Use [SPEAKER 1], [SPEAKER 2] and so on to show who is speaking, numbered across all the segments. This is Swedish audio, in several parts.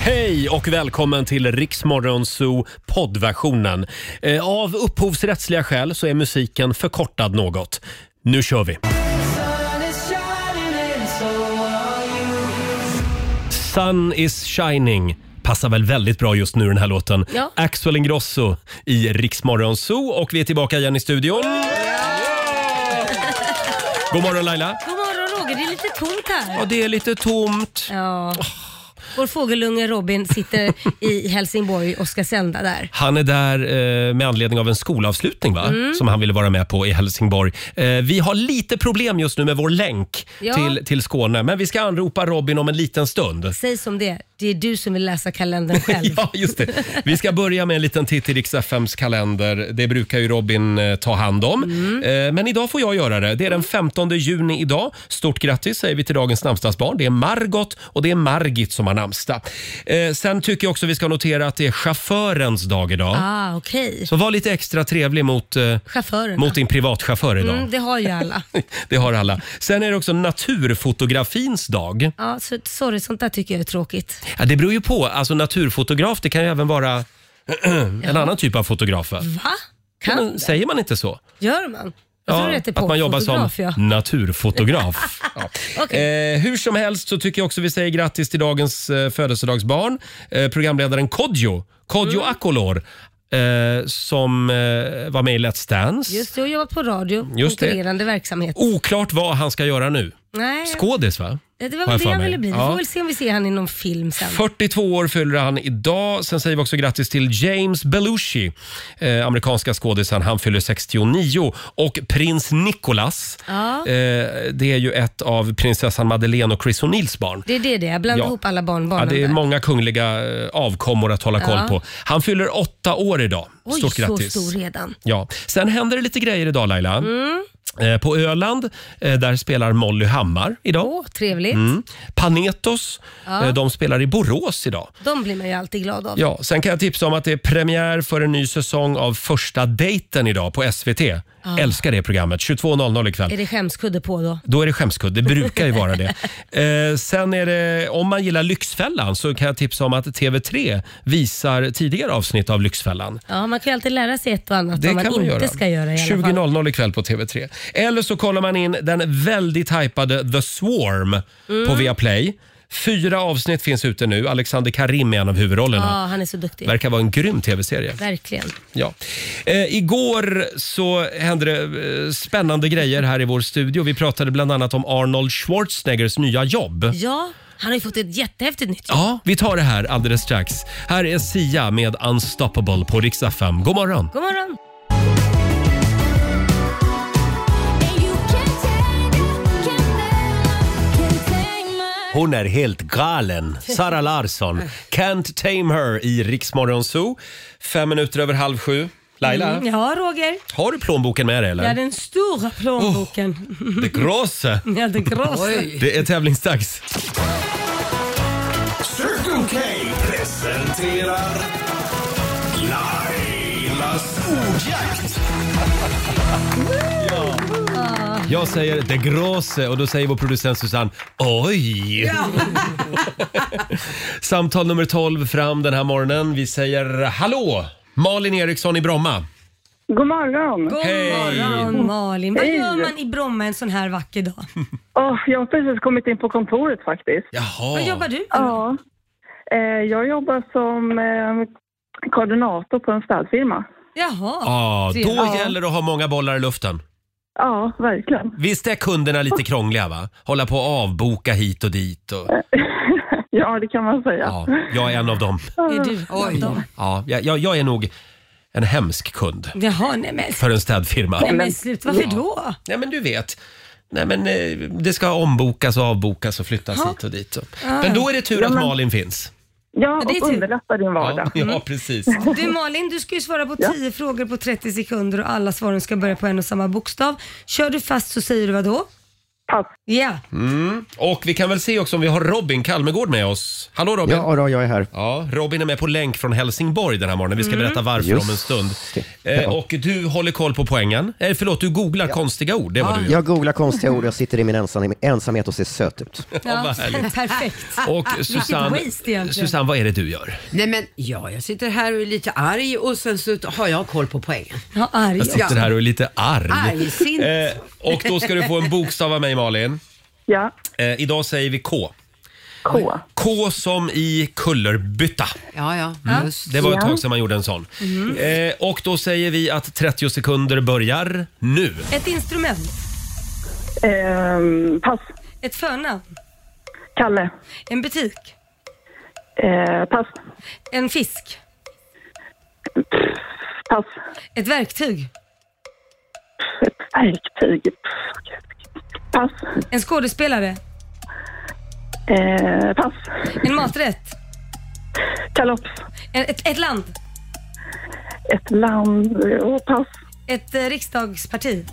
[SPEAKER 1] Hej och välkommen till Riksmorgonzoo poddversionen. Eh, Av upphovsrättsliga skäl så är musiken förkortad något. Nu kör vi! Sun is shining passar väl väldigt bra just nu den här låten.
[SPEAKER 2] Ja.
[SPEAKER 1] Axel Ingrosso i Riksmorgonzoo och vi är tillbaka igen i studion. God morgon Laila!
[SPEAKER 2] God morgon Roger, det är lite tomt
[SPEAKER 1] Ja,
[SPEAKER 2] här.
[SPEAKER 1] det är lite tomt.
[SPEAKER 2] Ja. Vår fågelunge Robin sitter i Helsingborg och ska sända där.
[SPEAKER 1] Han är där eh, med anledning av en skolavslutning va?
[SPEAKER 2] Mm.
[SPEAKER 1] som han ville vara med på i Helsingborg. Eh, vi har lite problem just nu med vår länk
[SPEAKER 2] Ja.
[SPEAKER 1] till, till Skåne, men vi ska anropa Robin om en liten stund.
[SPEAKER 2] Säg som det är. det är du som vill läsa kalendern själv.
[SPEAKER 1] Ja, just det. Vi ska börja med en liten titt i Rix FMs kalender. Det brukar ju Robin eh, ta hand om.
[SPEAKER 2] Mm.
[SPEAKER 1] Eh, Men idag får jag göra det. Det är den 15 juni idag. Stort grattis säger vi till dagens namnsdagsbarn. Det är Margot och det är Margit som har namnsdag. Eh, Sen tycker jag också vi ska notera att det är chaufförens dag idag.
[SPEAKER 2] Ah, okej.
[SPEAKER 1] Så var lite extra trevlig mot, eh,
[SPEAKER 2] Chaufförerna.
[SPEAKER 1] mot din privatchaufför idag.
[SPEAKER 2] Mm, det har ju alla.
[SPEAKER 1] Det har alla. Sen är det också naturfotografins dag.
[SPEAKER 2] Ja, så, sorry, sånt där tycker jag är tråkigt.
[SPEAKER 1] Ja, det beror ju på. Alltså naturfotograf, det kan ju även vara en annan typ av fotograf. va?
[SPEAKER 2] Va?
[SPEAKER 1] Ja,
[SPEAKER 2] Kan?
[SPEAKER 1] men, säger man inte så?
[SPEAKER 2] Gör man? Jag tror det heter
[SPEAKER 1] att man jobbar som
[SPEAKER 2] popfotograf, ja.
[SPEAKER 1] naturfotograf. ja.
[SPEAKER 2] Okej.
[SPEAKER 1] eh, hur som helst så tycker jag också vi säger grattis till dagens eh, födelsedagsbarn. Eh, programledaren Kodjo, Kodjo
[SPEAKER 2] Mm.
[SPEAKER 1] Akolor, eh, som eh, var med i Let's Dance.
[SPEAKER 2] Just det, och jobbat på radio.
[SPEAKER 1] Just det.
[SPEAKER 2] konkurrerande verksamhet.
[SPEAKER 1] Oklart vad han ska göra nu.
[SPEAKER 2] Nej,
[SPEAKER 1] Skådis va?
[SPEAKER 2] det var
[SPEAKER 1] har jag
[SPEAKER 2] väl
[SPEAKER 1] för
[SPEAKER 2] det jag
[SPEAKER 1] mig.
[SPEAKER 2] ville bli. Vi
[SPEAKER 1] Ja.
[SPEAKER 2] får väl se om vi ser han i någon film sen.
[SPEAKER 1] 42 år fyller han idag. Sen säger vi också grattis till James Belushi, eh, amerikanska skådisen. Han fyller 69. Och prins Nicholas,
[SPEAKER 2] Ja.
[SPEAKER 1] eh, det är ju ett av prinsessan Madeleine och Chris O'Neills barn.
[SPEAKER 2] Det är det det är. Jag blandar
[SPEAKER 1] Ja.
[SPEAKER 2] ihop alla
[SPEAKER 1] Ja,
[SPEAKER 2] barnbarnen
[SPEAKER 1] det är
[SPEAKER 2] där.
[SPEAKER 1] många kungliga eh, avkommor att hålla koll
[SPEAKER 2] Ja.
[SPEAKER 1] på. Han fyller åtta år idag.
[SPEAKER 2] Oj,
[SPEAKER 1] Stort grattis.
[SPEAKER 2] så stor Mm. redan.
[SPEAKER 1] Ja. Sen händer det lite grejer idag Laila. Eh, På Öland, eh, där spelar Molly Hammar idag.
[SPEAKER 2] Åh, trevligt.
[SPEAKER 1] Mm. Panetos, eh, de spelar i Borås idag.
[SPEAKER 2] De blir man ju alltid glad av.
[SPEAKER 1] Ja, sen kan jag tipsa om att det är premiär för en ny säsong av Första dejten idag på SVT. Älskar det programmet. 22.00 ikväll.
[SPEAKER 2] Är det skämskudde på då?
[SPEAKER 1] Då är det skämskudde. Det brukar ju vara det. Eh, sen är det, om man gillar Lyxfällan så kan jag tipsa om att TV3 visar tidigare avsnitt av Lyxfällan.
[SPEAKER 2] Ja, man kan ju alltid lära sig ett och annat
[SPEAKER 1] Det
[SPEAKER 2] vad
[SPEAKER 1] kan
[SPEAKER 2] man
[SPEAKER 1] man
[SPEAKER 2] inte
[SPEAKER 1] göra.
[SPEAKER 2] ska göra i alla fall.
[SPEAKER 1] 20.00 ikväll på TV3. Eller så kollar man in den väldigt hypade The Swarm på
[SPEAKER 2] Mm.
[SPEAKER 1] Viaplay. Fyra avsnitt finns ute nu. Alexander Karim är en av
[SPEAKER 2] Ja,
[SPEAKER 1] huvudrollerna.
[SPEAKER 2] han är så duktig.
[SPEAKER 1] Verkar vara en grym tv-serie.
[SPEAKER 2] Verkligen.
[SPEAKER 1] Ja. Eh, igår så hände det eh, spännande grejer här i vår studio. Vi pratade bland annat om Arnold Schwarzeneggers nya jobb.
[SPEAKER 2] Ja, han har ju fått ett jättehäftigt nytt jobb.
[SPEAKER 1] Ja, vi tar det här alldeles strax. Här är Sia med Unstoppable på riksdag 5. God morgon!
[SPEAKER 2] God morgon!
[SPEAKER 1] Hon är helt galen. Sara Larsson. Can't tame her i Riksmorgon Zoo. Fem minuter över halv sju. Laila,
[SPEAKER 2] Mm, ja, Roger.
[SPEAKER 1] har du plånboken med dig eller?
[SPEAKER 2] Ja, den stora plånboken.
[SPEAKER 1] Det grosse.
[SPEAKER 2] Ja, det grossa.
[SPEAKER 1] Det är tävlingsdags.
[SPEAKER 3] Circle K presenterar Lailas ordjakt.
[SPEAKER 1] Jag säger det grosse och då säger vår producent Susanne oj. Samtal nummer 12 fram den här morgonen. Vi säger hallå! Malin Eriksson i Bromma.
[SPEAKER 4] God morgon!
[SPEAKER 2] God
[SPEAKER 1] Hej.
[SPEAKER 2] morgon Malin. Vad gör man i Bromma en sån här vacker dag?
[SPEAKER 4] Åh, jag har precis kommit in på kontoret faktiskt.
[SPEAKER 2] Vad
[SPEAKER 1] Jaha.
[SPEAKER 2] jobbar du med?
[SPEAKER 4] Ja. Eh, jag jobbar som eh, koordinator på en städfirma.
[SPEAKER 2] Jaha.
[SPEAKER 1] Ja, då
[SPEAKER 2] Ja.
[SPEAKER 1] gäller det att ha många bollar i luften.
[SPEAKER 4] Ja, verkligen.
[SPEAKER 1] Visst är kunderna lite krångliga va? Hålla på och avboka hit och dit. Och,
[SPEAKER 4] Ja, det kan man säga.
[SPEAKER 1] ja, jag är en av dem.
[SPEAKER 2] Är du Oj.
[SPEAKER 1] Ja, jag, jag, jag är nog en hemsk kund
[SPEAKER 2] Jaha, nej men,
[SPEAKER 1] för en städfirma.
[SPEAKER 2] nej, men slut. Varför då?
[SPEAKER 1] Nej men du vet. Nej men eh, det ska ombokas och avbokas och flyttas hit och dit. Men då är det tur att Malin finns.
[SPEAKER 4] Ja,
[SPEAKER 2] det är
[SPEAKER 4] och
[SPEAKER 2] tur.
[SPEAKER 4] underlättar din vardag.
[SPEAKER 1] Ja, Mm. ja precis.
[SPEAKER 2] Du Malin, du ska ju svara på 10 frågor på 30 sekunder och alla svaren ska börja på en och samma bokstav. Kör du fast så säger du vad då?
[SPEAKER 4] Pass.
[SPEAKER 2] Ja,
[SPEAKER 1] Mm. Och vi kan väl se också om vi har Robin Kalmegård med oss. Hallå Robin!
[SPEAKER 5] Ja, då, jag är här.
[SPEAKER 1] Ja, Robin är med på länk från Helsingborg den här morgonen. Vi ska berätta varför
[SPEAKER 5] Just
[SPEAKER 1] om en stund.
[SPEAKER 5] det.
[SPEAKER 1] Eh, och du håller koll på poängen. Eh, förlåt, du googlar konstiga ord. Det var du.
[SPEAKER 5] Jag googlar konstiga ord och jag sitter i min ensam, ensamhet och ser söt ut.
[SPEAKER 1] Ja, vad härligt.
[SPEAKER 2] perfekt.
[SPEAKER 1] Och Susanne,
[SPEAKER 2] waste ah, egentligen.
[SPEAKER 1] Susanne, vad är det du gör?
[SPEAKER 6] Nej men ja, jag sitter här och är lite arg och sen så har jag koll på poängen.
[SPEAKER 2] Jag är arg.
[SPEAKER 1] Jag sitter här och är lite arg.
[SPEAKER 6] Argsint.
[SPEAKER 1] Eh, och då ska du få en bokstav av mig Malin.
[SPEAKER 4] Ja.
[SPEAKER 1] Eh, idag säger vi K.
[SPEAKER 4] K.
[SPEAKER 1] K som i kullerbytta.
[SPEAKER 6] Ja, ja. Just.
[SPEAKER 1] Det var ett tag sedan man gjorde en sån.
[SPEAKER 2] Mhm.
[SPEAKER 1] Eh, och då säger vi att 30 sekunder börjar nu.
[SPEAKER 2] Ett instrument,
[SPEAKER 4] Ehm, pass.
[SPEAKER 2] ett förnamn,
[SPEAKER 4] Kalle.
[SPEAKER 2] en butik,
[SPEAKER 4] Eh, pass.
[SPEAKER 2] en fisk,
[SPEAKER 4] Pass.
[SPEAKER 2] ett verktyg,
[SPEAKER 4] Ett verktyg. Pass.
[SPEAKER 2] en skådespelare,
[SPEAKER 4] Eh, pass.
[SPEAKER 2] en maträtt,
[SPEAKER 4] Kalops.
[SPEAKER 2] en, ett, ett land,
[SPEAKER 4] Ett land. Och pass.
[SPEAKER 2] ett eh, riksdagsparti.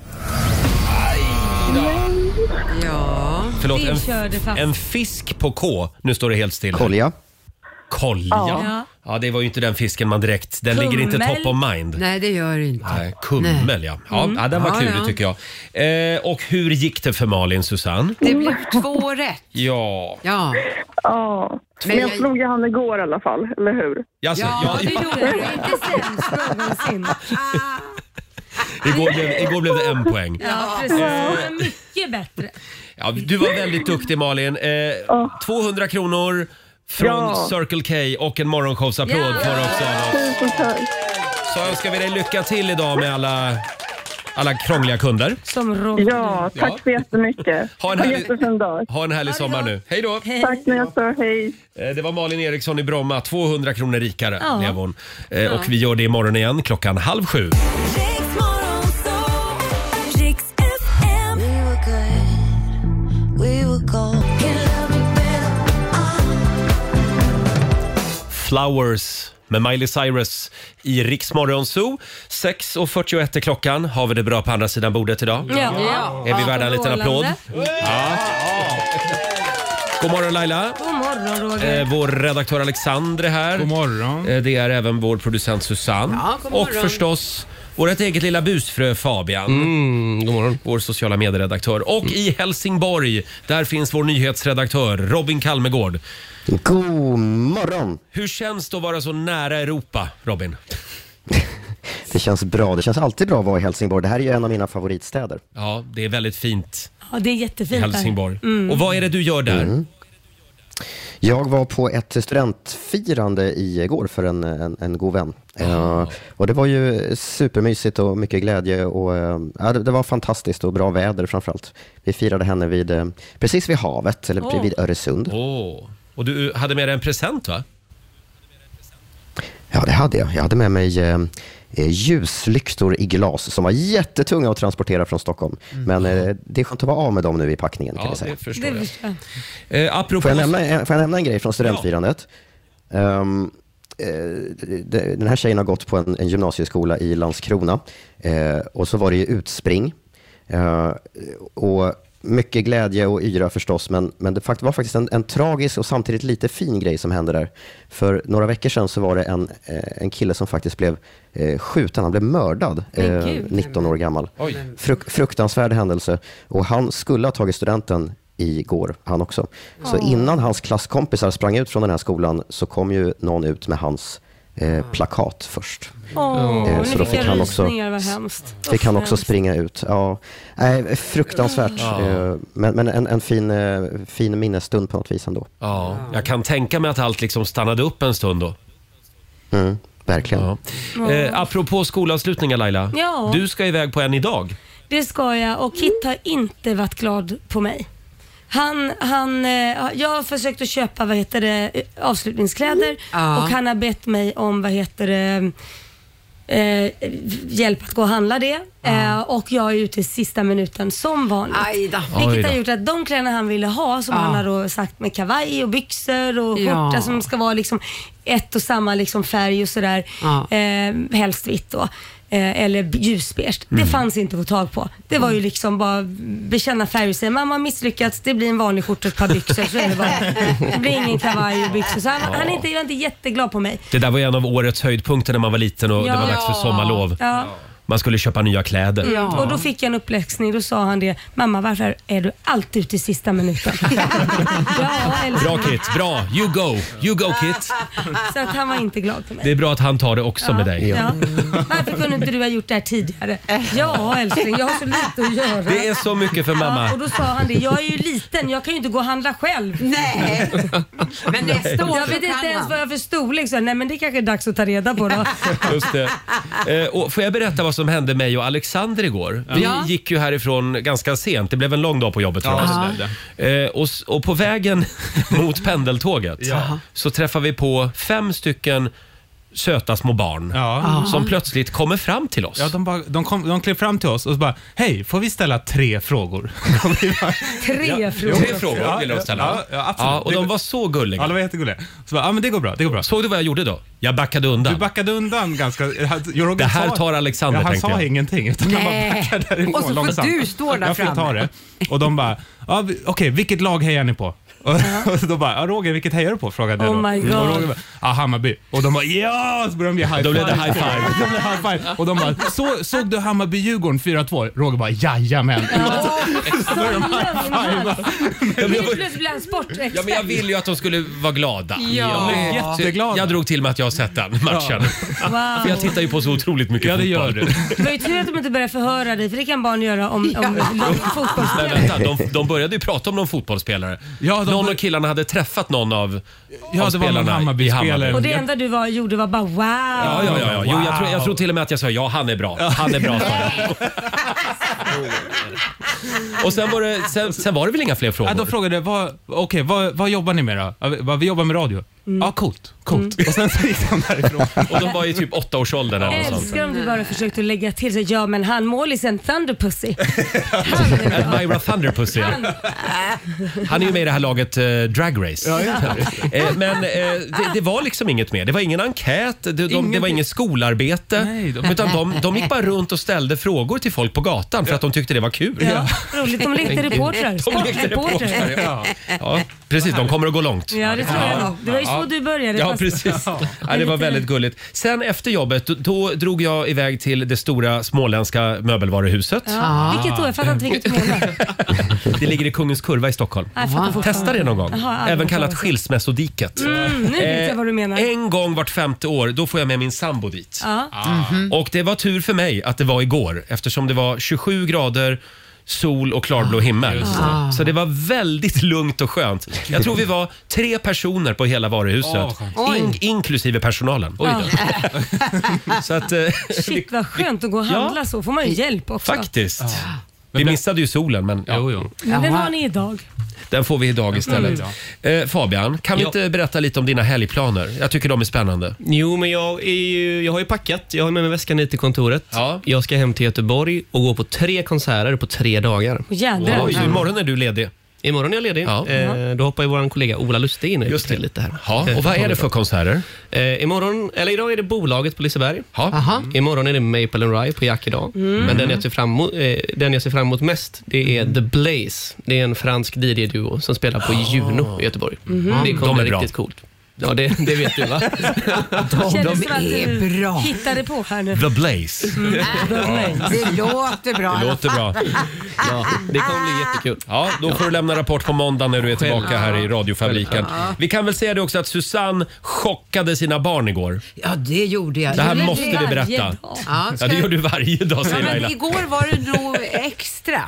[SPEAKER 6] Ja.
[SPEAKER 1] Förlåt,
[SPEAKER 2] Det körde
[SPEAKER 1] en,
[SPEAKER 2] fast.
[SPEAKER 1] en fisk på K. Nu står det helt still. här.
[SPEAKER 5] Kolja.
[SPEAKER 1] Kolja. Ja.
[SPEAKER 2] Ja.
[SPEAKER 1] det var ju inte den fisken man direkt... Den ligger inte
[SPEAKER 2] Kummel.
[SPEAKER 1] top of mind.
[SPEAKER 6] Nej, det gör det inte.
[SPEAKER 1] Nej, kummel, ja. Ja, ja. Den var
[SPEAKER 6] Ja,
[SPEAKER 1] klurig
[SPEAKER 6] ja.
[SPEAKER 1] tycker jag. Eh, och hur gick det för Malin, Susanne?
[SPEAKER 6] Det blev två rätt.
[SPEAKER 1] Ja...
[SPEAKER 6] Ja.
[SPEAKER 4] Ja. Men jag slog ju han igår i alla fall, eller hur?
[SPEAKER 1] Alltså,
[SPEAKER 6] Ja, det
[SPEAKER 1] ja,
[SPEAKER 6] gjorde
[SPEAKER 2] Det
[SPEAKER 6] det.
[SPEAKER 2] är inte sämst någonsin.
[SPEAKER 1] igår, blev- igår blev det en poäng.
[SPEAKER 2] Ja, precis.
[SPEAKER 1] Eh.
[SPEAKER 2] Det var mycket bättre.
[SPEAKER 1] Ja, du var väldigt duktig Malin. Eh, 200 kronor från
[SPEAKER 4] Ja.
[SPEAKER 1] Circle K och en morgonshowsapplåd
[SPEAKER 2] Ja.
[SPEAKER 1] får du också av oss.
[SPEAKER 4] Tusen tack.
[SPEAKER 1] Så önskar vi dig lycka till idag med alla, alla krångliga kunder.
[SPEAKER 2] Som Robin.
[SPEAKER 4] Ja, tack så jättemycket.
[SPEAKER 1] Ha en härlig-
[SPEAKER 4] jättefin dag.
[SPEAKER 1] Ha en härlig sommar nu. Hej då!
[SPEAKER 4] Tack ni också. Hej.
[SPEAKER 1] Eh, Det var Malin Eriksson i Bromma, 200 kronor rikare
[SPEAKER 2] Ja.
[SPEAKER 1] blev hon. Eh, Och vi gör det imorgon igen klockan halv sju.
[SPEAKER 7] Riks Morgonzoo, Riks FM. We were good, we were gold. Can love me better.
[SPEAKER 1] Flowers med Miley Cyrus i Rix Morgon Zoo. 6.41 är klockan. Har vi det bra på andra sidan bordet idag?
[SPEAKER 2] Ja.
[SPEAKER 1] Är vi värda en liten applåd?
[SPEAKER 2] Strålande.
[SPEAKER 1] God morgon Laila!
[SPEAKER 2] God morgon Roger.
[SPEAKER 1] Eh, Vår redaktör Alexander är här.
[SPEAKER 8] God morgon.
[SPEAKER 1] Eh, Det är även vår producent Susanne.
[SPEAKER 6] Ja, god
[SPEAKER 1] och
[SPEAKER 6] morgon.
[SPEAKER 1] förstås vårt eget lilla busfrö Fabian.
[SPEAKER 8] Mm, god morgon.
[SPEAKER 1] Vår sociala medieredaktör. Och i Helsingborg, där finns vår nyhetsredaktör Robin Kalmegård.
[SPEAKER 5] God morgon.
[SPEAKER 1] Hur känns det att vara så nära Europa, Robin?
[SPEAKER 5] Det känns bra. Det känns alltid bra att vara i Helsingborg. Det här är ju en av mina favoritstäder.
[SPEAKER 1] Ja, det är väldigt fint
[SPEAKER 2] Ja, det är Mm.
[SPEAKER 1] i
[SPEAKER 2] jättefint här.
[SPEAKER 1] Helsingborg. Och vad är det du gör där?
[SPEAKER 5] Mm. Jag var på ett studentfirande igår för en, en, en god vän. Eh, och det var ju supermysigt och mycket glädje. Och, eh, ja, det, det var fantastiskt och bra väder framförallt. Vi firade henne vid, eh, precis vid havet, eller
[SPEAKER 2] Åh.
[SPEAKER 5] vid Öresund.
[SPEAKER 1] Åh. Och du hade med dig en present va?
[SPEAKER 5] Ja, det hade jag. Jag hade med mig eh, eh, ljuslyktor i glas som var jättetunga att transportera från Stockholm. Men eh, det är skönt att vara av med dem nu i packningen. Kan
[SPEAKER 1] Mm. Ja,
[SPEAKER 5] jag säga.
[SPEAKER 1] det förstår
[SPEAKER 2] Det
[SPEAKER 1] jag.
[SPEAKER 2] förstår jag.
[SPEAKER 1] Eh,
[SPEAKER 5] Får
[SPEAKER 1] apropå...
[SPEAKER 5] jag, nämna, en- får jag nämna en grej från studentfirandet? Ehm, eh, det- den här tjejen har gått på en, en gymnasieskola i Landskrona eh, och så var det ju utspring. Eh, och mycket glädje och yra förstås, men, men det fakt- var faktiskt en, en tragisk och samtidigt lite fin grej som hände där. För några veckor sedan så var det en, eh, en kille som faktiskt blev eh, skjuten, han blev mördad,
[SPEAKER 2] Men
[SPEAKER 5] eh,
[SPEAKER 2] gud.
[SPEAKER 5] 19 år gammal.
[SPEAKER 1] Oj.
[SPEAKER 5] Fruk fruktansvärd händelse. Och han skulle ha tagit studenten igår, han också. Så innan hans klasskompisar sprang ut från den här skolan så kom ju någon ut med hans eh, plakat först.
[SPEAKER 2] Åh,
[SPEAKER 5] Eh,
[SPEAKER 2] nu
[SPEAKER 5] så då
[SPEAKER 2] fick
[SPEAKER 5] fick
[SPEAKER 2] jag
[SPEAKER 5] han också-
[SPEAKER 2] rysningar, vad hemskt.
[SPEAKER 5] Det kan
[SPEAKER 2] Usch,
[SPEAKER 5] också
[SPEAKER 2] hemskt.
[SPEAKER 5] springa ut. Ja, nej, fruktansvärt.
[SPEAKER 1] Ja.
[SPEAKER 5] Eh, Men, men en, en fin, eh, fin minnesstund på något vis ändå.
[SPEAKER 1] Ja, jag kan tänka mig att allt liksom stannade upp en stund då.
[SPEAKER 5] Mm, verkligen.
[SPEAKER 1] Ja. Eh, apropå skolavslutningar Laila.
[SPEAKER 2] Ja.
[SPEAKER 1] Du ska iväg på en idag.
[SPEAKER 2] Det ska jag och Kit har inte varit glad på mig. Han, han, eh, jag har försökt att köpa vad heter det, eh, avslutningskläder
[SPEAKER 6] Ja.
[SPEAKER 2] och han har bett mig om vad heter det, eh, hjälp att gå och handla det. Eh, och jag är ute i sista minuten som vanligt.
[SPEAKER 6] Aj då.
[SPEAKER 1] Oj
[SPEAKER 2] Vilket
[SPEAKER 1] då.
[SPEAKER 2] har gjort att de kläderna han ville ha, som
[SPEAKER 6] Ja.
[SPEAKER 2] han har då sagt med kavaj och byxor och
[SPEAKER 6] Ja.
[SPEAKER 2] skjorta som ska vara liksom ett och samma liksom färg och sådär,
[SPEAKER 6] Ja.
[SPEAKER 2] eh, helst vitt då. eh, eller b- ljusbeige.
[SPEAKER 6] Mm.
[SPEAKER 2] Det fanns inte att få tag på. Det var ju liksom bara bekänna färg och säga mamma misslyckats, det blir en vanlig skjorta och ett par byxor. Så är det, bara. det blir ingen kavaj och byxor. Så han, han är inte, jag är inte jätteglad på mig.
[SPEAKER 1] Det där var ju en av årets höjdpunkter när man var liten och det var
[SPEAKER 2] Ja.
[SPEAKER 1] dags för sommarlov.
[SPEAKER 2] Ja. Mm.
[SPEAKER 1] Man skulle köpa nya kläder.
[SPEAKER 2] Och då fick jag en uppläxning. Då sa han det. Mamma varför är du alltid ute i sista minuten? ja, eller,
[SPEAKER 1] Bra Kit, bra! You go! You go Kit!
[SPEAKER 2] Så att han var inte glad på mig.
[SPEAKER 1] Det är bra att han tar det också med dig.
[SPEAKER 2] Ja. Varför kunde inte du ha gjort det här tidigare? Ja älskling, jag har så lite att göra.
[SPEAKER 1] Det är så mycket för
[SPEAKER 2] Ja, och
[SPEAKER 1] mamma.
[SPEAKER 2] då sa han det, jag är ju liten, jag kan ju inte gå och handla själv.
[SPEAKER 6] Nej, men nästa år
[SPEAKER 2] Jag
[SPEAKER 6] så
[SPEAKER 2] vet inte
[SPEAKER 6] kan
[SPEAKER 2] ens
[SPEAKER 6] han.
[SPEAKER 2] vad jag för storlek så, Nej men det kanske är dags att ta reda på då.
[SPEAKER 1] Just det. Eh, och får jag berätta vad som hände mig och Alexander igår? Vi
[SPEAKER 6] Ja.
[SPEAKER 1] gick ju härifrån ganska sent. Det blev en lång dag på jobbet för oss. Eh, och, s- och på vägen mot pendeltåget så träffar vi på fem stycken söta små barn
[SPEAKER 8] Ja.
[SPEAKER 1] som plötsligt kommer fram till oss.
[SPEAKER 8] Ja, de, bara, de, kom, de klev fram till oss och så bara, hej, får vi ställa tre frågor?
[SPEAKER 2] Tre
[SPEAKER 1] Jo,
[SPEAKER 2] frågor.
[SPEAKER 1] Tre frågor ville de ställa.
[SPEAKER 8] Ja, ja, absolut.
[SPEAKER 1] Ja, och de
[SPEAKER 8] Det-
[SPEAKER 1] var så gulliga.
[SPEAKER 8] Ja, de var jättegulliga. Så bara, ja men det går bra, det går bra.
[SPEAKER 1] Såg du vad jag gjorde då? Jag backade undan.
[SPEAKER 8] Du backade undan ganska... Roger
[SPEAKER 1] Det här
[SPEAKER 8] sa-
[SPEAKER 1] tar Alexander,
[SPEAKER 8] ja, Han
[SPEAKER 1] tänkte
[SPEAKER 8] sa
[SPEAKER 1] jag.
[SPEAKER 8] ingenting utan han bara backade därifrån
[SPEAKER 6] Och så får
[SPEAKER 8] långsamt.
[SPEAKER 6] du stå där
[SPEAKER 8] jag fick
[SPEAKER 6] framme.
[SPEAKER 8] ta det. Och de bara, ja, vi- okej vilket lag hejar ni på? Och och då bara, ja, Roger vilket hejar du på? Frågade jag
[SPEAKER 2] Oh
[SPEAKER 8] då.
[SPEAKER 2] my God.
[SPEAKER 8] Och Roger bara, ja Hammarby. Och de bara, ja! Så började de ge high
[SPEAKER 1] Då blev det
[SPEAKER 8] five.
[SPEAKER 1] high five.
[SPEAKER 8] Då blev det high five. Och de bara, så, såg du Hammarby-Djurgården 4-2? Roger bara, jajamän.
[SPEAKER 2] Så lögnhals.
[SPEAKER 1] Ja, men jag var-
[SPEAKER 2] Plötsligt blir han
[SPEAKER 1] Ja, men jag
[SPEAKER 2] sportexpert.
[SPEAKER 1] ville ju att de skulle vara glada.
[SPEAKER 6] Ja.
[SPEAKER 1] De blev jätteglada. Jag drog till med att jag har sett den matchen. För jag
[SPEAKER 2] Wow.
[SPEAKER 1] tittar ju på så otroligt mycket
[SPEAKER 8] Ja, det gör
[SPEAKER 1] fotboll.
[SPEAKER 8] du.
[SPEAKER 2] Det var ju tur att de inte började förhöra dig för det kan barn göra om, om
[SPEAKER 1] Men
[SPEAKER 2] fotbollsspelare.
[SPEAKER 1] vänta, de, de började ju prata om någon fotbollsspelare.
[SPEAKER 8] Ja, de
[SPEAKER 1] någon
[SPEAKER 8] bör-
[SPEAKER 1] av killarna hade träffat någon av,
[SPEAKER 8] Ja,
[SPEAKER 1] av
[SPEAKER 8] det var någon
[SPEAKER 1] spelarna i
[SPEAKER 8] Hammarby-spelare.
[SPEAKER 1] Hammarby.
[SPEAKER 2] Och det enda du var, gjorde var bara wow.
[SPEAKER 1] Ja, ja, ja. ja. Jo, jag, tror, jag tror till och med att jag sa ja, han är bra. Han är bra, sa jag. Och sen var, det, sen, sen var det väl inga fler
[SPEAKER 8] Ja,
[SPEAKER 1] frågor?
[SPEAKER 8] de frågade vad, okay, vad, vad jobbar ni med då? Ja, vi- vad, vi jobbar med radio.
[SPEAKER 6] Mm.
[SPEAKER 8] Ja, coolt. coolt. Och sen så gick de därifrån.
[SPEAKER 1] Och de var i typ åttaårsåldern eller något sånt.
[SPEAKER 2] Älskar om du bara försökte lägga till så ja men han målisen Thunderpussy. Han är bra.
[SPEAKER 1] Myra Thunderpussy.
[SPEAKER 2] Han-
[SPEAKER 1] Han är ju med i det här laget eh, Drag Race. Eh, men eh, det, det var liksom inget mer. Det var ingen enkät, det, de, det var
[SPEAKER 8] Ingenting.
[SPEAKER 1] inget skolarbete.
[SPEAKER 8] Nej, de-
[SPEAKER 1] Utan de, de gick bara runt och ställde frågor till folk på gatan för att de tyckte det var kul.
[SPEAKER 2] Ja, roligt. De lekte reportrar.
[SPEAKER 1] De lekte
[SPEAKER 2] Sportreportrar.
[SPEAKER 1] reportrar. Ja. Ja, precis, de kommer att gå långt.
[SPEAKER 2] Ja, det tror jag nog. Det var ju så du började.
[SPEAKER 1] Ja,
[SPEAKER 2] fast-
[SPEAKER 1] precis. Ja, det var väldigt gulligt. Sen efter jobbet, då, då drog jag iväg till det stora småländska möbelvaruhuset.
[SPEAKER 2] Ja, vilket då? Jag fattar inte vilket du menar.
[SPEAKER 1] Det ligger i Kungens Kurva i Stockholm.
[SPEAKER 2] Nej, jag fattar fortfarande.
[SPEAKER 1] Testa det någon gång.
[SPEAKER 2] Jaha, aldrig
[SPEAKER 1] Även
[SPEAKER 2] hört
[SPEAKER 1] kallat
[SPEAKER 2] talas om.
[SPEAKER 1] skilsmässodiket.
[SPEAKER 2] Mm, nu vet jag vad du menar.
[SPEAKER 1] Eh, En gång vart femte år, då får jag med min sambo dit.
[SPEAKER 2] Ja. Mm.
[SPEAKER 1] Och det var tur för mig att det var igår eftersom det var 27 grader sol och klarblå himmel.
[SPEAKER 2] Ah.
[SPEAKER 1] Så det var väldigt lugnt och skönt. Jag tror vi var tre personer på hela varuhuset.
[SPEAKER 6] Oj.
[SPEAKER 1] in, inklusive personalen. Så att, eh,
[SPEAKER 2] Shit vad skönt att gå och handla så. Får man ju hjälp också.
[SPEAKER 1] faktiskt. Vi missade ju solen men ja,
[SPEAKER 2] Men den har ni idag.
[SPEAKER 1] den får vi idag istället. Eh, Fabian, kan vi
[SPEAKER 9] Mm. Ja.
[SPEAKER 1] inte berätta lite om dina helgplaner? Jag tycker de är spännande.
[SPEAKER 9] Jo, men jag, är ju, jag har ju packat. Jag har med mig väskan hit till kontoret.
[SPEAKER 1] Ja.
[SPEAKER 9] Jag ska hem till Göteborg och gå på tre konserter på tre dagar.
[SPEAKER 2] Och jädrar.
[SPEAKER 1] Oj, imorgon är du ledig.
[SPEAKER 9] Imorgon är jag ledig.
[SPEAKER 1] Ja.
[SPEAKER 9] Eh, då hoppar ju vår kollega Ola Lustig in och
[SPEAKER 1] Just
[SPEAKER 9] Just
[SPEAKER 1] det.
[SPEAKER 9] till lite här.
[SPEAKER 1] Ja, och vad är det för konserter?
[SPEAKER 9] Eh, imorgon, eller idag är det bolaget på Liseberg.
[SPEAKER 1] Ja. Mm.
[SPEAKER 6] Aha.
[SPEAKER 9] Imorgon är det Maple and Rye på Jack idag.
[SPEAKER 8] Mm.
[SPEAKER 9] Men den jag, ser fram emot, eh, den jag ser fram emot mest, det är
[SPEAKER 1] Mm.
[SPEAKER 9] The Blaze. Det är en fransk DJ-duo som spelar på Juno i Göteborg.
[SPEAKER 8] Mhm.
[SPEAKER 9] Det kommer
[SPEAKER 1] Ah. De är
[SPEAKER 9] bli
[SPEAKER 1] bra.
[SPEAKER 9] riktigt coolt. Ja, det, det vet du va?
[SPEAKER 2] Kändes som att
[SPEAKER 6] är
[SPEAKER 2] du
[SPEAKER 6] bra.
[SPEAKER 2] hittade på här nu.
[SPEAKER 1] The Blaze.
[SPEAKER 6] Det låter bra.
[SPEAKER 1] Det låter bra.
[SPEAKER 9] Ja, det kommer bli jättekul.
[SPEAKER 1] Ja, då får du lämna rapport på måndag när du är tillbaka här i radiofabriken. Vi kan väl säga det också att Susanne chockade sina barn igår.
[SPEAKER 6] Ja, det gjorde jag.
[SPEAKER 1] Det här
[SPEAKER 6] Gjorde
[SPEAKER 1] måste
[SPEAKER 6] det?
[SPEAKER 1] vi
[SPEAKER 2] varje
[SPEAKER 1] berätta.
[SPEAKER 2] dag.
[SPEAKER 6] Ja,
[SPEAKER 1] Ja,
[SPEAKER 6] ska-
[SPEAKER 1] det gör du varje dag
[SPEAKER 6] Ja,
[SPEAKER 1] säger Laila.
[SPEAKER 6] men igår var det nog extra.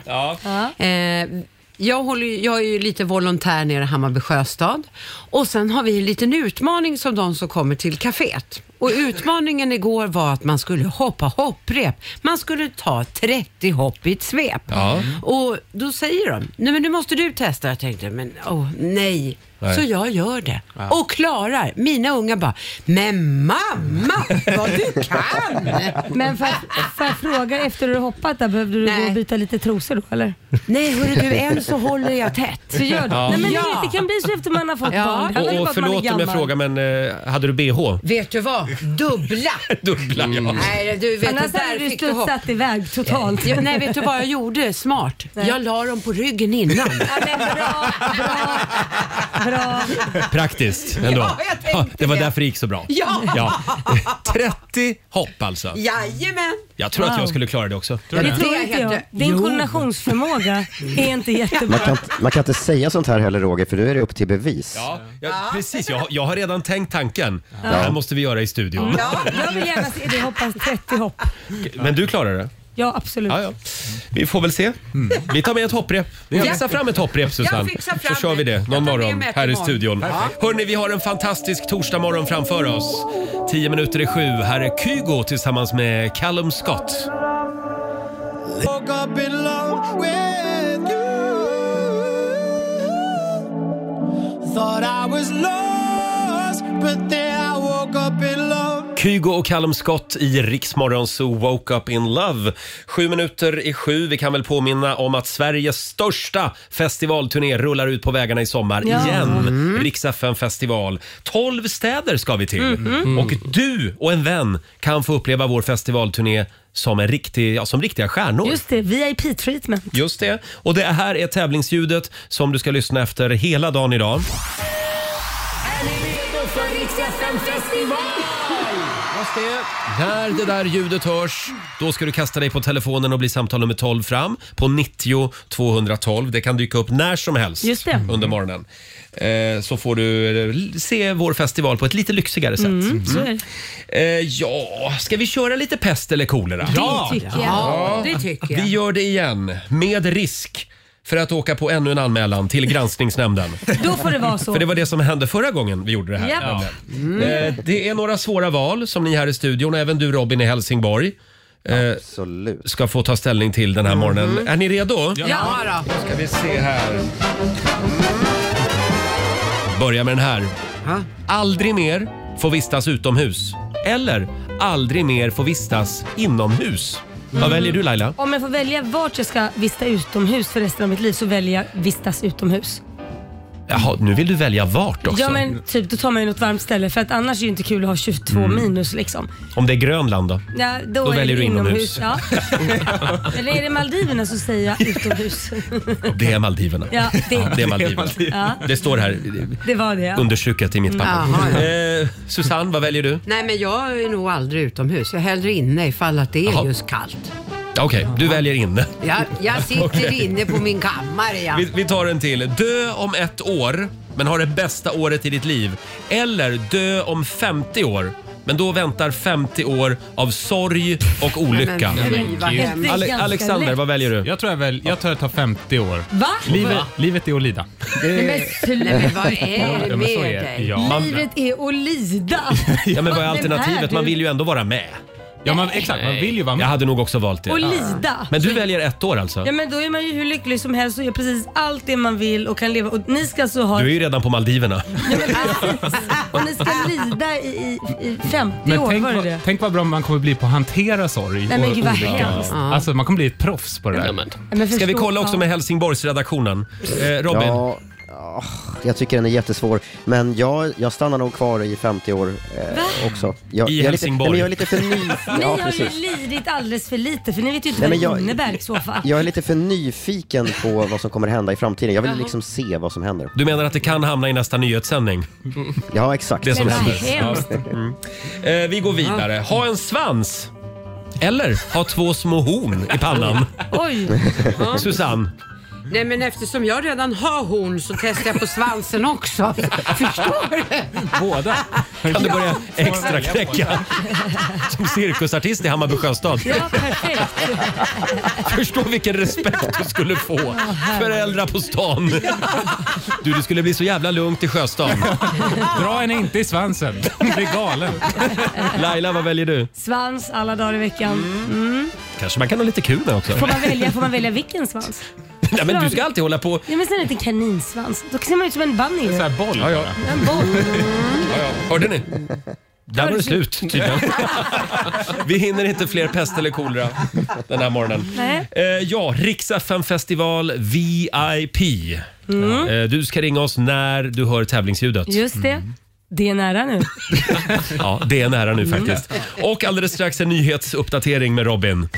[SPEAKER 6] Eh, jag, håller, ju- jag är ju lite volontär nere i Hammarby Sjöstad och sen har vi en liten utmaning som de som kommer till kaféet. Och utmaningen igår var att man skulle hoppa hopprep. Man skulle ta 30 hopp i ett svep.
[SPEAKER 1] Ja.
[SPEAKER 6] Och då säger de, nej men nu måste du testa. Jag tänkte, men åh, nej.
[SPEAKER 1] Nej.
[SPEAKER 6] Så jag gör det och klarar. Mina unga bara, men mamma vad du kan!
[SPEAKER 2] Men för att, för att fråga efter du hoppat där, behövde du
[SPEAKER 6] Nej.
[SPEAKER 2] gå och byta lite trosor då eller?
[SPEAKER 6] Nej hörru du, än så håller jag tätt.
[SPEAKER 2] Så gör du?
[SPEAKER 1] Ja.
[SPEAKER 2] Nej men
[SPEAKER 6] Ja.
[SPEAKER 2] det kan bli så efter man har fått
[SPEAKER 6] Ja.
[SPEAKER 2] barn. Det handlar ju
[SPEAKER 1] Och,
[SPEAKER 2] bara
[SPEAKER 1] och
[SPEAKER 2] om att man är
[SPEAKER 1] förlåt om jag frågar
[SPEAKER 2] gammal.
[SPEAKER 1] men eh, hade du bh?
[SPEAKER 6] Vet du vad? Dubbla!
[SPEAKER 1] Dubbla, ja.
[SPEAKER 6] Nej, du vet,
[SPEAKER 2] Annars
[SPEAKER 6] det
[SPEAKER 2] hade
[SPEAKER 6] där
[SPEAKER 2] du
[SPEAKER 6] fick du hopp.
[SPEAKER 2] studsat iväg totalt.
[SPEAKER 6] Ja, nej, vet du vad jag gjorde? Smart. Jag la dem på ryggen innan.
[SPEAKER 2] Ja, men bra, bra, bra.
[SPEAKER 1] Praktiskt ändå.
[SPEAKER 6] Ja, jag tänkte
[SPEAKER 1] det var
[SPEAKER 6] det.
[SPEAKER 1] därför det gick så bra.
[SPEAKER 6] Ja.
[SPEAKER 1] 30 hopp alltså.
[SPEAKER 6] Jajamän!
[SPEAKER 1] Jag tror att
[SPEAKER 2] Wow.
[SPEAKER 1] jag skulle klara det också.
[SPEAKER 6] Ja,
[SPEAKER 2] Det
[SPEAKER 6] det
[SPEAKER 2] tror
[SPEAKER 6] är
[SPEAKER 2] inte
[SPEAKER 6] helt
[SPEAKER 2] jag.
[SPEAKER 6] rätt.
[SPEAKER 2] Din
[SPEAKER 6] Jo.
[SPEAKER 2] koordinationsförmåga är inte
[SPEAKER 5] Man
[SPEAKER 2] jättebra.
[SPEAKER 5] kan, man kan inte säga sånt här heller Roger, för nu är det upp till bevis.
[SPEAKER 1] Ja, jag, precis. Jag, har- jag har redan tänkt tanken. Det här måste vi göra i studion.
[SPEAKER 6] Ja.
[SPEAKER 2] Jag vill gärna se dig hoppa 30 hopp.
[SPEAKER 1] Men du klarar det.
[SPEAKER 2] Ja, absolut.
[SPEAKER 1] Ja, ja. Vi får väl se. Vi tar med ett hopprep. Fixa fram ett hopprep Susanne.
[SPEAKER 6] Mm. Jag fixar
[SPEAKER 1] Så
[SPEAKER 6] fram
[SPEAKER 1] kör vi
[SPEAKER 6] det.
[SPEAKER 1] det
[SPEAKER 6] Jag
[SPEAKER 1] någon
[SPEAKER 6] tar med
[SPEAKER 1] morgon
[SPEAKER 6] mig ett
[SPEAKER 1] här i
[SPEAKER 6] imorgon.
[SPEAKER 1] studion. Hörni, vi har en fantastisk torsdagmorgon framför oss. 10 minuter i sju. Här är Kygo tillsammans med Callum Scott. Kygo och Callum Scott i Riksmorgon så Woke Up In Love. Sju minuter i sju. Vi kan väl påminna om att Sveriges största festivalturné rullar ut på vägarna i sommar
[SPEAKER 2] Ja.
[SPEAKER 1] igen. Rix FM festival. Tolv städer ska vi till. Och du och en vän kan få uppleva vår festivalturné som, en riktig, ja, som riktiga stjärnor.
[SPEAKER 2] Just det, VIP-treatment.
[SPEAKER 1] Just det. Och det här är tävlingsljudet som du ska lyssna efter hela dagen idag. Just det. När det där ljudet hörs, då ska du kasta dig på telefonen och bli samtal nummer 12 fram på 90 212. Det kan dyka upp när som helst
[SPEAKER 2] Just det.
[SPEAKER 1] under morgonen. Eh, så får du eh, se vår festival på ett lite lyxigare sätt.
[SPEAKER 2] Så är det.
[SPEAKER 1] Eh, ja, ska vi köra lite pest eller kolera?
[SPEAKER 2] Det tycker jag.
[SPEAKER 6] Ja, det tycker
[SPEAKER 1] Vi
[SPEAKER 6] jag.
[SPEAKER 1] gör det igen, med risk för att åka på ännu en anmälan till Granskningsnämnden.
[SPEAKER 2] Då får det vara så.
[SPEAKER 1] För det var det som hände förra gången vi gjorde det här.
[SPEAKER 2] Japp.
[SPEAKER 6] Mm.
[SPEAKER 1] Eh, Det är några svåra val som ni här i studion, och även du Robin i Helsingborg,
[SPEAKER 5] Absolut.
[SPEAKER 1] ska få ta ställning till den här morgonen. Är ni redo?
[SPEAKER 6] Mm. Ja, då.
[SPEAKER 1] ska vi se här. Börja med den här. Aldrig mer får vistas utomhus. Eller aldrig mer får vistas inomhus.
[SPEAKER 6] Mm.
[SPEAKER 1] Vad väljer du Laila?
[SPEAKER 2] Om jag får välja vart jag ska vista utomhus för resten av mitt liv så väljer jag vistas utomhus.
[SPEAKER 1] Jaha, nu vill du välja vart också.
[SPEAKER 2] Ja men typ, då tar man ju något varmt ställe för att annars är det ju inte kul att ha 22
[SPEAKER 1] Mm.
[SPEAKER 2] minus liksom.
[SPEAKER 1] Om det är Grönland då?
[SPEAKER 2] Ja, då
[SPEAKER 1] Då
[SPEAKER 2] är
[SPEAKER 1] väljer
[SPEAKER 2] det
[SPEAKER 1] du inomhus.
[SPEAKER 2] Ja. Eller är det Maldiverna så säger jag utomhus.
[SPEAKER 1] Det är Maldiverna.
[SPEAKER 2] Ja, det,
[SPEAKER 1] Det är Maldiverna.
[SPEAKER 8] Ah.
[SPEAKER 1] Det står här
[SPEAKER 2] det var det. ja.
[SPEAKER 1] understruket i mitt papper.
[SPEAKER 6] Jaha, ja.
[SPEAKER 1] Eh, Susanne, vad väljer du?
[SPEAKER 6] Nej, men jag är nog aldrig utomhus. Jag är hellre inne ifall att det är
[SPEAKER 1] Jaha.
[SPEAKER 6] just kallt.
[SPEAKER 1] Ja, Okej, du väljer inne.
[SPEAKER 6] Jag, jag sitter inne på min kammare. Ja.
[SPEAKER 1] Vi, vi tar en till. Dö om ett år, men ha det bästa året i ditt liv. Eller dö om 50 år, men då väntar 50 år av sorg och olycka.
[SPEAKER 6] Men fy vad
[SPEAKER 9] Gud.
[SPEAKER 6] hemskt.
[SPEAKER 1] Ale
[SPEAKER 2] ganska
[SPEAKER 1] Alexander,
[SPEAKER 2] lätt.
[SPEAKER 1] vad väljer du?
[SPEAKER 8] Jag tror jag väl, jag tror jag tar 50 år.
[SPEAKER 2] Va?
[SPEAKER 8] Livet, livet är att lida.
[SPEAKER 2] Nej, men
[SPEAKER 6] Nej, men vad
[SPEAKER 8] Ja,
[SPEAKER 6] är det
[SPEAKER 8] men så
[SPEAKER 6] med
[SPEAKER 8] är det.
[SPEAKER 6] dig?
[SPEAKER 8] Ja.
[SPEAKER 2] Livet är att lida.
[SPEAKER 1] Ja, men vad är
[SPEAKER 2] Vem
[SPEAKER 1] alternativet?
[SPEAKER 2] du?
[SPEAKER 1] Man vill ju ändå vara med.
[SPEAKER 8] Ja, man, exakt, man vill ju vara
[SPEAKER 1] Jag
[SPEAKER 8] med.
[SPEAKER 1] hade nog också valt
[SPEAKER 2] Att
[SPEAKER 1] det.
[SPEAKER 2] lida.
[SPEAKER 1] Men du väljer ett år alltså?
[SPEAKER 2] Ja men då är man ju hur lycklig som helst och gör precis allt det man vill och kan leva. Och ni ska alltså ha...
[SPEAKER 1] Du är ju redan på Maldiverna.
[SPEAKER 2] Ja, men precis. och ni ska lida i, i, i 50
[SPEAKER 8] Men
[SPEAKER 2] år,
[SPEAKER 8] tänk,
[SPEAKER 2] var det
[SPEAKER 8] vad-
[SPEAKER 2] det?
[SPEAKER 8] tänk vad bra man kommer bli på att hantera sorg
[SPEAKER 2] Nej, men gud, vad
[SPEAKER 8] olycka.
[SPEAKER 2] hemskt.
[SPEAKER 8] Alltså man kommer bli ett proffs på det
[SPEAKER 9] Ja,
[SPEAKER 8] där.
[SPEAKER 9] men.
[SPEAKER 2] Nej, men
[SPEAKER 1] Ska vi
[SPEAKER 2] förstå-
[SPEAKER 1] kolla också
[SPEAKER 2] ja.
[SPEAKER 1] med Helsingborgsredaktionen? Eh, Robin?
[SPEAKER 5] Ja, ah, jag tycker den är jättesvår. Men jag, jag stannar nog kvar i 50 år eh, också. Jag,
[SPEAKER 1] I
[SPEAKER 5] jag är lite,
[SPEAKER 1] Helsingborg.
[SPEAKER 5] nej, men jag är lite för nyfiken.
[SPEAKER 2] Ni
[SPEAKER 5] ja,
[SPEAKER 2] har ju
[SPEAKER 5] precis.
[SPEAKER 2] lidit alldeles för lite för ni vet ju inte vad
[SPEAKER 5] Nej, men
[SPEAKER 2] det
[SPEAKER 5] jag-
[SPEAKER 2] innebär i så fall.
[SPEAKER 5] Jag är lite för nyfiken på vad som kommer hända i framtiden. Jag vill liksom se vad som händer.
[SPEAKER 1] Du menar att det kan hamna i nästa nyhetssändning?
[SPEAKER 5] Ja, exakt.
[SPEAKER 1] Det som
[SPEAKER 2] Men vad
[SPEAKER 1] händer.
[SPEAKER 2] hemskt.
[SPEAKER 1] Eh, vi går vidare. Ha en svans. Eller ha två små horn i pannan.
[SPEAKER 2] Oj,
[SPEAKER 1] Susanne,
[SPEAKER 6] Nej, men eftersom jag redan har horn så testar jag på svansen också. Förstår du?
[SPEAKER 8] Båda.
[SPEAKER 1] kan du börja extra knäcka som cirkusartist i Hammarby Sjöstad?
[SPEAKER 2] ja perfekt.
[SPEAKER 1] Förstå vilken respekt du skulle få. Föräldrar på stan. Du, det skulle bli så jävla lugnt i Sjöstaden.
[SPEAKER 8] Dra henne inte i svansen. Hon blir galen.
[SPEAKER 1] Laila, vad väljer du?
[SPEAKER 2] Svans alla dagar i veckan.
[SPEAKER 1] Kanske man kan ha lite kul med också.
[SPEAKER 2] Får man välja, får man välja vilken svans?
[SPEAKER 1] Nej, men du ska alltid hålla på.
[SPEAKER 2] Ja men sen är det inte kaninsvans. Då ser man ut som en bunny.
[SPEAKER 8] Så här boll.
[SPEAKER 1] Ja, ja.
[SPEAKER 2] En boll.
[SPEAKER 1] Hörde ni? Där var det slut tydligen. Vi hinner inte fler pest eller kolera den här morgonen.
[SPEAKER 2] Nej.
[SPEAKER 1] Eh, ja, Rix FM festival VIP. Eh, du ska ringa oss när du hör tävlingsljudet.
[SPEAKER 2] Mm. Just det. Det är nära nu.
[SPEAKER 1] Ja, det är nära nu
[SPEAKER 2] Mm.
[SPEAKER 1] faktiskt. Och alldeles strax en nyhetsuppdatering med Robin.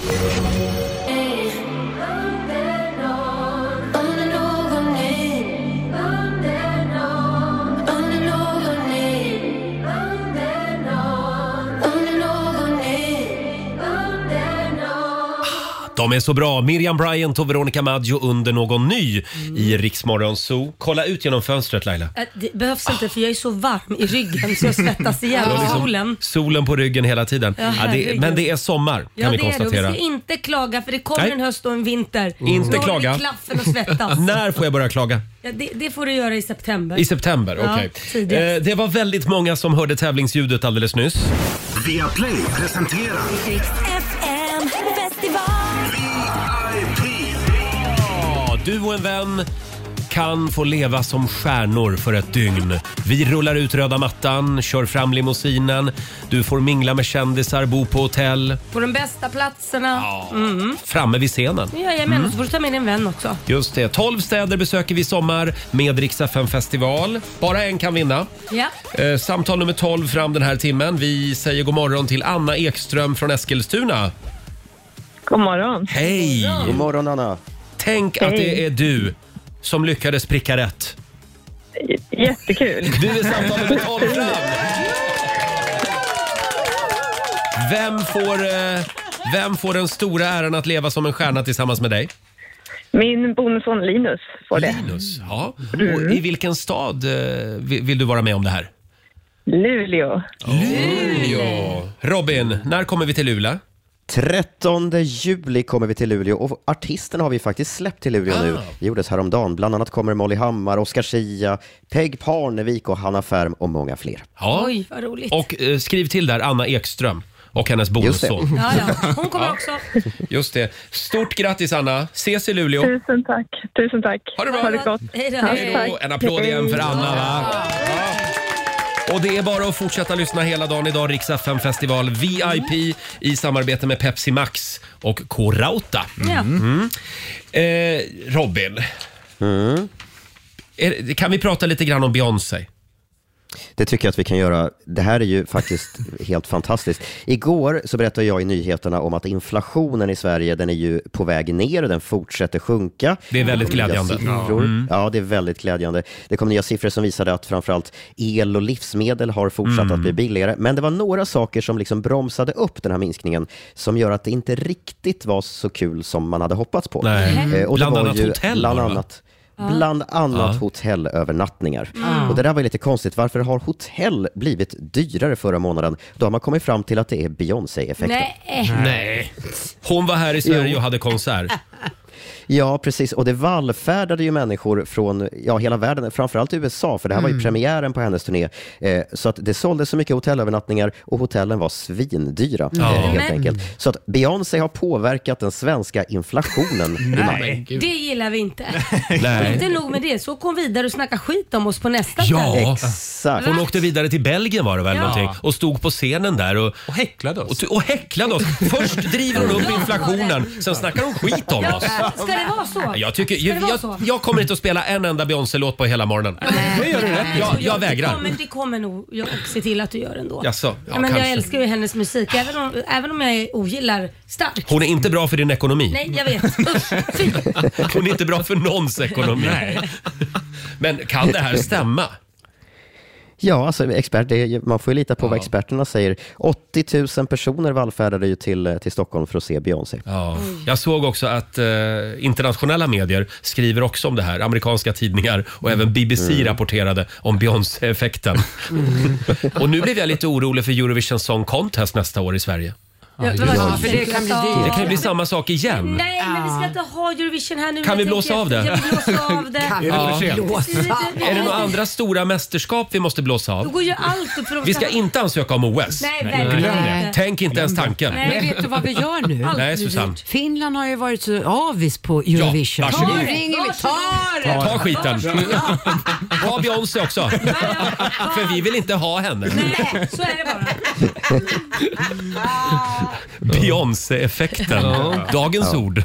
[SPEAKER 1] De är så bra. Miriam Bryant och Veronica Maggio under någon ny i Riksmorgon Zoo. Kolla ut genom fönstret Laila.
[SPEAKER 2] Äh, Det behövs inte för jag är så varm i ryggen så jag svettas ihjäl av
[SPEAKER 1] liksom.
[SPEAKER 2] solen.
[SPEAKER 1] Solen på ryggen hela tiden.
[SPEAKER 2] Ja,
[SPEAKER 1] Ja, det,
[SPEAKER 2] herregud.
[SPEAKER 1] men det är sommar kan
[SPEAKER 2] Ja,
[SPEAKER 1] vi
[SPEAKER 2] det är det. Och Vi
[SPEAKER 1] konstatera.
[SPEAKER 2] ska inte klaga för det kommer
[SPEAKER 1] Nej.
[SPEAKER 2] en höst och en vinter.
[SPEAKER 1] Inte
[SPEAKER 2] Då
[SPEAKER 1] klaga.
[SPEAKER 2] Då klaffen och svettas.
[SPEAKER 1] När får jag börja klaga?
[SPEAKER 2] Ja, det, det får du göra i september.
[SPEAKER 1] I september?
[SPEAKER 2] Ja,
[SPEAKER 1] Okej.
[SPEAKER 2] tidigast.
[SPEAKER 1] Eh, det var väldigt många som hörde tävlingsljudet alldeles nyss.
[SPEAKER 3] Via Play presenterar
[SPEAKER 7] FM festival.
[SPEAKER 1] Ja, du och en vän kan få leva som stjärnor för ett dygn. Vi rullar ut röda mattan, kör fram limousinen, du får mingla med kändisar, bo på hotell,
[SPEAKER 2] På de bästa platserna. Ja. Mm.
[SPEAKER 1] framme vid scenen.
[SPEAKER 2] Jajamän,
[SPEAKER 1] Mm.
[SPEAKER 2] och så får du ta med en vän också.
[SPEAKER 1] Just det, 12 städer besöker vi i sommar med Rix FM festival. Bara en kan vinna.
[SPEAKER 2] Ja.
[SPEAKER 1] Eh, samtal nummer 12 fram den här timmen. Vi säger god morgon till Anna Ekström från Eskilstuna.
[SPEAKER 4] God morgon.
[SPEAKER 1] Hej!
[SPEAKER 5] God morgon Anna.
[SPEAKER 1] Tänk att
[SPEAKER 4] Hej.
[SPEAKER 1] det är du som lyckades pricka rätt.
[SPEAKER 4] Jättekul.
[SPEAKER 1] Du är samtal nummer 12 fram! Vem får, eh, vem får den stora äran att leva som en stjärna tillsammans med dig?
[SPEAKER 4] Min bonusson Linus får det.
[SPEAKER 1] Linus. Ja. Och I vilken stad eh, vill vill du vara med om det här?
[SPEAKER 4] Luleå.
[SPEAKER 1] Luleå. Robin, när kommer vi till Luleå?
[SPEAKER 5] 13 juli kommer vi till Luleå och artisterna har vi faktiskt släppt till Luleå
[SPEAKER 1] Ah.
[SPEAKER 5] nu. Det gjordes häromdagen. Bland annat kommer Molly Hammar, Oscar Schia, Peg Parnevik och Hanna Färm och många fler.
[SPEAKER 1] Ja.
[SPEAKER 2] Oj, vad roligt.
[SPEAKER 1] Och eh, skriv till där Anna Ekström och hennes bonusson.
[SPEAKER 2] Ja, ja. Hon kommer också.
[SPEAKER 1] Mm. Just det. Stort grattis Anna. Ses i Luleå.
[SPEAKER 4] Tusen tack. Tusen tack.
[SPEAKER 1] Ha det bra.
[SPEAKER 4] Ha det gott.
[SPEAKER 2] Hej då.
[SPEAKER 1] Hej då. En applåd igen för Anna va? Ja. Och det är bara att fortsätta lyssna hela dagen idag. Rix FM festival VIP i samarbete med Pepsi Max och K-Rauta. Mhm.
[SPEAKER 2] Ja.
[SPEAKER 1] Eh, Robin. Är, kan vi prata lite grann om Beyoncé?
[SPEAKER 5] Det tycker jag att vi kan göra. Det här är ju faktiskt helt fantastiskt. Igår så berättade jag i nyheterna om att inflationen i Sverige, den är ju på väg ner och den fortsätter sjunka.
[SPEAKER 1] Det är väldigt
[SPEAKER 5] kom nya
[SPEAKER 1] glädjande. Mm.
[SPEAKER 5] Siffror. Ja, det är väldigt glädjande. Det kom nya siffror som visade att framförallt el och livsmedel har fortsatt
[SPEAKER 1] Mm.
[SPEAKER 5] att bli billigare. Men det var några saker som liksom bromsade upp den här minskningen som gör att det inte riktigt var så kul som man hade hoppats på.
[SPEAKER 1] Nej.
[SPEAKER 5] Eh, Och det
[SPEAKER 1] Bland
[SPEAKER 5] var
[SPEAKER 1] annat
[SPEAKER 5] ju
[SPEAKER 1] hotell
[SPEAKER 5] Bland
[SPEAKER 1] var det, va?
[SPEAKER 5] annat Bland annat
[SPEAKER 1] Ja.
[SPEAKER 5] hotellövernattningar. Och det där var ju lite konstigt. Varför har hotell blivit dyrare förra månaden? Då har man kommit fram till att det är Beyoncé-effekten.
[SPEAKER 2] Nej. eh.
[SPEAKER 9] Nej.
[SPEAKER 1] Hon var här i Sverige och hade konsert.
[SPEAKER 5] Ja, precis. Och det vallfärdade ju människor från ja, hela världen, framförallt USA, för det här var ju premiären på hennes turné. Eh, så att det såldes så mycket hotellövernattningar och hotellen var svindyra, eh, helt
[SPEAKER 2] Men-
[SPEAKER 5] enkelt. Så att Beyoncé har påverkat den svenska inflationen i maj.
[SPEAKER 2] Det gillar vi inte.
[SPEAKER 1] Nej.
[SPEAKER 2] Inte nog med det, så kom vidare och snacka skit om oss på nästa
[SPEAKER 1] Ja.
[SPEAKER 2] kväll.
[SPEAKER 5] Exakt.
[SPEAKER 1] Hon åkte vidare till Belgien var det väl
[SPEAKER 2] Ja.
[SPEAKER 1] någonting och stod på scenen där och,
[SPEAKER 8] Och häcklade oss.
[SPEAKER 1] och, och häcklade oss. Först driver hon upp inflationen, sen snackar hon skit om oss.
[SPEAKER 2] Ja, ska det vara så?
[SPEAKER 1] Jag, tycker,
[SPEAKER 2] Ska det
[SPEAKER 1] jag,
[SPEAKER 2] vara
[SPEAKER 1] jag,
[SPEAKER 2] så?
[SPEAKER 1] jag kommer inte att spela en enda Beyoncé-låt på hela morgonen.
[SPEAKER 8] Det gör du rätt i.
[SPEAKER 1] Jag, jag
[SPEAKER 2] Det
[SPEAKER 1] vägrar.
[SPEAKER 2] kommer, det kommer nog jag se till att du gör ändå.
[SPEAKER 1] Jaså? Ja,
[SPEAKER 2] Ja, men jag
[SPEAKER 1] kanske.
[SPEAKER 2] älskar ju hennes musik, även om, även om jag ogillar starkt.
[SPEAKER 1] Hon är inte bra för din ekonomi.
[SPEAKER 2] Nej, jag vet. Usch, fy.
[SPEAKER 1] Hon är inte bra för någons ekonomi. Men kan det här stämma?
[SPEAKER 5] Ja, alltså expert, det är, ju- man får ju lita på vad experterna säger. 80 000 personer vallfärdade ju till, eh, till Stockholm för att se Beyoncé.
[SPEAKER 1] Ja. Jag såg också att eh, internationella medier skriver också om det här. Amerikanska tidningar och även BBC
[SPEAKER 2] Mm.
[SPEAKER 1] rapporterade om Beyoncé-effekten.
[SPEAKER 2] Mm.
[SPEAKER 1] och nu blev jag lite orolig för Eurovision Song Contest nästa år i Sverige.
[SPEAKER 2] Ja, det var
[SPEAKER 6] Ja,
[SPEAKER 2] så
[SPEAKER 6] för det kan bli
[SPEAKER 2] jag sa.
[SPEAKER 6] dyrt.
[SPEAKER 1] Det kan ju bli samma sak igen.
[SPEAKER 2] Nej, men vi ska inte ha Eurovision här nu.
[SPEAKER 1] Kan vi
[SPEAKER 2] Jag
[SPEAKER 1] blåsa
[SPEAKER 2] tänker-
[SPEAKER 1] av det?
[SPEAKER 2] Jag vill blåsa av det.
[SPEAKER 1] Ja. Är det några
[SPEAKER 2] annat?
[SPEAKER 1] andra stora mästerskap vi måste blåsa
[SPEAKER 2] Då
[SPEAKER 1] av?
[SPEAKER 2] går ju allt upp för de
[SPEAKER 1] Vi ska inte ansöka om OS.
[SPEAKER 2] Nej, verkligen
[SPEAKER 8] Glöm
[SPEAKER 2] inte.
[SPEAKER 8] det.
[SPEAKER 1] Tänk inte ens tanken.
[SPEAKER 6] Men vet du vad vi gör nu?
[SPEAKER 2] Allt
[SPEAKER 1] Nej,
[SPEAKER 2] blir
[SPEAKER 1] Susanne.
[SPEAKER 2] dyrt.
[SPEAKER 6] Finland har ju varit så avis på Eurovision.
[SPEAKER 1] Ja, varsågod.
[SPEAKER 6] nu ringer vi. Ta det!
[SPEAKER 1] Ta skiten. Ta Beyoncé också. För vi vill inte ha henne.
[SPEAKER 2] Nej, så är det bara.
[SPEAKER 1] Beyoncé-effekten. Dagens ord.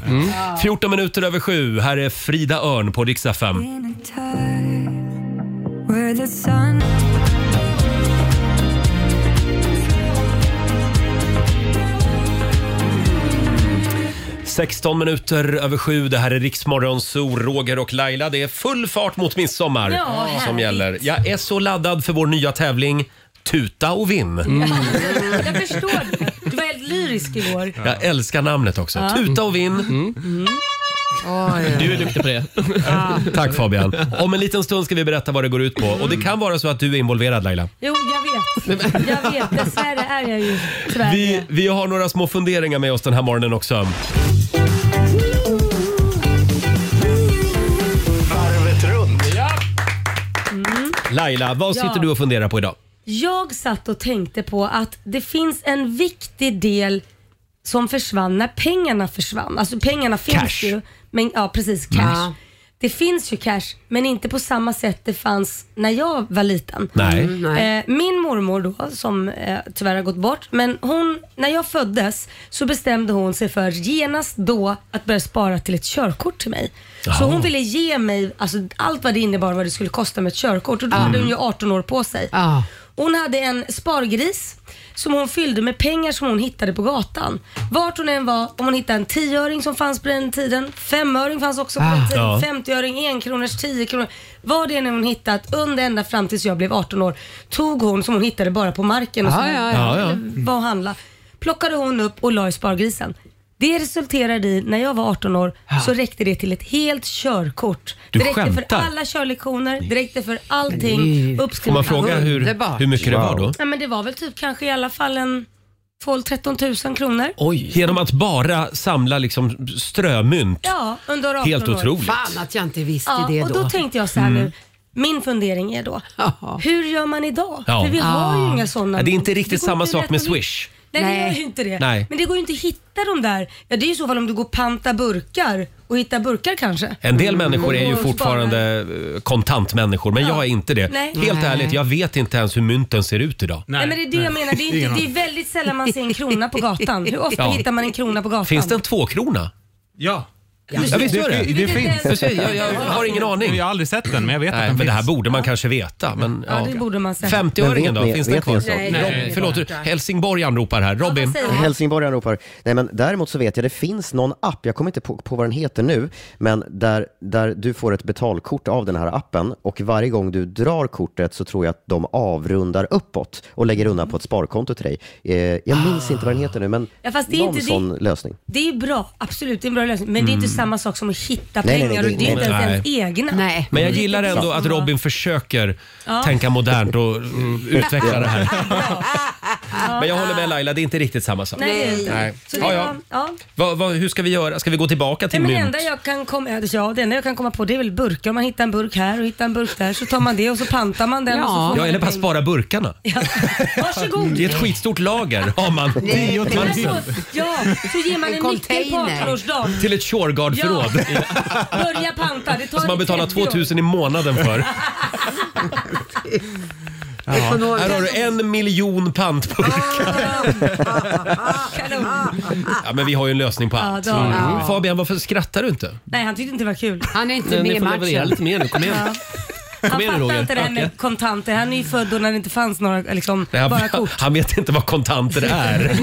[SPEAKER 1] 14 minuter över sju. Här är Frida Örn på Rix FM.
[SPEAKER 7] In a time where the sun
[SPEAKER 1] 16 minuter över sju. Det här är Riksmorgon Zoo, Roger och Laila. Det är full fart mot midsommar
[SPEAKER 2] Ja, härligt.
[SPEAKER 1] som gäller. Jag är så laddad för vår nya tävling Tuta och vinn.
[SPEAKER 2] Mm. Jag förstår det. Du var helt lyrisk igår.
[SPEAKER 1] Jag älskar namnet också.
[SPEAKER 2] Ja. Mm.
[SPEAKER 1] Tuta och vinn.
[SPEAKER 9] Du är duktig på det.
[SPEAKER 1] Tack Fabian. Om en liten stund ska vi berätta vad det går ut på. Och det kan vara så att du är involverad Laila.
[SPEAKER 2] Jo, jag vet. Jag vet. Dessvärre är jag ju tyvärr
[SPEAKER 1] Vi,
[SPEAKER 2] det.
[SPEAKER 1] vi har några små funderingar med oss den här morgonen också.
[SPEAKER 3] Varvet runt.
[SPEAKER 1] Mm. Laila, vad
[SPEAKER 2] Ja.
[SPEAKER 1] sitter du och funderar på idag?
[SPEAKER 2] Jag satt och tänkte på att det finns en viktig del som försvann när pengarna försvann. Alltså pengarna finns
[SPEAKER 1] Cash.
[SPEAKER 2] ju. Men, ja, precis. Cash. Det finns ju cash, men inte på samma sätt det fanns när jag var liten.
[SPEAKER 1] Nej.
[SPEAKER 2] Eh, min mormor då, som eh, tyvärr har gått bort, men hon, när jag föddes så bestämde hon sig för genast då att börja spara till ett körkort till mig. Så
[SPEAKER 1] Jaha.
[SPEAKER 2] hon ville ge mig alltså, allt vad det innebar vad det skulle kosta med ett körkort och då
[SPEAKER 1] Mm.
[SPEAKER 2] hade hon ju 18 år på sig.
[SPEAKER 6] Ja.
[SPEAKER 2] Hon hade en spargris som hon fyllde med pengar som hon hittade på gatan. Vart hon än var, om hon hittade en tioöring som fanns på den tiden, femöring fanns också på den
[SPEAKER 1] Ah, Ja.
[SPEAKER 2] tiden, femtioöring, enkronors, tiokronor. Vad det än hon hittat under ända fram tills jag blev 18 år tog hon som hon hittade bara på marken och som
[SPEAKER 6] Ja, ja, ja.
[SPEAKER 1] Ah, Ja, ja.
[SPEAKER 2] hon var och handla. Plockade hon upp och la i spargrisen. Det resulterade i, när jag var 18 år, så räckte det till ett helt körkort.
[SPEAKER 1] Du
[SPEAKER 2] det räckte
[SPEAKER 1] skämtar.
[SPEAKER 2] för alla körlektioner, det räckte för allting. Alltså,
[SPEAKER 1] Får
[SPEAKER 2] Uppskrivet
[SPEAKER 1] man fråga hur,
[SPEAKER 6] Underbart.
[SPEAKER 1] hur mycket det var då?
[SPEAKER 2] Ja, men det var väl typ kanske i alla fall en 12-13 000 kronor.
[SPEAKER 9] Oj.
[SPEAKER 1] Genom att bara samla liksom strömynt.
[SPEAKER 2] Ja, under 18
[SPEAKER 1] Helt
[SPEAKER 2] år.
[SPEAKER 1] otroligt. Mm.
[SPEAKER 6] Fan att jag inte visste
[SPEAKER 2] Ja,
[SPEAKER 6] det
[SPEAKER 2] och
[SPEAKER 6] då.
[SPEAKER 2] då tänkte jag så här nu. Min fundering är då,
[SPEAKER 6] Ja.
[SPEAKER 2] hur gör man idag?
[SPEAKER 1] Ja.
[SPEAKER 2] För vi har
[SPEAKER 6] Ah.
[SPEAKER 2] ju inga sådana.
[SPEAKER 1] Ja, det är inte
[SPEAKER 2] lån.
[SPEAKER 1] riktigt
[SPEAKER 2] går
[SPEAKER 1] samma
[SPEAKER 2] inte
[SPEAKER 1] sak
[SPEAKER 2] rätt
[SPEAKER 1] med
[SPEAKER 2] att vi-
[SPEAKER 1] Swish.
[SPEAKER 2] Nej, det
[SPEAKER 6] Nej.
[SPEAKER 2] gör ju inte det.
[SPEAKER 1] Nej.
[SPEAKER 2] Men det går ju inte att hitta de där. Ja, det är ju i så fall om du går och pantar burkar och hittar burkar kanske.
[SPEAKER 1] En del människor är ju
[SPEAKER 2] Mm, Och sparar.
[SPEAKER 1] fortfarande eh, kontantmänniskor, men jag är inte det.
[SPEAKER 2] Nej.
[SPEAKER 1] Helt
[SPEAKER 6] Nej.
[SPEAKER 1] ärligt, jag vet inte ens hur mynten ser ut idag.
[SPEAKER 2] Nej, men det är det jag menar. Det är, inte, det är väldigt sällan man ser en krona på gatan. Hur ofta
[SPEAKER 1] Ja.
[SPEAKER 2] hittar man en krona på gatan?
[SPEAKER 1] Finns det en tvåkrona?
[SPEAKER 8] Ja.
[SPEAKER 1] Ja, visst gör det.
[SPEAKER 8] Det,
[SPEAKER 2] Vilket
[SPEAKER 8] finns.
[SPEAKER 2] är-
[SPEAKER 1] Precis, Jag, jag har ingen aning.
[SPEAKER 8] Jag har aldrig sett den, men jag vet att
[SPEAKER 1] Nej,
[SPEAKER 8] den
[SPEAKER 1] men det här
[SPEAKER 8] finns.
[SPEAKER 1] borde man kanske veta. Men,
[SPEAKER 2] Ja, det borde man säga.
[SPEAKER 1] 50-öringen
[SPEAKER 5] Men
[SPEAKER 1] då,
[SPEAKER 5] vet ni-
[SPEAKER 1] finns den
[SPEAKER 5] vet ni
[SPEAKER 1] kvar?
[SPEAKER 5] en sak?
[SPEAKER 1] Nej,
[SPEAKER 6] Nej.
[SPEAKER 1] Förlåt, Helsingborg anropar här.
[SPEAKER 2] Ja,
[SPEAKER 1] Robin?
[SPEAKER 2] vad säger du?
[SPEAKER 5] Helsingborgaren ropar. Nej, men däremot så vet jag, det finns någon app, jag kommer inte på, på vad den heter nu, men där, där du får ett betalkort av den här appen och varje gång du drar kortet så tror jag att de avrundar uppåt och lägger undan på ett sparkonto till dig. Eh, jag minns inte vad den heter nu, men
[SPEAKER 2] Ja, fast det är
[SPEAKER 5] någon
[SPEAKER 2] inte det-
[SPEAKER 5] sån lösning.
[SPEAKER 2] Det är ju bra, absolut. Det är en bra lösning. Men det är inte samma sak som att hitta
[SPEAKER 5] Nej, nej,
[SPEAKER 2] pengar
[SPEAKER 5] nej,
[SPEAKER 2] och det är inte
[SPEAKER 1] Mm. nej.
[SPEAKER 2] ens ens egna.
[SPEAKER 6] Nej.
[SPEAKER 1] Men jag gillar ändå att Robin försöker tänka modernt och mm, utveckla det här. Men jag håller med Laila, det är inte riktigt samma sak.
[SPEAKER 2] Nej, det är inte.
[SPEAKER 1] Nej.
[SPEAKER 2] Så det
[SPEAKER 1] Ja,
[SPEAKER 2] var,
[SPEAKER 1] ja.
[SPEAKER 2] ja.
[SPEAKER 1] Vad- vad- hur ska vi göra? Ska vi gå tillbaka
[SPEAKER 2] Nej,
[SPEAKER 1] till
[SPEAKER 2] men det,
[SPEAKER 1] mynt?
[SPEAKER 2] enda jag kan komma, ja, det enda jag kan komma på det är väl burkar. Om man hittar en burk här och hittar en burk där så tar man det och så pantar man den.
[SPEAKER 6] Ja.
[SPEAKER 2] Och så får
[SPEAKER 1] Ja,
[SPEAKER 2] man
[SPEAKER 1] eller bara
[SPEAKER 2] pengar.
[SPEAKER 1] spara burkarna.
[SPEAKER 2] Varsågod.
[SPEAKER 1] I ett skitstort lager har man.
[SPEAKER 2] Men så, ja, så ger man
[SPEAKER 6] En
[SPEAKER 2] en nyckel på
[SPEAKER 6] container.
[SPEAKER 2] 18-årsdagen.
[SPEAKER 1] Till ett Shurgard-förråd
[SPEAKER 2] Börja panta. Det tar
[SPEAKER 1] som man betalar
[SPEAKER 2] 30 år.
[SPEAKER 1] 2000 i månaden för. Här har du en miljon pantburkar.
[SPEAKER 2] Kanon.
[SPEAKER 1] Ja, men vi har ju en lösning på allt.
[SPEAKER 2] det har vi.
[SPEAKER 1] Ah. Mm. Fabian, varför skrattar du inte?
[SPEAKER 2] Nej, han tyckte inte det var kul.
[SPEAKER 6] Han är inte
[SPEAKER 9] Men
[SPEAKER 6] med
[SPEAKER 9] ni
[SPEAKER 6] i
[SPEAKER 9] får leverera
[SPEAKER 6] matchen.
[SPEAKER 9] lite mer nu. Kom igen.
[SPEAKER 2] Han
[SPEAKER 9] igen
[SPEAKER 2] fattar
[SPEAKER 9] nu, Roger.
[SPEAKER 2] inte det här
[SPEAKER 9] Öka.
[SPEAKER 2] med kontanter. Han är ju född då när det inte fanns några, liksom,
[SPEAKER 1] Nej,
[SPEAKER 2] bara
[SPEAKER 1] han,
[SPEAKER 2] kort.
[SPEAKER 1] han vet inte vad kontanter är.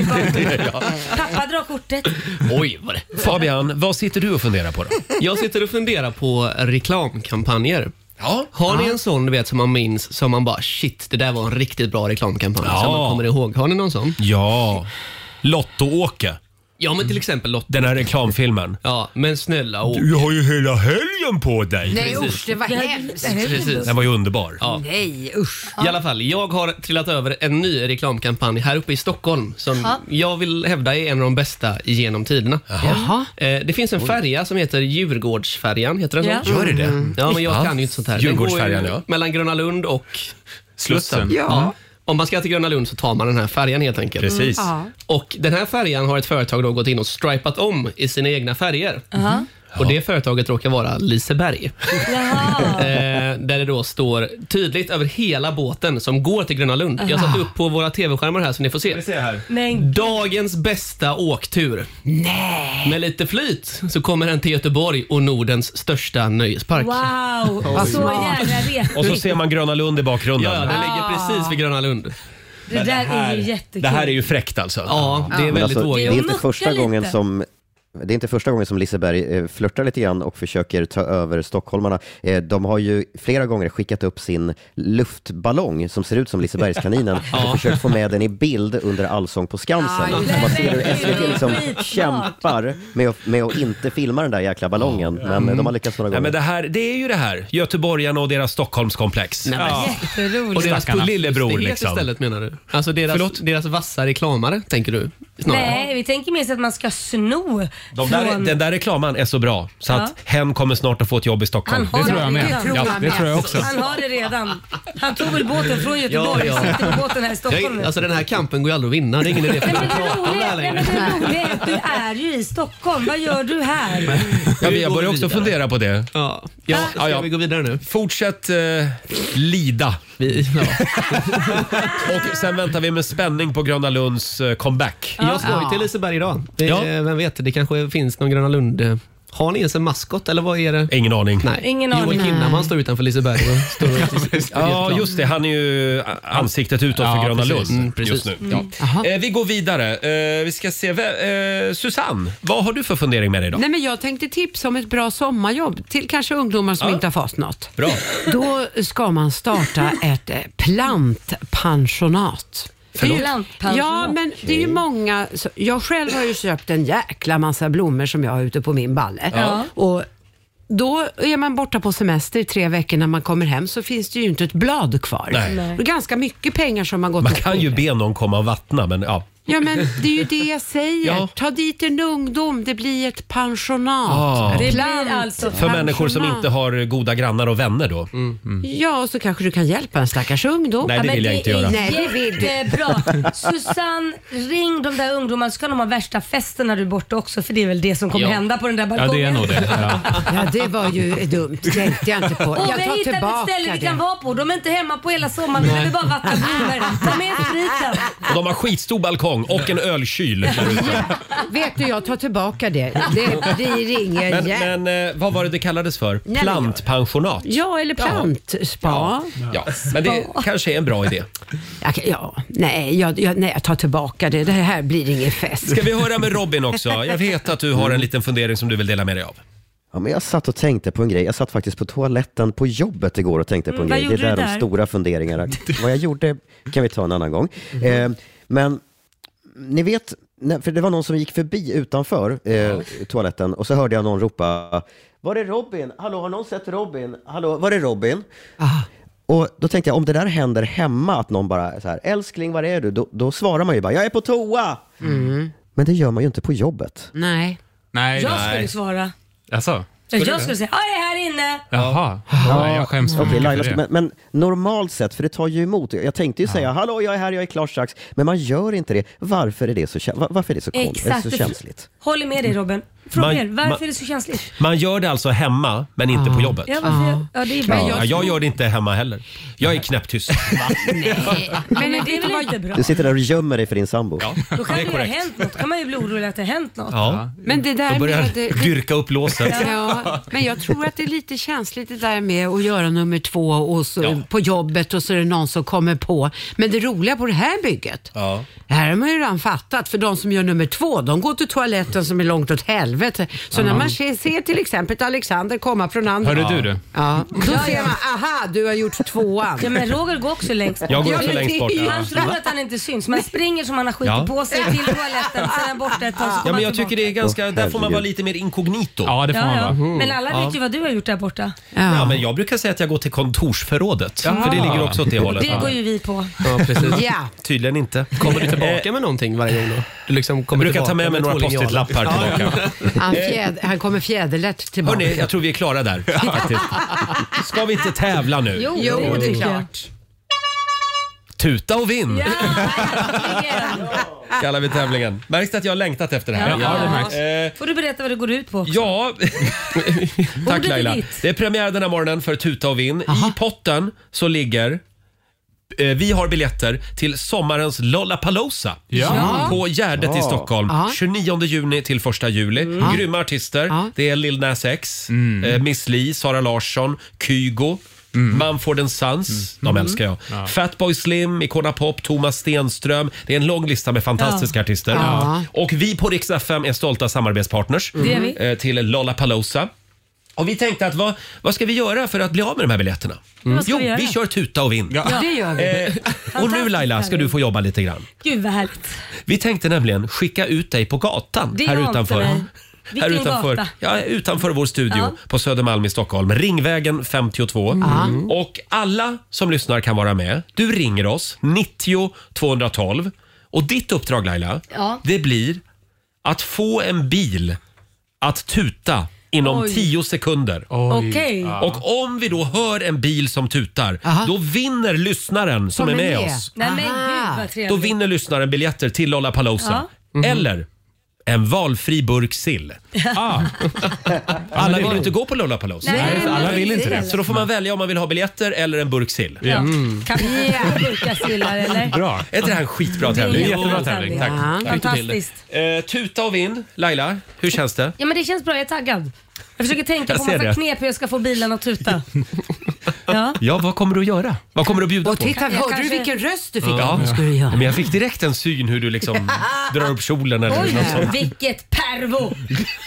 [SPEAKER 2] Pappa drar kortet.
[SPEAKER 9] Oj, vad det
[SPEAKER 1] Fabian, vad sitter du och funderar på då?
[SPEAKER 9] Jag sitter och funderar på reklamkampanjer.
[SPEAKER 1] Ja.
[SPEAKER 9] Har ni en sån du vet, som man minns som man bara shit, det där var en riktigt bra reklamkampanj
[SPEAKER 1] Ja.
[SPEAKER 9] som man kommer ihåg. Har ni någon sån?
[SPEAKER 1] Ja. Lotto-Åke,
[SPEAKER 9] Ja, men till exempel Lotta.
[SPEAKER 1] den här reklamfilmen.
[SPEAKER 9] Ja, men snälla och...
[SPEAKER 1] Du har ju hela helgen på dig.
[SPEAKER 6] Nej usch, det var hemskt.
[SPEAKER 9] Precis.
[SPEAKER 1] Den var ju underbar.
[SPEAKER 6] Nej usch.
[SPEAKER 9] I alla fall, jag har trillat över en ny reklamkampanj här uppe i Stockholm som jag vill hävda är en av de bästa genom tiderna.
[SPEAKER 6] Jaha.
[SPEAKER 9] Eh, det finns en färja som heter Djurgårdsfärjan. Heter den så? Mm.
[SPEAKER 2] Ja.
[SPEAKER 1] Gör det det?
[SPEAKER 9] Ja, men jag
[SPEAKER 1] Ja.
[SPEAKER 9] kan ju inte sånt här.
[SPEAKER 1] Djurgårdsfärjan,
[SPEAKER 9] Den går ju
[SPEAKER 1] ja.
[SPEAKER 9] Mellan Gröna Lund och
[SPEAKER 8] Slussen.
[SPEAKER 9] Ja. Mm. Om man ska till Gröna Lund så tar man den här färjan helt enkelt.
[SPEAKER 1] Precis.
[SPEAKER 9] Och den här färjan har ett företag då gått in och stripat om i sina egna färger. Mm. Och det företaget råkar vara Liseberg.
[SPEAKER 2] Jaha.
[SPEAKER 9] Eh, där det då står tydligt över hela båten som går till Gröna Lund. Jag satte upp på våra TV-skärmar här så ni får se.
[SPEAKER 8] här.
[SPEAKER 2] Men
[SPEAKER 9] Dagens bästa åktur. Nej. Med lite flyt så kommer den till Göteborg och Nordens största nöjespark.
[SPEAKER 2] wow, så jävla
[SPEAKER 1] Och så
[SPEAKER 2] retigt.
[SPEAKER 1] ser man Gröna Lund i bakgrunden.
[SPEAKER 9] Ja, den ligger precis vid Gröna Lund.
[SPEAKER 2] Det där är ju jättekul.
[SPEAKER 1] Det här är ju fräckt alltså.
[SPEAKER 9] Ja, det är
[SPEAKER 5] Men
[SPEAKER 9] väldigt
[SPEAKER 5] alltså, det
[SPEAKER 9] vågigt.
[SPEAKER 5] är inte
[SPEAKER 2] Mucka
[SPEAKER 5] första
[SPEAKER 2] lite.
[SPEAKER 5] gången som Det är inte första gången som Liseberg eh, flörtar lite grann och försöker ta över stockholmarna. Eh, De har ju flera gånger skickat upp sin luftballong som ser ut som Lisebergskaninen och försökt få med den i bild under Allsång på Skansen.
[SPEAKER 7] Aj,
[SPEAKER 5] Man ser hur
[SPEAKER 7] nej,
[SPEAKER 5] SVT liksom
[SPEAKER 7] skitsmart.
[SPEAKER 5] kämpar med att, med att inte filma den där jäkla ballongen, men eh, de har lyckats några
[SPEAKER 1] Nej,
[SPEAKER 5] gånger.
[SPEAKER 1] men det, här, det är ju det här, göteborgarna och deras Stockholmskomplex.
[SPEAKER 9] Nej, men-
[SPEAKER 6] Jätteroligt.
[SPEAKER 1] Och deras
[SPEAKER 9] Stackarna.
[SPEAKER 1] lillebror
[SPEAKER 9] Det heter
[SPEAKER 1] liksom.
[SPEAKER 9] istället menar du? Alltså deras,
[SPEAKER 1] Förlåt?
[SPEAKER 9] deras vassa reklamare, tänker du? Snarare.
[SPEAKER 2] Nej, vi tänker minst att man ska sno
[SPEAKER 1] De där,
[SPEAKER 2] från...
[SPEAKER 1] den där reklaman är så bra så att hen kommer snart att få ett jobb i Stockholm.
[SPEAKER 2] Han har Det tror jag det med. redan.
[SPEAKER 1] Ja,
[SPEAKER 2] Det tror jag Han har det redan. Han tog väl båten från Göteborg och sitter på båten här i Stockholm nu.
[SPEAKER 9] Jag, alltså den här kampen går ju aldrig att vinna. Det är ingen idé för mig att prata om det här
[SPEAKER 2] Nej,
[SPEAKER 9] längre.
[SPEAKER 2] men det roliga är att du är ju i Stockholm. Vad gör du här?
[SPEAKER 1] Ja, men jag börjar också fundera på det.
[SPEAKER 9] Ja, ja, ska vi gå vidare nu?
[SPEAKER 1] Fortsätt eh, lida.
[SPEAKER 9] Vi, ja.
[SPEAKER 1] Och sen väntar vi med spänning på Gröna Lunds eh, comeback.
[SPEAKER 9] Jag ska ju till Liseberg idag. Det,
[SPEAKER 1] Ja.
[SPEAKER 9] Vem vet, det kanske finns någon Gröna Lund. eh, Har ni ens en maskot eller vad är det?
[SPEAKER 1] Ingen aning.
[SPEAKER 9] Nej.
[SPEAKER 2] Ingen aning.
[SPEAKER 9] Joel Kinnaman står utanför Liseberg och står
[SPEAKER 1] Ja, just det. Han är ju a- ansiktet utåt
[SPEAKER 8] Ja,
[SPEAKER 1] för Gröna
[SPEAKER 8] precis.
[SPEAKER 1] Lund
[SPEAKER 9] Mm, precis.
[SPEAKER 1] just nu. Ja. Eh, vi går vidare. Eh, vi ska se. Vä- eh, Susanne, vad har du för fundering med dig idag?
[SPEAKER 6] Nej, men jag tänkte tipsa om ett bra sommarjobb till kanske ungdomar som
[SPEAKER 1] Ja.
[SPEAKER 6] inte har fått något.
[SPEAKER 1] Bra.
[SPEAKER 6] Då ska man starta ett eh, plantpensionat. Det är ju-
[SPEAKER 2] Plantpensionat?
[SPEAKER 6] Ja, men det är ju många. så- Jag själv har ju köpt en jäkla massa blommor som jag har ute på min balle.
[SPEAKER 2] Ja.
[SPEAKER 6] Och då är man borta på semester i tre veckor. När man kommer hem så finns det ju inte ett blad kvar.
[SPEAKER 1] Nej.
[SPEAKER 6] Det är ganska mycket pengar som har gått
[SPEAKER 1] Man
[SPEAKER 6] åt
[SPEAKER 1] kan ju
[SPEAKER 6] skogen.
[SPEAKER 1] be någon komma och vattna, men ja.
[SPEAKER 6] Ja, men det är ju det jag säger.
[SPEAKER 1] Ja.
[SPEAKER 6] Ta dit en ungdom, det blir ett pensionat.
[SPEAKER 1] Ah.
[SPEAKER 2] Det
[SPEAKER 6] Plant-
[SPEAKER 2] blir alltså-
[SPEAKER 1] För människor som
[SPEAKER 6] pensionat.
[SPEAKER 1] inte har goda grannar och vänner då.
[SPEAKER 9] Mm.
[SPEAKER 6] Ja, och så kanske du kan hjälpa en stackars ungdom.
[SPEAKER 1] Nej, det
[SPEAKER 2] men
[SPEAKER 1] vill jag
[SPEAKER 2] det
[SPEAKER 1] inte
[SPEAKER 2] är
[SPEAKER 1] göra.
[SPEAKER 6] Nej, det vill du.
[SPEAKER 2] Jättebra. Susanne, ring de där ungdomarna så kan de ha värsta festen när du är borta också för det är väl det som kommer
[SPEAKER 9] Ja.
[SPEAKER 2] hända på den där
[SPEAKER 8] Ja,
[SPEAKER 2] balkongen.
[SPEAKER 8] det är nog det. Ja.
[SPEAKER 6] Ja, det var ju dumt. tänkte jag inte på.
[SPEAKER 2] Åh,
[SPEAKER 6] Jag
[SPEAKER 2] vi har hittat
[SPEAKER 6] tar
[SPEAKER 2] ett
[SPEAKER 6] tillbaka
[SPEAKER 2] ställe vi kan
[SPEAKER 6] det.
[SPEAKER 2] vara på. De är inte hemma på hela sommaren. De vill bara vattna blommor. Ta med spriten.
[SPEAKER 1] Och de har skitstor balkong och en ölkyl. där ute.
[SPEAKER 6] Vet du, jag tar tillbaka det. Det blir ingen
[SPEAKER 1] Men,
[SPEAKER 6] jä-
[SPEAKER 1] men eh, vad var det det kallades för?
[SPEAKER 6] men-
[SPEAKER 1] Plantpensionat.
[SPEAKER 6] Ja, eller plantspa.
[SPEAKER 1] Ja, men det kanske är en bra idé.
[SPEAKER 6] Ja. ja, nej, jag, jag, nej, jag tar tillbaka det. Det här blir ingen fest.
[SPEAKER 1] Ska vi höra med Robin också? Jag vet att du har en liten fundering som du vill dela med dig av.
[SPEAKER 5] Ja, men jag satt och tänkte på en grej. Jag satt faktiskt på toaletten på jobbet igår och tänkte på en
[SPEAKER 2] Mm, vad
[SPEAKER 5] grej. Det
[SPEAKER 2] gjorde
[SPEAKER 5] är där,
[SPEAKER 2] du
[SPEAKER 5] de
[SPEAKER 2] där?
[SPEAKER 5] stora funderingarna. Vad jag gjorde kan vi ta en annan gång. Eh, men ni vet, när- för det var någon som gick förbi utanför eh, toaletten och så hörde jag någon ropa Var är Robin? Hallå, har någon sett Robin? Hallå, var är Robin?
[SPEAKER 6] Ah.
[SPEAKER 5] Och då tänkte jag, om det där händer hemma, att någon bara så här, älskling, var är du? Då, då svarar man ju bara, jag är på toa! Men det gör man ju inte på jobbet.
[SPEAKER 6] Nej.
[SPEAKER 8] Nej,
[SPEAKER 2] Jag
[SPEAKER 8] nej.
[SPEAKER 2] skulle svara.
[SPEAKER 8] Alltså,
[SPEAKER 2] Jag skulle säga, ja jag är här inne.
[SPEAKER 8] jaha. Ja, jag skäms för
[SPEAKER 5] Okej, Laila,
[SPEAKER 8] mycket för
[SPEAKER 5] ska-
[SPEAKER 8] det.
[SPEAKER 5] men, men normalt sett, för det tar ju emot. Jag tänkte ju säga hallå, jag är här, jag är klar strax. Men man gör inte det. Varför är det så, kä- va- varför är det så, kon-
[SPEAKER 2] Exakt.
[SPEAKER 5] så känsligt?
[SPEAKER 2] Håller med dig Robin. Fråga
[SPEAKER 1] Man-
[SPEAKER 2] er, varför
[SPEAKER 1] man-
[SPEAKER 2] är det så känsligt?
[SPEAKER 1] Man gör det alltså hemma, men inte på jobbet.
[SPEAKER 2] Ja, varför jag, ja det är bra.
[SPEAKER 1] Ja, jag gör det inte hemma heller. Jag är knäpptyst.
[SPEAKER 2] Men, det är väl inte bra?
[SPEAKER 5] Du sitter där och gömmer dig för din sambo.
[SPEAKER 1] Ja,
[SPEAKER 2] Då kan
[SPEAKER 1] det
[SPEAKER 2] det
[SPEAKER 1] är
[SPEAKER 2] ju ha
[SPEAKER 1] korrekt.
[SPEAKER 2] hänt något. Då kan man ju bli orolig att det har hänt något.
[SPEAKER 1] Ja.
[SPEAKER 6] Men det där
[SPEAKER 1] Då börjar
[SPEAKER 6] med...
[SPEAKER 1] jag dyrka upp låset.
[SPEAKER 6] Ja, men jag tror att det är lite känsligt det där med att göra nummer två och så på jobbet och så är det någon som kommer på. Men det roliga på det här bygget,
[SPEAKER 1] Ja.
[SPEAKER 6] det här har man ju redan fattat, för de som gör nummer två, de går till toaletten som är långt åt helvete. Så när man ser, ser till exempel ett Alexander komma från andra...
[SPEAKER 8] Hörde du du?
[SPEAKER 6] Ja, då ser man, aha, du har gjort tvåan.
[SPEAKER 2] Ja, men Roger går också längst bort.
[SPEAKER 1] Jag går
[SPEAKER 6] Ja,
[SPEAKER 1] också
[SPEAKER 6] men
[SPEAKER 1] längst
[SPEAKER 6] det-
[SPEAKER 1] bort. Ja.
[SPEAKER 2] Han tror att han inte syns. Man springer som man har skitit
[SPEAKER 1] Ja.
[SPEAKER 2] på sig till toaletten, sen är han borta ett tag så
[SPEAKER 1] Ja,
[SPEAKER 2] kommer
[SPEAKER 1] men
[SPEAKER 2] han
[SPEAKER 1] jag tycker
[SPEAKER 2] tillbaka.
[SPEAKER 1] det är ganska... Där får man vara lite mer inkognito.
[SPEAKER 8] Ja, det får man
[SPEAKER 2] Ja,
[SPEAKER 8] vara.
[SPEAKER 2] ja.
[SPEAKER 1] Mm.
[SPEAKER 2] Men alla vet ju vad du har gjort där borta.
[SPEAKER 1] Ja, men jag brukar säga att jag går till kontorsförrådet. För det ligger också åt det hållet.
[SPEAKER 2] Det går ju vi på.
[SPEAKER 9] Ja, precis.
[SPEAKER 6] Ja,
[SPEAKER 1] Tydligen inte.
[SPEAKER 9] Kommer du tillbaka med någonting varje gång då? Du liksom
[SPEAKER 1] Jag
[SPEAKER 9] kommer
[SPEAKER 1] Eh, brukar ta
[SPEAKER 9] tillbaka
[SPEAKER 1] med mig några
[SPEAKER 9] två linjaler.
[SPEAKER 1] post-it-lappar tillbaka.
[SPEAKER 6] han, fjäd, han kommer fjäderlätt tillbaka.
[SPEAKER 1] Hörni, jag tror vi är klara där. faktiskt. Ska vi inte tävla nu?
[SPEAKER 6] Jo, det är
[SPEAKER 2] tycker jag.
[SPEAKER 6] klart.
[SPEAKER 1] Tuta och vinn
[SPEAKER 2] Ja, verkligen.
[SPEAKER 1] kallar vi tävlingen. Märks det att jag har längtat efter det här?
[SPEAKER 2] Ja, Ja, det märks.
[SPEAKER 1] Eh,
[SPEAKER 2] Får du berätta vad det går ut på?
[SPEAKER 1] Ja, tack
[SPEAKER 2] är
[SPEAKER 1] Laila.
[SPEAKER 2] ditt.
[SPEAKER 1] Det är premiär den här morgonen för Tuta och vinn. I potten så ligger eh, vi har biljetter till sommarens Lollapalooza
[SPEAKER 8] Ja.
[SPEAKER 1] på Gärdet i Stockholm.
[SPEAKER 6] Ja. Mm.
[SPEAKER 1] 29 juni till 1 juli. Grymma artister.
[SPEAKER 6] Ja.
[SPEAKER 1] Det är Lil Nas X, eh, Miss Li, Sara Larsson, Kygo, Mumford and Sons, de älskar jag. Fatboy Slim, Icona Pop, Thomas Stenström. Det är en lång lista med fantastiska
[SPEAKER 6] Ja.
[SPEAKER 1] artister.
[SPEAKER 6] Ja.
[SPEAKER 1] Och vi på Rix FM är stolta samarbetspartners
[SPEAKER 6] Det är vi.
[SPEAKER 1] eh, till Lollapalooza. Och vi tänkte att vad, vad ska vi göra för att bli av med de här biljetterna?
[SPEAKER 2] Mm. Vad ska
[SPEAKER 1] Jo,
[SPEAKER 2] vi göra?
[SPEAKER 1] vi kör tuta och vinn.
[SPEAKER 6] Det gör vi.
[SPEAKER 1] Eh. Och nu Laila ska du få jobba lite grann.
[SPEAKER 2] Gud vad härligt.
[SPEAKER 1] Vi tänkte nämligen skicka ut dig på gatan
[SPEAKER 2] Det
[SPEAKER 1] här
[SPEAKER 2] ante
[SPEAKER 1] utanför.
[SPEAKER 2] mig.
[SPEAKER 1] Här
[SPEAKER 2] Vilken
[SPEAKER 1] utanför,
[SPEAKER 2] gata?
[SPEAKER 1] ja, utanför vår studio
[SPEAKER 2] Ja. Mm.
[SPEAKER 1] på Södermalm i Stockholm, Ringvägen 52. Och alla som lyssnar kan vara med. Du ringer oss, 90 212. Och ditt uppdrag Laila,
[SPEAKER 2] Ja.
[SPEAKER 1] det blir att få en bil att tuta inom
[SPEAKER 2] Oj.
[SPEAKER 1] 10 sekunder.
[SPEAKER 2] Okej.
[SPEAKER 1] Och om vi då hör en bil som tutar,
[SPEAKER 6] Aha.
[SPEAKER 1] då vinner lyssnaren som är med oss.
[SPEAKER 2] Nej men gud
[SPEAKER 6] Aha.
[SPEAKER 2] vad trevligt.
[SPEAKER 1] Då vinner lyssnaren biljetter till Lollapalooza. Eller en valfri burk sill.
[SPEAKER 9] Ah.
[SPEAKER 1] Alla vill ju inte gå på Lollapalooza.
[SPEAKER 2] Nej, men
[SPEAKER 8] alla
[SPEAKER 2] det
[SPEAKER 8] vill
[SPEAKER 2] är
[SPEAKER 8] inte det.
[SPEAKER 2] väl.
[SPEAKER 1] Så då får man välja om man vill ha biljetter eller en burk sill.
[SPEAKER 2] Ja. Kan
[SPEAKER 1] Mm.
[SPEAKER 2] vi yeah. burkassillar eller?
[SPEAKER 8] Bra.
[SPEAKER 1] Är inte det här en skitbra tävling?
[SPEAKER 8] Det är jättebra tävling.
[SPEAKER 1] Tack.
[SPEAKER 6] Ja.
[SPEAKER 2] Fantastiskt.
[SPEAKER 1] Eh, tuta och vinn. Laila, hur känns det?
[SPEAKER 2] Ja men det känns bra, jag är taggad. Jag försöker tänka
[SPEAKER 1] Jag
[SPEAKER 2] på
[SPEAKER 1] ser
[SPEAKER 2] massa
[SPEAKER 1] det.
[SPEAKER 2] knep hur jag ska få bilen att tuta. Ja.
[SPEAKER 1] Ja, vad kommer du att göra? Vad kommer du att bjuda
[SPEAKER 6] Och
[SPEAKER 1] på?
[SPEAKER 6] titta,
[SPEAKER 2] Jag
[SPEAKER 6] hörde
[SPEAKER 2] kanske-
[SPEAKER 6] du vilken röst du fick?
[SPEAKER 1] Ja.
[SPEAKER 6] Vad ska du
[SPEAKER 1] Men
[SPEAKER 6] göra?
[SPEAKER 1] jag fick direkt en syn hur du liksom drar upp kjolen eller något sånt.
[SPEAKER 2] Oj, vilket pervo!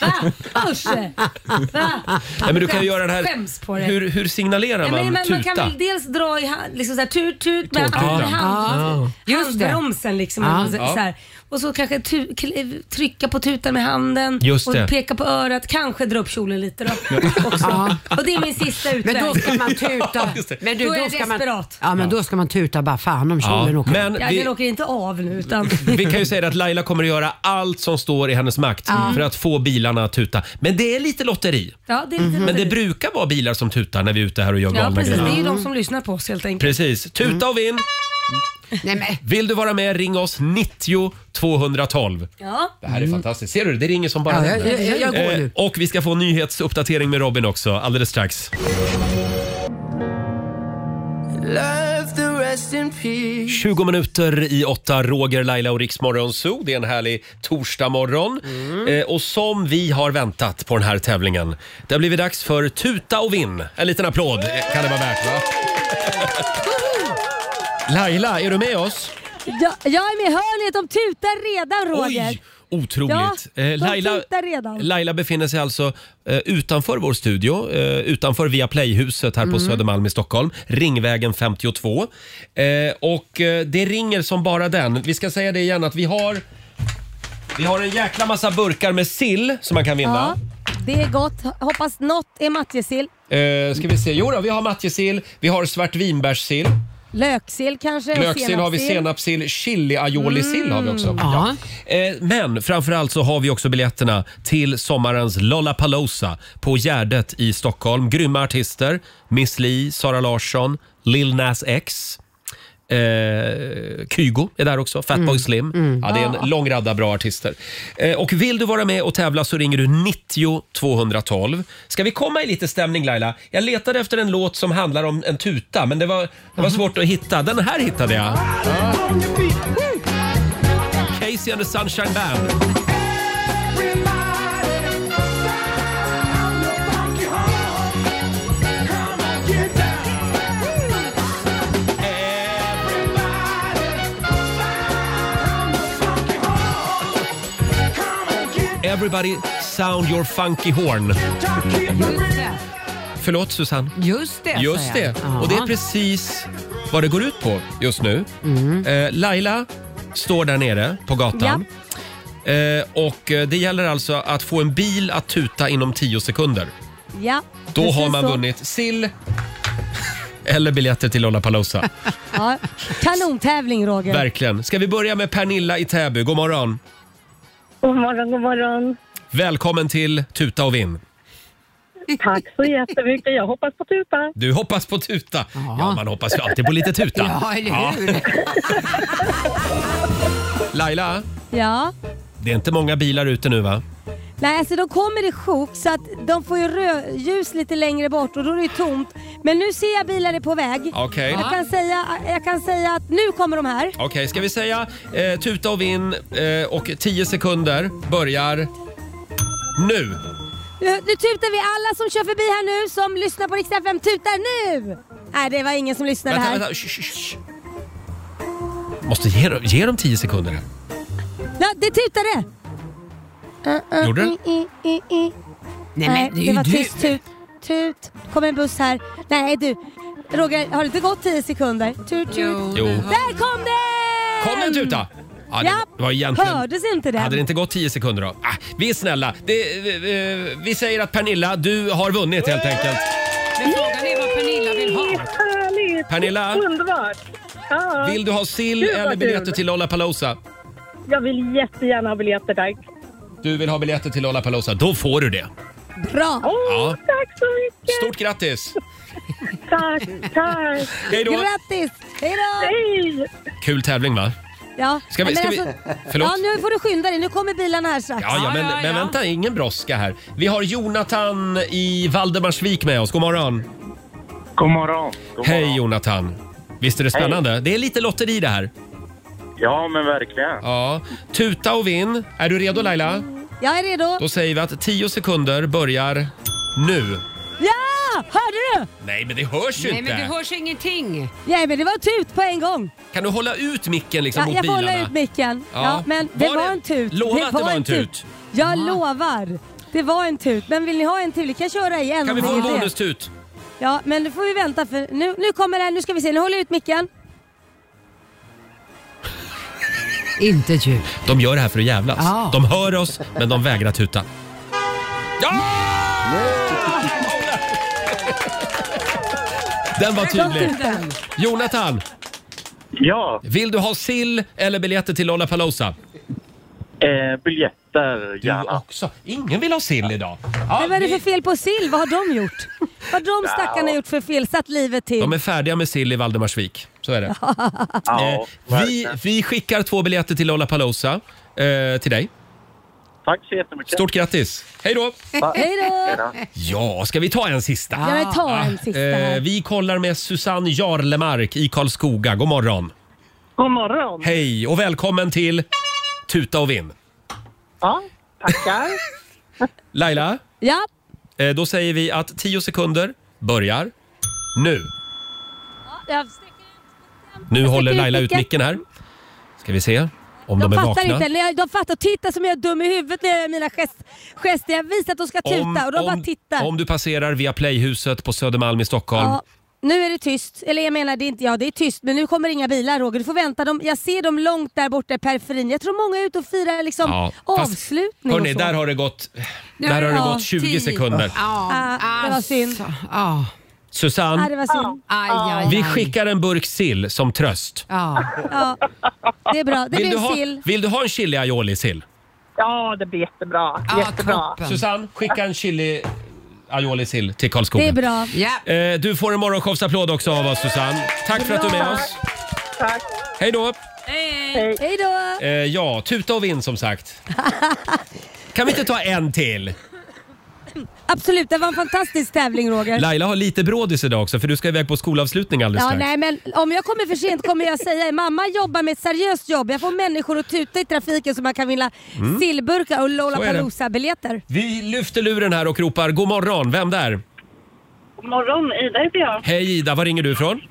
[SPEAKER 2] Va? Usch! Va?
[SPEAKER 1] Nej, men du kan ju göra den
[SPEAKER 2] Skäms på
[SPEAKER 1] här...
[SPEAKER 2] det.
[SPEAKER 1] Hur, hur signalerar
[SPEAKER 2] Nej, men,
[SPEAKER 1] man
[SPEAKER 2] men man kan
[SPEAKER 1] tuta?
[SPEAKER 2] väl dels dra i hand, liksom så här, tut tut med hand,
[SPEAKER 1] Tårtutan.
[SPEAKER 2] hand,
[SPEAKER 6] Just det.
[SPEAKER 2] handbromsen liksom.
[SPEAKER 6] Ja.
[SPEAKER 2] Så, så här. Och så kanske tu, kl- trycka på tutan med handen
[SPEAKER 1] Just
[SPEAKER 2] och
[SPEAKER 1] det.
[SPEAKER 2] peka på örat. Kanske dra upp kjolen lite då. också.
[SPEAKER 6] Ja.
[SPEAKER 2] Och det är min sista utväg.
[SPEAKER 6] Men då ska man tuta. Men du,
[SPEAKER 2] Då är
[SPEAKER 6] då
[SPEAKER 2] jag
[SPEAKER 6] ska man,
[SPEAKER 2] desperat.
[SPEAKER 6] ja, men då ska man tuta bara fan om
[SPEAKER 1] Ja,
[SPEAKER 6] kjolen åker.
[SPEAKER 1] men
[SPEAKER 2] Ja,
[SPEAKER 1] vi-
[SPEAKER 2] Den åker inte av nu utan...
[SPEAKER 1] Vi kan ju säga att Laila kommer att göra allt som står i hennes makt för att få bilarna att tuta. Men det är lite lotteri.
[SPEAKER 2] Ja, det är lite
[SPEAKER 1] Men det brukar vara bilar som tutar när vi är ute här och gör
[SPEAKER 2] Ja
[SPEAKER 1] galna
[SPEAKER 2] precis, det är
[SPEAKER 1] grejer.
[SPEAKER 2] ju de som lyssnar på oss helt enkelt.
[SPEAKER 1] Precis.
[SPEAKER 6] Mm.
[SPEAKER 1] Tuta och vinn!
[SPEAKER 6] Nej, men,
[SPEAKER 1] Vill du vara med, ring oss 90 212.
[SPEAKER 2] Ja.
[SPEAKER 1] Det här är fantastiskt. Ser du? Det ringer som bara
[SPEAKER 6] Mm. ja, jag,
[SPEAKER 1] den.
[SPEAKER 6] jag, jag, jag går
[SPEAKER 1] Eh,
[SPEAKER 6] nu.
[SPEAKER 1] och vi ska få en nyhetsuppdatering med Robin också alldeles strax.
[SPEAKER 9] Love the rest in peace.
[SPEAKER 1] 20 minuter i åtta, Roger, Laila och Riksmorgon Zoo. Det är en härlig torsdagmorgon. Eh, och som vi har väntat på den här tävlingen. Det har blivit dags för tuta och vinn. En liten applåd eh, kan det vara värt va? Laila, är du med oss?
[SPEAKER 10] Ja, jag är med. Hör ni att de tutar redan Roger?
[SPEAKER 1] Oj, otroligt.
[SPEAKER 10] Ja,
[SPEAKER 1] Eh,
[SPEAKER 10] de tutar redan.
[SPEAKER 1] Laila befinner sig alltså eh, utanför vår studio, eh, utanför Viaplay-huset här
[SPEAKER 10] Mm.
[SPEAKER 1] på Södermalm i Stockholm, Ringvägen 52. Eh, och eh, det ringer som bara den. Vi ska säga det igen att vi har vi har en jäkla massa burkar med sill som man kan vinna.
[SPEAKER 10] Ja, det är gott. Hoppas något är matjessill.
[SPEAKER 1] Eh, ska vi se. Jo då, vi har matjessill, vi har svartvinbärssill,
[SPEAKER 10] Löksill kanske? och
[SPEAKER 1] löksill har vi, senapssill, chili-aioli-sill har vi
[SPEAKER 10] Mm.
[SPEAKER 1] också.
[SPEAKER 6] Ja.
[SPEAKER 1] Eh, Men framförallt så har vi också biljetterna till sommarens Lollapalooza på Gärdet i Stockholm. Grymma artister. Miss Li, Sara Larsson, Lil Nas X. Eh, Kygo är där också, Fatboy Slim. Ja, det är en lång radda bra artister. Eh, och vill du vara med och tävla så ringer du 90 212. Ska vi komma i lite stämning Laila? Jag letade efter en låt som handlar om en tuta men det var, det var svårt att hitta. Den här hittade jag. Casey and the Sunshine Band. Everybody sound your funky horn. Förlåt Susanne.
[SPEAKER 6] Just det, sa
[SPEAKER 1] Just
[SPEAKER 6] jag.
[SPEAKER 1] det.
[SPEAKER 6] Ja.
[SPEAKER 1] Och det är precis vad det går ut på just nu. Eh, Laila står där nere på gatan. Eh, och eh, det gäller alltså att få en bil att tuta inom 10 sekunder.
[SPEAKER 10] Ja,
[SPEAKER 1] Då
[SPEAKER 10] precis
[SPEAKER 1] har man
[SPEAKER 10] så.
[SPEAKER 1] vunnit sill eller biljetter till Lollapalooza.
[SPEAKER 10] Ja. Kanontävling Roger.
[SPEAKER 1] Verkligen. Ska vi börja med Pernilla i Täby? God morgon.
[SPEAKER 4] God morgon, god morgon.
[SPEAKER 1] Välkommen till Tuta och vinn.
[SPEAKER 4] Tack så jättemycket. Jag hoppas på tuta.
[SPEAKER 1] Du hoppas på tuta. Ja, man hoppas ju alltid på lite tuta.
[SPEAKER 6] Ja, eller hur?
[SPEAKER 1] Laila,
[SPEAKER 10] Ja.
[SPEAKER 1] det är inte många bilar ute nu va?
[SPEAKER 10] Nej, alltså de kommer i sjok så att de får ju rödljus lite längre bort och då är det ju tomt. Men nu ser jag bilar är på väg.
[SPEAKER 1] Okej.
[SPEAKER 10] Jag, kan säga, jag kan säga att nu kommer de här.
[SPEAKER 1] Okej, ska vi säga eh, tuta och vinn eh, och 10 sekunder börjar nu.
[SPEAKER 10] Nu, nu tutar vi alla som kör förbi här nu som lyssnar på Rix FM tutar nu!
[SPEAKER 2] Nej, det var ingen som lyssnade
[SPEAKER 1] Vänta,
[SPEAKER 2] här.
[SPEAKER 1] vänta, shh, shh, shh. Måste ge, dem- ge dem tio sekunder här.
[SPEAKER 2] Ja, det tutade! Uh, uh,
[SPEAKER 1] Gjorde det?
[SPEAKER 2] i, i, i, i.
[SPEAKER 1] Nej, men det är ju
[SPEAKER 2] var
[SPEAKER 1] du.
[SPEAKER 2] tyst tut. Tut. Kom en buss här. Nej du. Roger, har det inte gått 10 sekunder? Tut, tut.
[SPEAKER 1] Jo.
[SPEAKER 2] Där kom den!
[SPEAKER 1] Kom nu tuta! Ja, det
[SPEAKER 2] Ja.
[SPEAKER 1] var egentligen...
[SPEAKER 2] Hördes inte den?
[SPEAKER 1] Hade det inte gått tio sekunder då? Ah, vi är snälla. Det, eh, vi säger att Pernilla, du har vunnit helt enkelt.
[SPEAKER 6] Men frågan är vad Pernilla vill ha.
[SPEAKER 4] Härligt!
[SPEAKER 1] Pernilla?
[SPEAKER 4] Underbart! Ja.
[SPEAKER 1] Vill du ha sill
[SPEAKER 4] Gud, vad
[SPEAKER 1] eller biljetter
[SPEAKER 4] kul.
[SPEAKER 1] till Lollapalooza?
[SPEAKER 4] Jag vill jättegärna ha biljetter, tack.
[SPEAKER 1] Du vill ha biljetter till Lollapalooza, då får du det.
[SPEAKER 2] Bra!
[SPEAKER 1] Ja.
[SPEAKER 4] Tack så mycket!
[SPEAKER 1] Stort grattis!
[SPEAKER 4] Tack, tack!
[SPEAKER 1] Hej då.
[SPEAKER 2] Grattis! Hej då!
[SPEAKER 4] Hej!
[SPEAKER 1] Kul tävling va?
[SPEAKER 2] Ja.
[SPEAKER 1] Ska vi-
[SPEAKER 2] men alltså-
[SPEAKER 1] ska vi- Förlåt?
[SPEAKER 2] Ja, nu får du skynda dig. Nu kommer bilarna här strax.
[SPEAKER 1] Ja, ja, men, men vänta, ingen brådska här. Vi har Jonathan i Valdemarsvik med oss. God morgon!
[SPEAKER 9] God morgon.
[SPEAKER 1] Hej Jonathan! Visst är det
[SPEAKER 9] Hej.
[SPEAKER 1] spännande? Det är lite lotteri det här.
[SPEAKER 9] Ja, men verkligen.
[SPEAKER 1] Ja. Tuta och vinn. Är du redo Laila?
[SPEAKER 2] Jag är redo.
[SPEAKER 1] Då säger vi att 10 sekunder börjar nu.
[SPEAKER 2] Ja! Hörde du?
[SPEAKER 1] Nej, men det hörs ju
[SPEAKER 6] Nej,
[SPEAKER 1] inte.
[SPEAKER 6] men det hörs ingenting.
[SPEAKER 2] Nej, men det var tut på en gång.
[SPEAKER 1] Kan du hålla ut micken liksom
[SPEAKER 2] Ja,
[SPEAKER 1] mot
[SPEAKER 2] jag får
[SPEAKER 1] bilarna?
[SPEAKER 2] hålla ut micken.
[SPEAKER 1] Ja.
[SPEAKER 2] Ja. men det
[SPEAKER 1] Var
[SPEAKER 2] var,
[SPEAKER 1] det-
[SPEAKER 2] en tut.
[SPEAKER 1] Lova att det var en tut. Ah.
[SPEAKER 2] Jag lovar. Det var en tut. Men vill ni ha en till? Vi kan köra igen.
[SPEAKER 1] Kan vi
[SPEAKER 2] om
[SPEAKER 1] få en
[SPEAKER 2] ni vill det.
[SPEAKER 1] bonustut?
[SPEAKER 2] Ja, men nu får vi vänta för nu, nu kommer den. Nu ska vi se. Nu håller jag ut micken.
[SPEAKER 6] Inte ljud.
[SPEAKER 1] De gör det här för att jävlas.
[SPEAKER 6] Ja.
[SPEAKER 1] De hör oss, men de vägrar tuta. Ja! Den var tydlig. Jonathan!
[SPEAKER 9] Ja?
[SPEAKER 1] Vill du ha sill eller biljetter till Lollapalooza?
[SPEAKER 9] Eh, biljetter,
[SPEAKER 1] Du också. Ingen vill ha sill idag. Ja,
[SPEAKER 2] men vad är det
[SPEAKER 1] vi-
[SPEAKER 2] för fel på sill? Vad har de gjort? Vad har de stackarna gjort för fel? Satt livet till.
[SPEAKER 1] De är färdiga med sill i Valdemarsvik. Så är det. Eh,
[SPEAKER 9] Ja,
[SPEAKER 1] vi, vi skickar två biljetter till Lollapalooza eh, till dig.
[SPEAKER 9] Tack så jättemycket.
[SPEAKER 1] Stort grattis! Hej då!
[SPEAKER 2] Hej då!
[SPEAKER 1] Ja, ska vi ta en sista?
[SPEAKER 2] Ja, men ta en sista här.
[SPEAKER 1] Eh, vi kollar med Susanne Jarlemark i Karlskoga. God morgon!
[SPEAKER 4] God morgon!
[SPEAKER 1] Hej och välkommen till Tuta och vinn.
[SPEAKER 4] Ja, tackar.
[SPEAKER 1] Laila,
[SPEAKER 2] Ja,
[SPEAKER 1] eh, då säger vi att 10 sekunder börjar nu.
[SPEAKER 2] jag
[SPEAKER 1] Nu håller
[SPEAKER 2] ut
[SPEAKER 1] Laila ut
[SPEAKER 2] micken.
[SPEAKER 1] micken här. Ska vi se om de, är
[SPEAKER 2] de fattar
[SPEAKER 1] vakna.
[SPEAKER 2] inte. När jag, de fattar. Titta som jag är dum i huvudet när jag gör mina gest, gester. Jag visar att de ska tuta och de bara tittar.
[SPEAKER 1] om du passerar via Playhuset på Södermalm i Stockholm.
[SPEAKER 2] Ja, nu är det tyst. Eller jag menar, det är inte, ja det är tyst men nu kommer inga bilar Roger. Du får vänta. De, jag ser dem långt där borta i periferin. Jag tror många är ute och firar liksom
[SPEAKER 1] Ja, fast-
[SPEAKER 2] avslutning
[SPEAKER 1] Hörni,
[SPEAKER 2] och så.
[SPEAKER 1] där har det gått, där har det
[SPEAKER 2] Ja,
[SPEAKER 1] gått 20
[SPEAKER 2] tio.
[SPEAKER 1] sekunder.
[SPEAKER 6] Ja,
[SPEAKER 2] Ah, det var synd.
[SPEAKER 6] ja.
[SPEAKER 2] Ah,
[SPEAKER 1] Susanne,
[SPEAKER 2] det var synd.
[SPEAKER 6] Aj, aj, aj.
[SPEAKER 1] vi skickar en burk sill som tröst.
[SPEAKER 6] Ja.
[SPEAKER 2] Ja, det är bra. Det
[SPEAKER 1] Vill du,
[SPEAKER 2] blir
[SPEAKER 1] ha,
[SPEAKER 2] sill.
[SPEAKER 1] vill du ha en chili aioli-sill?
[SPEAKER 4] Ja, det blir jättebra.
[SPEAKER 6] Ja,
[SPEAKER 4] jättebra.
[SPEAKER 6] toppen.
[SPEAKER 1] Susanne, skicka en chili aioli-sill till
[SPEAKER 2] Det
[SPEAKER 1] Karlskoga.
[SPEAKER 2] är bra.
[SPEAKER 6] Ja.
[SPEAKER 1] Eh, du får en morgonshowsapplåd också av oss Susanne. Tack för att du är med oss.
[SPEAKER 4] Tack.
[SPEAKER 1] Hej då!
[SPEAKER 2] Hej då!
[SPEAKER 1] Eh, ja, tuta och vinn som sagt. Kan vi inte ta en till?
[SPEAKER 2] Absolut, det var en fantastisk tävling Roger.
[SPEAKER 1] Laila har lite brådis idag också för du ska iväg på skolavslutning alldeles
[SPEAKER 2] Ja,
[SPEAKER 1] strax.
[SPEAKER 2] nej, men om jag kommer för sent kommer jag säga mamma jobbar med ett seriöst jobb. Jag får människor att tuta i trafiken så man kan vinna
[SPEAKER 1] Mm.
[SPEAKER 2] sillburkar och Lollapalooza-biljetter.
[SPEAKER 1] Vi lyfter luren här och ropar god morgon. Vem där?
[SPEAKER 4] God morgon, Ida heter jag.
[SPEAKER 1] Hej Ida, var ringer du ifrån?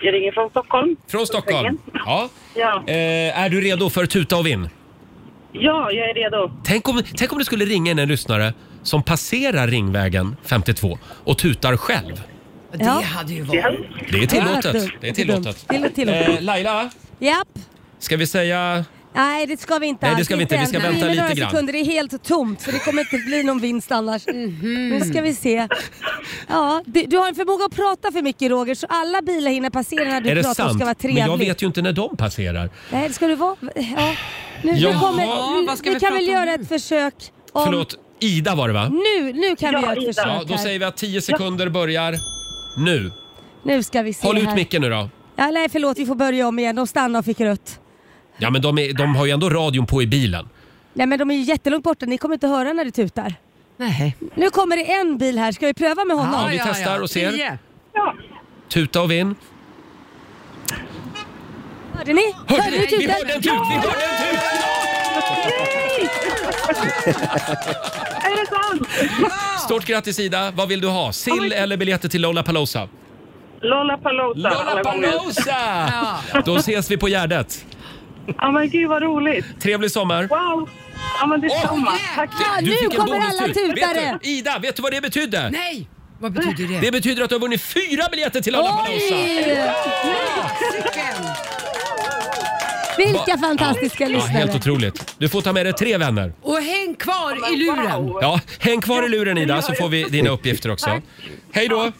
[SPEAKER 4] Jag ringer från Stockholm.
[SPEAKER 1] Från Stockholm. Ja.
[SPEAKER 4] Ja,
[SPEAKER 1] Eh, är du redo för tuta och vinn?
[SPEAKER 4] ja jag är redo.
[SPEAKER 1] Tänk om, tänk om det skulle ringa in en lyssnare som passerar Ringvägen 52 och tutar själv.
[SPEAKER 6] Det hade ju varit...
[SPEAKER 1] Det är
[SPEAKER 2] Ja,
[SPEAKER 1] tillåtet.
[SPEAKER 2] dumt.
[SPEAKER 1] Det är tillåtet.
[SPEAKER 2] Det är tillåtet.
[SPEAKER 1] Eh, Laila,
[SPEAKER 2] Japp.
[SPEAKER 1] ska vi säga...
[SPEAKER 2] Nej det ska vi inte
[SPEAKER 1] Nej, det
[SPEAKER 2] alls.
[SPEAKER 1] ska vi inte. Vi ska
[SPEAKER 2] än.
[SPEAKER 1] vänta
[SPEAKER 2] Nej,
[SPEAKER 1] lite
[SPEAKER 2] några
[SPEAKER 1] grann.
[SPEAKER 2] sekunder, det är helt tomt så det kommer inte bli någon vinst annars.
[SPEAKER 4] Mhm.
[SPEAKER 2] Nu ska vi se. Ja, du, du har en förmåga att prata för mycket Roger så alla bilar hinner passera när du
[SPEAKER 1] är det
[SPEAKER 2] pratar och
[SPEAKER 1] sant?
[SPEAKER 2] ska vara
[SPEAKER 1] Men
[SPEAKER 2] trevlig.
[SPEAKER 1] jag vet ju inte när de passerar.
[SPEAKER 2] Nej, det ska du vara. Ja. Nu, nu
[SPEAKER 1] Jaha.
[SPEAKER 2] kommer,
[SPEAKER 6] Vad ska
[SPEAKER 2] vi,
[SPEAKER 6] vi
[SPEAKER 2] kan
[SPEAKER 6] prata
[SPEAKER 2] väl
[SPEAKER 6] om
[SPEAKER 2] göra
[SPEAKER 6] nu?
[SPEAKER 2] ett försök. Om,
[SPEAKER 1] Förlåt, Ida var det va?
[SPEAKER 2] Nu, nu kan
[SPEAKER 4] Ja,
[SPEAKER 2] vi göra ett
[SPEAKER 4] Ida.
[SPEAKER 2] försök
[SPEAKER 1] Ja, då
[SPEAKER 2] här.
[SPEAKER 1] säger vi att 10 sekunder börjar nu.
[SPEAKER 2] Nu ska vi se
[SPEAKER 1] Håll ut
[SPEAKER 2] här.
[SPEAKER 1] micken nu då.
[SPEAKER 2] Ja, nej förlåt, vi får börja om igen. De stannade och fick rött.
[SPEAKER 1] Ja, men de, är, de har ju ändå radion på i bilen.
[SPEAKER 2] Nej men de är ju jättelångt borta, ni kommer inte höra när det tutar.
[SPEAKER 6] Nej.
[SPEAKER 2] Nu kommer det en bil här, ska vi pröva med honom?
[SPEAKER 1] vi testar och ser.
[SPEAKER 6] Tio.
[SPEAKER 1] Tuta och vinn.
[SPEAKER 2] Hörde ni? Hörde ni
[SPEAKER 1] vi
[SPEAKER 2] tutan?
[SPEAKER 1] hörde en tut! Vi hörde en tut!
[SPEAKER 4] Är det sant?
[SPEAKER 1] Stort grattis Ida! Vad vill du ha? Sill eller biljetter till Lollapalooza?
[SPEAKER 4] Lollapalooza alla gånger.
[SPEAKER 1] Lollapalooza! Då ses vi på Gärdet.
[SPEAKER 4] Ja men gud vad roligt.
[SPEAKER 1] Trevlig sommar.
[SPEAKER 4] Wow! Ja men detsamma. Tack.
[SPEAKER 1] tur. Vet du, Ida, vet du vad det betydde?
[SPEAKER 6] Nej! Vad betyder det?
[SPEAKER 1] Det betyder att du har vunnit fyra biljetter till Lollapalooza!
[SPEAKER 10] Vilka fantastiska
[SPEAKER 1] Ja, helt
[SPEAKER 10] lyssnare.
[SPEAKER 1] otroligt. Du får ta med dig tre vänner.
[SPEAKER 6] Och häng kvar i luren.
[SPEAKER 1] Ja, häng kvar i luren Ida så får vi dina uppgifter också. Hej då!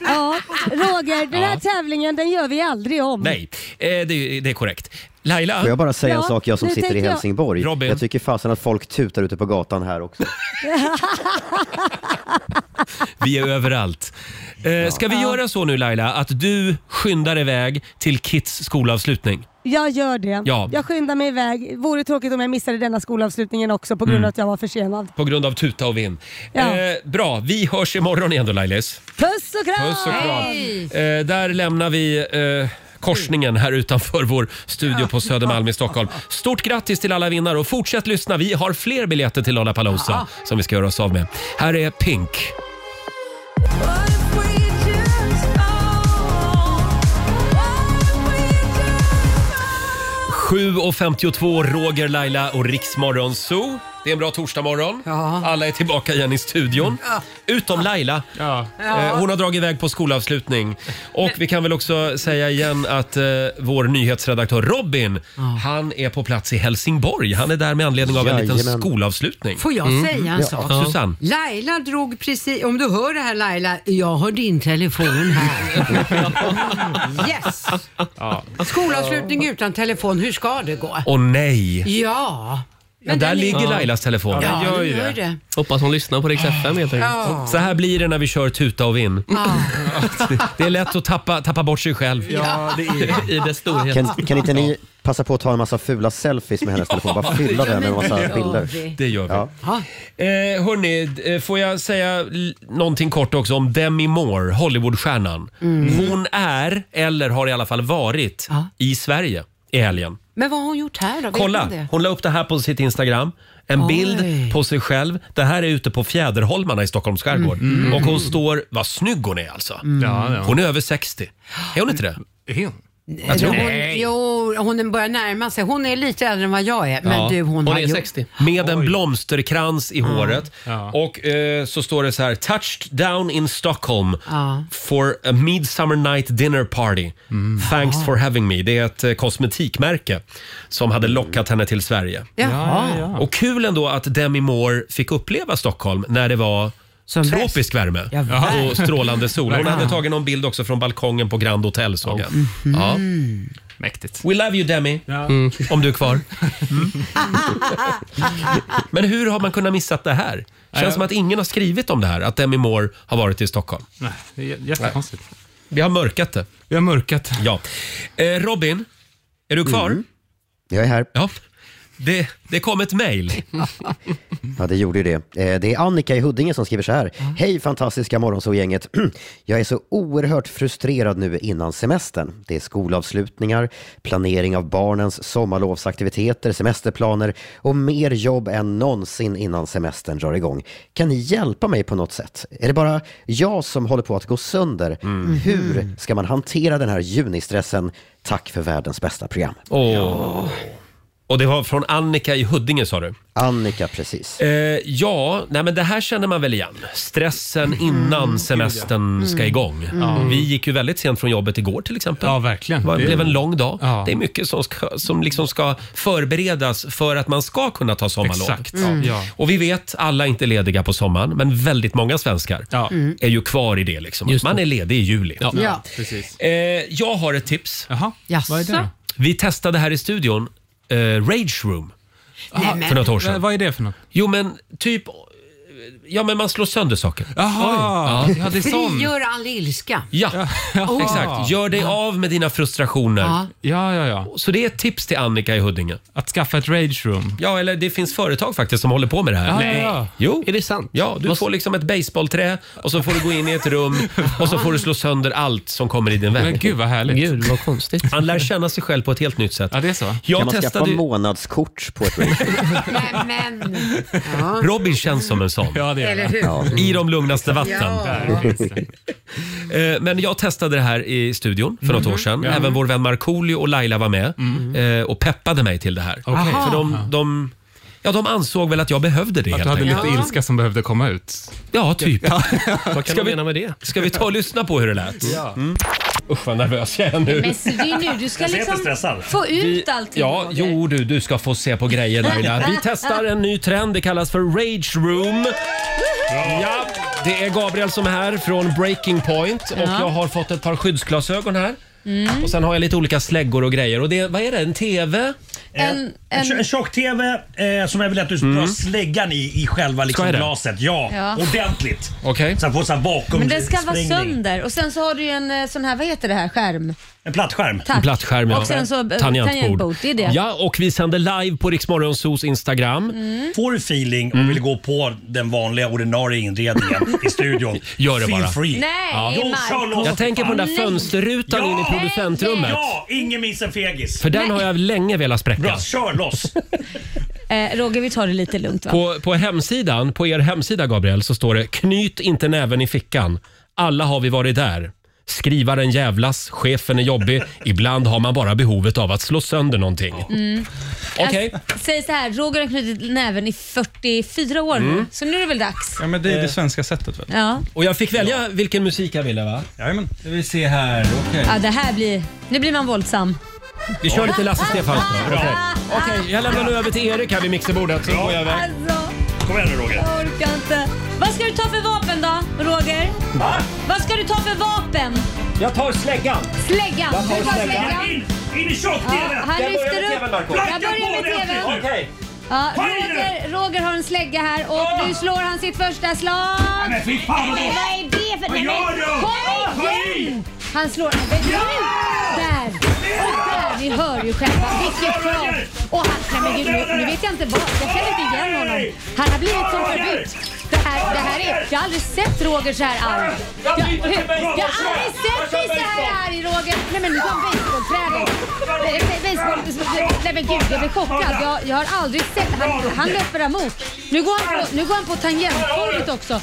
[SPEAKER 10] Ja, Roger, den här
[SPEAKER 1] Ja.
[SPEAKER 10] tävlingen den gör vi aldrig om.
[SPEAKER 1] Nej, eh, det, det är korrekt. Laila?
[SPEAKER 5] Får jag bara säga en
[SPEAKER 10] Ja,
[SPEAKER 5] sak, jag som
[SPEAKER 10] nu
[SPEAKER 5] sitter i
[SPEAKER 10] tänker jag-
[SPEAKER 5] Helsingborg. Jag tycker fasen att folk tutar ute på gatan här också.
[SPEAKER 1] Vi är överallt. Eh, ska vi göra så nu Laila, att du skyndar iväg till Kits skolavslutning?
[SPEAKER 10] Jag gör det.
[SPEAKER 1] Ja.
[SPEAKER 10] Jag skyndar mig iväg. Vore tråkigt om jag missade denna skolavslutningen också på grund av
[SPEAKER 1] Mm.
[SPEAKER 10] att jag var försenad.
[SPEAKER 1] På grund av tuta och vinn.
[SPEAKER 10] Ja.
[SPEAKER 1] Eh, bra, vi hörs imorgon igen då Lailis.
[SPEAKER 10] Puss och kram!
[SPEAKER 1] Puss och kram. Eh, där lämnar vi eh, korsningen här utanför vår studio på Södermalm i Stockholm. Stort grattis till alla vinnare och fortsätt lyssna. Vi har fler biljetter till Lollapalooza som vi ska göra oss av med. Här är Pink. Sju och 52, Roger, Laila och Riksmorgon Zoo. Det är en bra torsdagmorgon. Alla är tillbaka igen i studion. Utom Laila. Eh, Hon har dragit iväg på skolavslutning. Och vi kan väl också säga igen att eh, vår nyhetsredaktör Robin, han är på plats i Helsingborg. Han är där med anledning av en liten
[SPEAKER 6] Jajamän.
[SPEAKER 1] skolavslutning.
[SPEAKER 6] Får jag säga en sak?
[SPEAKER 1] Mm. Ja. Susanne.
[SPEAKER 6] Laila drog precis, om du hör det här Laila, jag har din telefon här. yes!
[SPEAKER 1] Ja.
[SPEAKER 6] Skolavslutning utan telefon, hur ska det gå?
[SPEAKER 1] Åh nej!
[SPEAKER 6] Ja.
[SPEAKER 1] Men där
[SPEAKER 6] den
[SPEAKER 1] ligger
[SPEAKER 6] är-
[SPEAKER 1] Lailas telefon.
[SPEAKER 6] Ja, den gör ju det.
[SPEAKER 1] Hoppas hon lyssnar på Rix FM helt
[SPEAKER 6] enkelt. Ja.
[SPEAKER 1] Så här blir det när vi kör tuta och vinn.
[SPEAKER 6] Ja.
[SPEAKER 1] Det är lätt att tappa, tappa bort sig själv.
[SPEAKER 6] Ja, det är det.
[SPEAKER 1] I dess storhet.
[SPEAKER 5] Kan, kan inte ni passa på att ta en massa fula selfies med hennes telefon? Bara fylla den med en massa bilder.
[SPEAKER 1] Det gör vi.
[SPEAKER 5] Ja.
[SPEAKER 1] Eh, hörni, eh, får jag säga l- någonting kort också om Demi Moore, Hollywoodstjärnan.
[SPEAKER 6] Mm.
[SPEAKER 1] Hon är, eller har i alla fall varit, i Sverige i helgen.
[SPEAKER 6] Men vad har hon gjort här då? Vet
[SPEAKER 1] Kolla,
[SPEAKER 6] man det?
[SPEAKER 1] hon la upp det här på sitt Instagram. En
[SPEAKER 6] Oj.
[SPEAKER 1] bild på sig själv. Det här är ute på Fjäderholmarna i Stockholms skärgård.
[SPEAKER 8] Mm.
[SPEAKER 1] Och hon står... Vad snygg hon är alltså.
[SPEAKER 8] Mm. Ja, ja.
[SPEAKER 1] Hon är över 60. Är hon inte det? Är hon? Jag tror
[SPEAKER 6] Hon, jo, hon börjar närma sig. Hon är lite äldre än vad jag är. Men
[SPEAKER 1] Ja.
[SPEAKER 6] du, hon, har gjort-
[SPEAKER 1] Med en blomsterkrans i håret. Och eh, så står det så här, touched down in Stockholm
[SPEAKER 6] Ja.
[SPEAKER 1] for a midsummer night dinner party. Thanks for having me. Det är ett eh, kosmetikmärke som hade lockat henne till Sverige.
[SPEAKER 6] Jaha. Ja, ja.
[SPEAKER 1] Och kul ändå att Demi Moore fick uppleva Stockholm när det var tropisk värme
[SPEAKER 6] verkligen.
[SPEAKER 1] och strålande sol. Hon hade
[SPEAKER 8] Ja.
[SPEAKER 1] tagit någon bild också från balkongen på Grand Hotel såg jag. Ja. Mäktigt. We love you Demi, Mm. om du är kvar. Mm. Men hur har man kunnat missa det här? Känns
[SPEAKER 8] jag-
[SPEAKER 1] som att ingen har skrivit om det här, att Demi Moore har varit i Stockholm.
[SPEAKER 8] Nej, det är jä- jättekonstigt.
[SPEAKER 1] Vi har mörkat det. Vi har mörkat Ja. Eh, Robin, är du kvar?
[SPEAKER 5] Mm. Jag är här.
[SPEAKER 1] Ja. Det, det kom ett mejl.
[SPEAKER 5] Ja, det gjorde ju det. Eh, Det är Annika i Huddinge som skriver så här. Hej fantastiska Morgonzoo-gänget. Jag är så oerhört frustrerad nu innan semestern. Det är skolavslutningar, planering av barnens sommarlovsaktiviteter, semesterplaner och mer jobb än någonsin innan semestern drar igång. Kan ni hjälpa mig på något sätt? Är det bara jag som håller på att gå sönder? Hur ska man hantera den här junistressen? Tack för världens bästa program.
[SPEAKER 1] Åh. Och det var från Annika i Huddinge sa du?
[SPEAKER 5] Annika, precis.
[SPEAKER 1] Eh, ja, nej men det här känner man väl igen. Stressen innan semestern
[SPEAKER 8] Mm.
[SPEAKER 1] ska igång.
[SPEAKER 8] Ja.
[SPEAKER 1] Vi gick ju väldigt sent från jobbet igår till exempel.
[SPEAKER 8] Ja, verkligen.
[SPEAKER 1] Det var-
[SPEAKER 8] Det-
[SPEAKER 1] blev en lång dag.
[SPEAKER 8] Ja.
[SPEAKER 1] Det är mycket som, ska, som liksom ska förberedas för att man ska kunna ta sommarlov.
[SPEAKER 8] Exakt, Mm. ja.
[SPEAKER 1] Och vi vet, alla är inte lediga på sommaren, men väldigt många svenskar
[SPEAKER 8] Mm.
[SPEAKER 1] är ju kvar i det. Liksom.
[SPEAKER 8] Just
[SPEAKER 1] man
[SPEAKER 8] det.
[SPEAKER 1] är ledig i juli.
[SPEAKER 8] Ja, Ja. precis.
[SPEAKER 1] Eh, jag har ett tips.
[SPEAKER 6] Jaså? Vad är det då?
[SPEAKER 1] Vi testade här i studion eh, Rage Room
[SPEAKER 6] Nej, men-
[SPEAKER 1] för något år sedan.
[SPEAKER 8] Vad
[SPEAKER 1] är det för något? Jo men typ... Ja men man slår sönder saker.
[SPEAKER 8] Jaha.
[SPEAKER 1] Oj.
[SPEAKER 8] Ja, det är sån.
[SPEAKER 6] Frigör all ilska.
[SPEAKER 1] Ja,
[SPEAKER 6] Ja.
[SPEAKER 1] exakt. Gör dig av med dina frustrationer.
[SPEAKER 6] Ja.
[SPEAKER 1] ja, ja, Så det är ett tips till Annika i Huddinge. Att skaffa ett rage room. Ja, eller det finns företag faktiskt som håller på med det här.
[SPEAKER 8] Ja, Nej. ja.
[SPEAKER 1] Jo. Är det sant? Ja, du får liksom ett baseballträ och så får du gå in i ett rum och så får du slå sönder allt som kommer i din väg.
[SPEAKER 8] Men gud, vad härligt.
[SPEAKER 1] Gud, vad konstigt. Han lär känna sig själv på ett helt nytt sätt. Ja, det är så. Jag
[SPEAKER 5] kan man skaffa
[SPEAKER 1] testade ju...
[SPEAKER 5] månadskort på ett
[SPEAKER 6] Men,
[SPEAKER 1] Robin känns som en sån. dem.
[SPEAKER 11] Ja, det gör Eller det. hur?
[SPEAKER 1] Ja. I de lugnaste vatten.
[SPEAKER 11] Ja.
[SPEAKER 1] Eh, Men jag testade det här i studion för något år sedan.
[SPEAKER 11] Mhm. Ja. Mm.
[SPEAKER 1] Även vår vän Markoolio och Laila var med eh, och peppade mig till det här.
[SPEAKER 11] Okej.
[SPEAKER 1] För de, de, ja, de ansåg väl att jag behövde det
[SPEAKER 11] Att
[SPEAKER 1] helt
[SPEAKER 11] du hade
[SPEAKER 1] enkelt.
[SPEAKER 11] lite ilska som behövde komma ut.
[SPEAKER 1] Ja, typ.
[SPEAKER 11] Vad
[SPEAKER 1] Ska vi- Ska vi ta och lyssna på hur det lät?
[SPEAKER 11] Ja.
[SPEAKER 1] Mm. Usch vad nervös jag är nu.
[SPEAKER 2] Men så det är nu du ska
[SPEAKER 1] Jag ser
[SPEAKER 2] liksom
[SPEAKER 1] inte stressad.
[SPEAKER 2] få ut
[SPEAKER 1] Vi-
[SPEAKER 2] allting.
[SPEAKER 1] Ja, jo du, du ska få se på grejer Laila. Vi testar en ny trend, det kallas för Rage Room. Ja, det är Gabriel som är här från Breaking Point och
[SPEAKER 2] Ja.
[SPEAKER 1] jag har fått ett par skyddsglasögon här.
[SPEAKER 2] Mm.
[SPEAKER 1] Och sen har jag lite olika släggor och grejer. Och det, vad är det? En TV?
[SPEAKER 2] En,
[SPEAKER 9] En, tjo- en tjock-TV eh, som jag vill att du ska
[SPEAKER 1] Mm.
[SPEAKER 9] dra släggan i, i själva liksom
[SPEAKER 1] jag det?
[SPEAKER 9] glaset. Ja,
[SPEAKER 2] Ja.
[SPEAKER 9] ordentligt.
[SPEAKER 1] Okej.
[SPEAKER 9] Så att få så här bakom
[SPEAKER 2] men den ska vara
[SPEAKER 9] sprängning.
[SPEAKER 2] sönder och sen så har du ju en eh, sån här, vad heter det här, skärm?
[SPEAKER 9] En plattskärm.
[SPEAKER 2] Tack.
[SPEAKER 1] En plattskärm, ja.
[SPEAKER 2] Och sen så, eh, tangentbord, det är det.
[SPEAKER 1] Ja, och vi sänder live på Riksmorgonsos Instagram.
[SPEAKER 2] Mm.
[SPEAKER 9] Får du feeling och vill gå på den vanliga ordinarie inredningen i studion.
[SPEAKER 1] Gör det
[SPEAKER 9] Feel
[SPEAKER 1] bara.
[SPEAKER 9] free.
[SPEAKER 2] Nej,
[SPEAKER 9] Jo, kör loss
[SPEAKER 1] Jag
[SPEAKER 9] för
[SPEAKER 1] tänker på
[SPEAKER 9] fan.
[SPEAKER 1] den där fönsterrutan in i producentrummet.
[SPEAKER 9] Ja, ingen minns en fegis.
[SPEAKER 1] För den har jag länge velat spräcka.
[SPEAKER 9] Bra, kör loss.
[SPEAKER 2] Eh, Roger, vi tar det lite lugnt va?
[SPEAKER 1] På, på hemsidan, på er hemsida Gabriel, så står det “Knyt inte näven i fickan. Alla har vi varit där. Skrivaren jävlas, chefen är jobbig. Ibland har man bara behovet av att slå sönder någonting.”
[SPEAKER 2] Mm.
[SPEAKER 1] Okej.
[SPEAKER 2] Jag säger så här, Roger har knutit näven i 44 år nu,
[SPEAKER 1] Mm.
[SPEAKER 2] så nu är det väl dags.
[SPEAKER 1] men det är
[SPEAKER 9] Eh.
[SPEAKER 1] det
[SPEAKER 11] svenska sättet väl?
[SPEAKER 2] Ja.
[SPEAKER 1] Och jag fick välja vilken musik jag ville va?
[SPEAKER 11] Jajamän. Vi vill se här. Okej.
[SPEAKER 2] ja, det här blir... Nu blir man våldsam.
[SPEAKER 1] Vi kör lite Lasse Stefanz. då. Okej, Okej, jag lämnar nu över till Erik här vid mixerbordet. Så går jag iväg.
[SPEAKER 2] Alltså,
[SPEAKER 1] Kom igen nu Roger.
[SPEAKER 2] jag orkar inte. Vad ska du ta för vapen då, Roger?
[SPEAKER 1] Va?
[SPEAKER 2] Vad ska du ta för vapen?
[SPEAKER 1] Jag tar släggan.
[SPEAKER 2] Släggan.
[SPEAKER 1] Jag tar
[SPEAKER 2] Du tar
[SPEAKER 1] släggan.
[SPEAKER 2] släggan.
[SPEAKER 9] In i
[SPEAKER 2] Ja, han lyfter upp. Jag börjar med tvn. Ja,
[SPEAKER 12] Kom igen nu.
[SPEAKER 2] Roger, Roger har en slägga här och nu slår han sitt första slag.
[SPEAKER 12] men fy fan, vad
[SPEAKER 2] Nej,
[SPEAKER 12] hårt.
[SPEAKER 2] vad är det för...
[SPEAKER 12] Vad
[SPEAKER 2] Nej,
[SPEAKER 12] gör
[SPEAKER 2] men-
[SPEAKER 12] du?
[SPEAKER 2] Kom
[SPEAKER 12] Ta
[SPEAKER 2] igen! Han slår... Men nu! Där! Och där! Ni hör ju själva. Vilket krav! Och han... Nej men gud, nu, nu vet jag inte vad. Jag känner inte igen honom. Han har blivit som förut. Det här, det här är... Jag har aldrig sett Roger så här arg. Jag, jag, jag har aldrig sett dig så här arg Roger. Nej men nu kom basebollträdet. Nej, nej, baseball- Nej men gud, jag blir chockad. Jag, jag har aldrig sett... Han, han löper emot. Nu går han på, nu går han på tangentbordet också.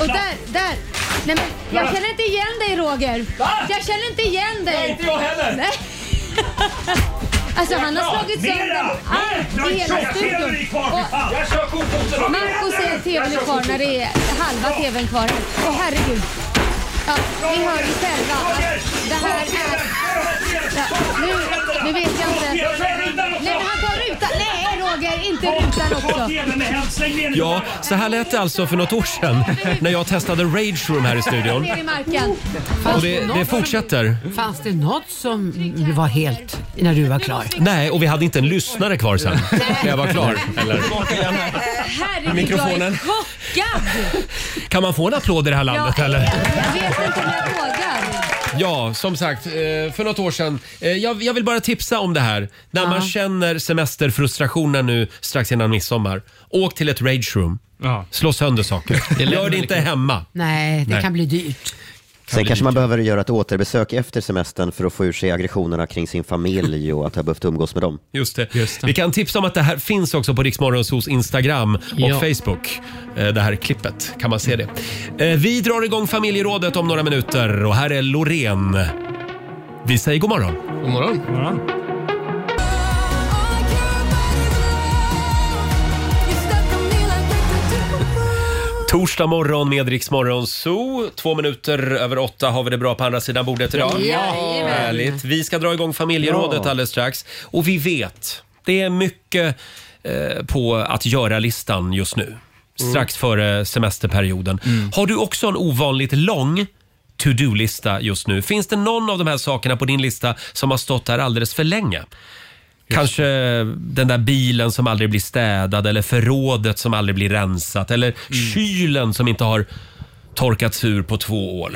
[SPEAKER 2] Och där, där. Nej men jag känner inte igen dig Roger. Jag känner inte igen dig. Nej, inte jag heller. Nej. Alltså han har slagit sönder allt i hela studion.
[SPEAKER 12] Jag kör kofoten
[SPEAKER 2] Och Marco säger att tvn är kvar när det är halva tvn kvar. Åh herregud. Ja, ni hör ju själva att det här är... Ja, nu, nu vet jag inte. Nej men han tar rutan. Nej Roger, inte rutan också.
[SPEAKER 1] Ja, så här lät det alltså för något år sedan när jag testade Rage Room här i studion.
[SPEAKER 2] Ner i marken.
[SPEAKER 1] Och det, det fortsätter.
[SPEAKER 6] Fanns det något som var helt när du var klar?
[SPEAKER 1] Nej, och vi hade inte en lyssnare kvar sen när jag var klar. Eller?
[SPEAKER 2] Herregud, jag är
[SPEAKER 1] Mikrofonen.
[SPEAKER 2] chockad.
[SPEAKER 1] Kan man få en applåd i det här landet
[SPEAKER 2] Ja,
[SPEAKER 1] eller?
[SPEAKER 2] Jag vet inte om jag vågar.
[SPEAKER 1] Ja, som sagt, eh, för något år sedan. Eh, Jag, jag vill bara tipsa om det här. När
[SPEAKER 2] Ja.
[SPEAKER 1] man känner semesterfrustrationen nu strax innan midsommar. Åk till ett rage room. Slå sönder saker. Gör det inte hemma.
[SPEAKER 6] Nej, det
[SPEAKER 1] Nej.
[SPEAKER 6] kan bli dyrt.
[SPEAKER 5] Sen kanske man behöver göra ett återbesök efter semestern för att få ur sig aggressionerna kring sin familj och att ha behövt umgås med dem.
[SPEAKER 1] Just det. Vi kan tipsa om att det här finns också på Riksmorgonsos Instagram och
[SPEAKER 5] Ja.
[SPEAKER 1] Facebook. Eh, Det här klippet kan man se det. Eh, Vi drar igång familjerådet om några minuter och här är Loreen. Vi säger god morgon. God morgon. God morgon. Torsdag morgon med Rix Morgon Zoo. Två minuter över åtta har vi det bra på andra sidan bordet idag.
[SPEAKER 12] Jajamän.
[SPEAKER 1] Härligt. Vi ska dra igång familjerådet
[SPEAKER 12] Ja.
[SPEAKER 1] alldeles strax. Och vi vet, det är mycket eh, på att göra-listan just nu.
[SPEAKER 5] Mm.
[SPEAKER 1] Strax före semesterperioden. Har du också en ovanligt lång to-do-lista just nu? Finns det någon av de här sakerna på din lista som har stått där alldeles för länge? Kanske den där bilen som aldrig blir städad eller förrådet som aldrig blir rensat eller
[SPEAKER 5] Mm.
[SPEAKER 1] kylen som inte har torkats ur på två år.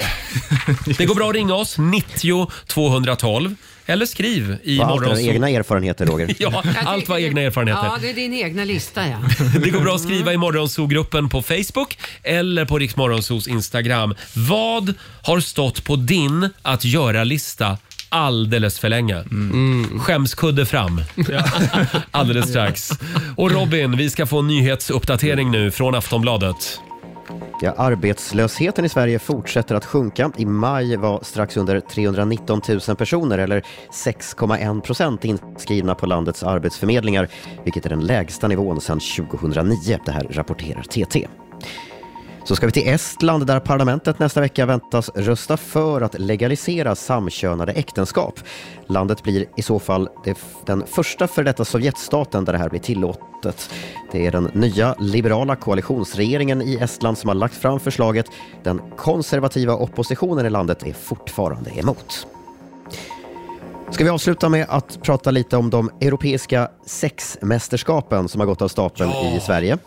[SPEAKER 1] Det går bra att ringa oss, 90 212 eller skriv i
[SPEAKER 5] Vad allt dina
[SPEAKER 1] morgonso...
[SPEAKER 5] egna erfarenheter, Roger.
[SPEAKER 1] Ja, allt var egna erfarenheter.
[SPEAKER 6] Ja, det är din egna lista ja.
[SPEAKER 1] Det går bra att skriva i Morgonzoo-gruppen på Facebook eller på Riksmorgonzoos Instagram. Vad har stått på din att göra-lista alldeles för länge. Skämskudde fram. alldeles strax. Och Robin, vi ska få en nyhetsuppdatering nu från Aftonbladet.
[SPEAKER 5] Ja, arbetslösheten i Sverige fortsätter att sjunka. I maj var strax under 319 000 personer, eller 6,1 procent, inskrivna på landets arbetsförmedlingar, vilket är den lägsta nivån sedan 2009. Det här rapporterar TT. Så ska vi till Estland där parlamentet nästa vecka väntas rösta för att legalisera samkönade äktenskap. Landet blir i så fall det- den första för detta Sovjetstaten där det här blir tillåtet. Det är den nya liberala koalitionsregeringen i Estland som har lagt fram förslaget. Den konservativa oppositionen i landet är fortfarande emot. Ska vi avsluta med att prata lite om de europeiska sexmästerskapen som har gått av stapeln i Sverige.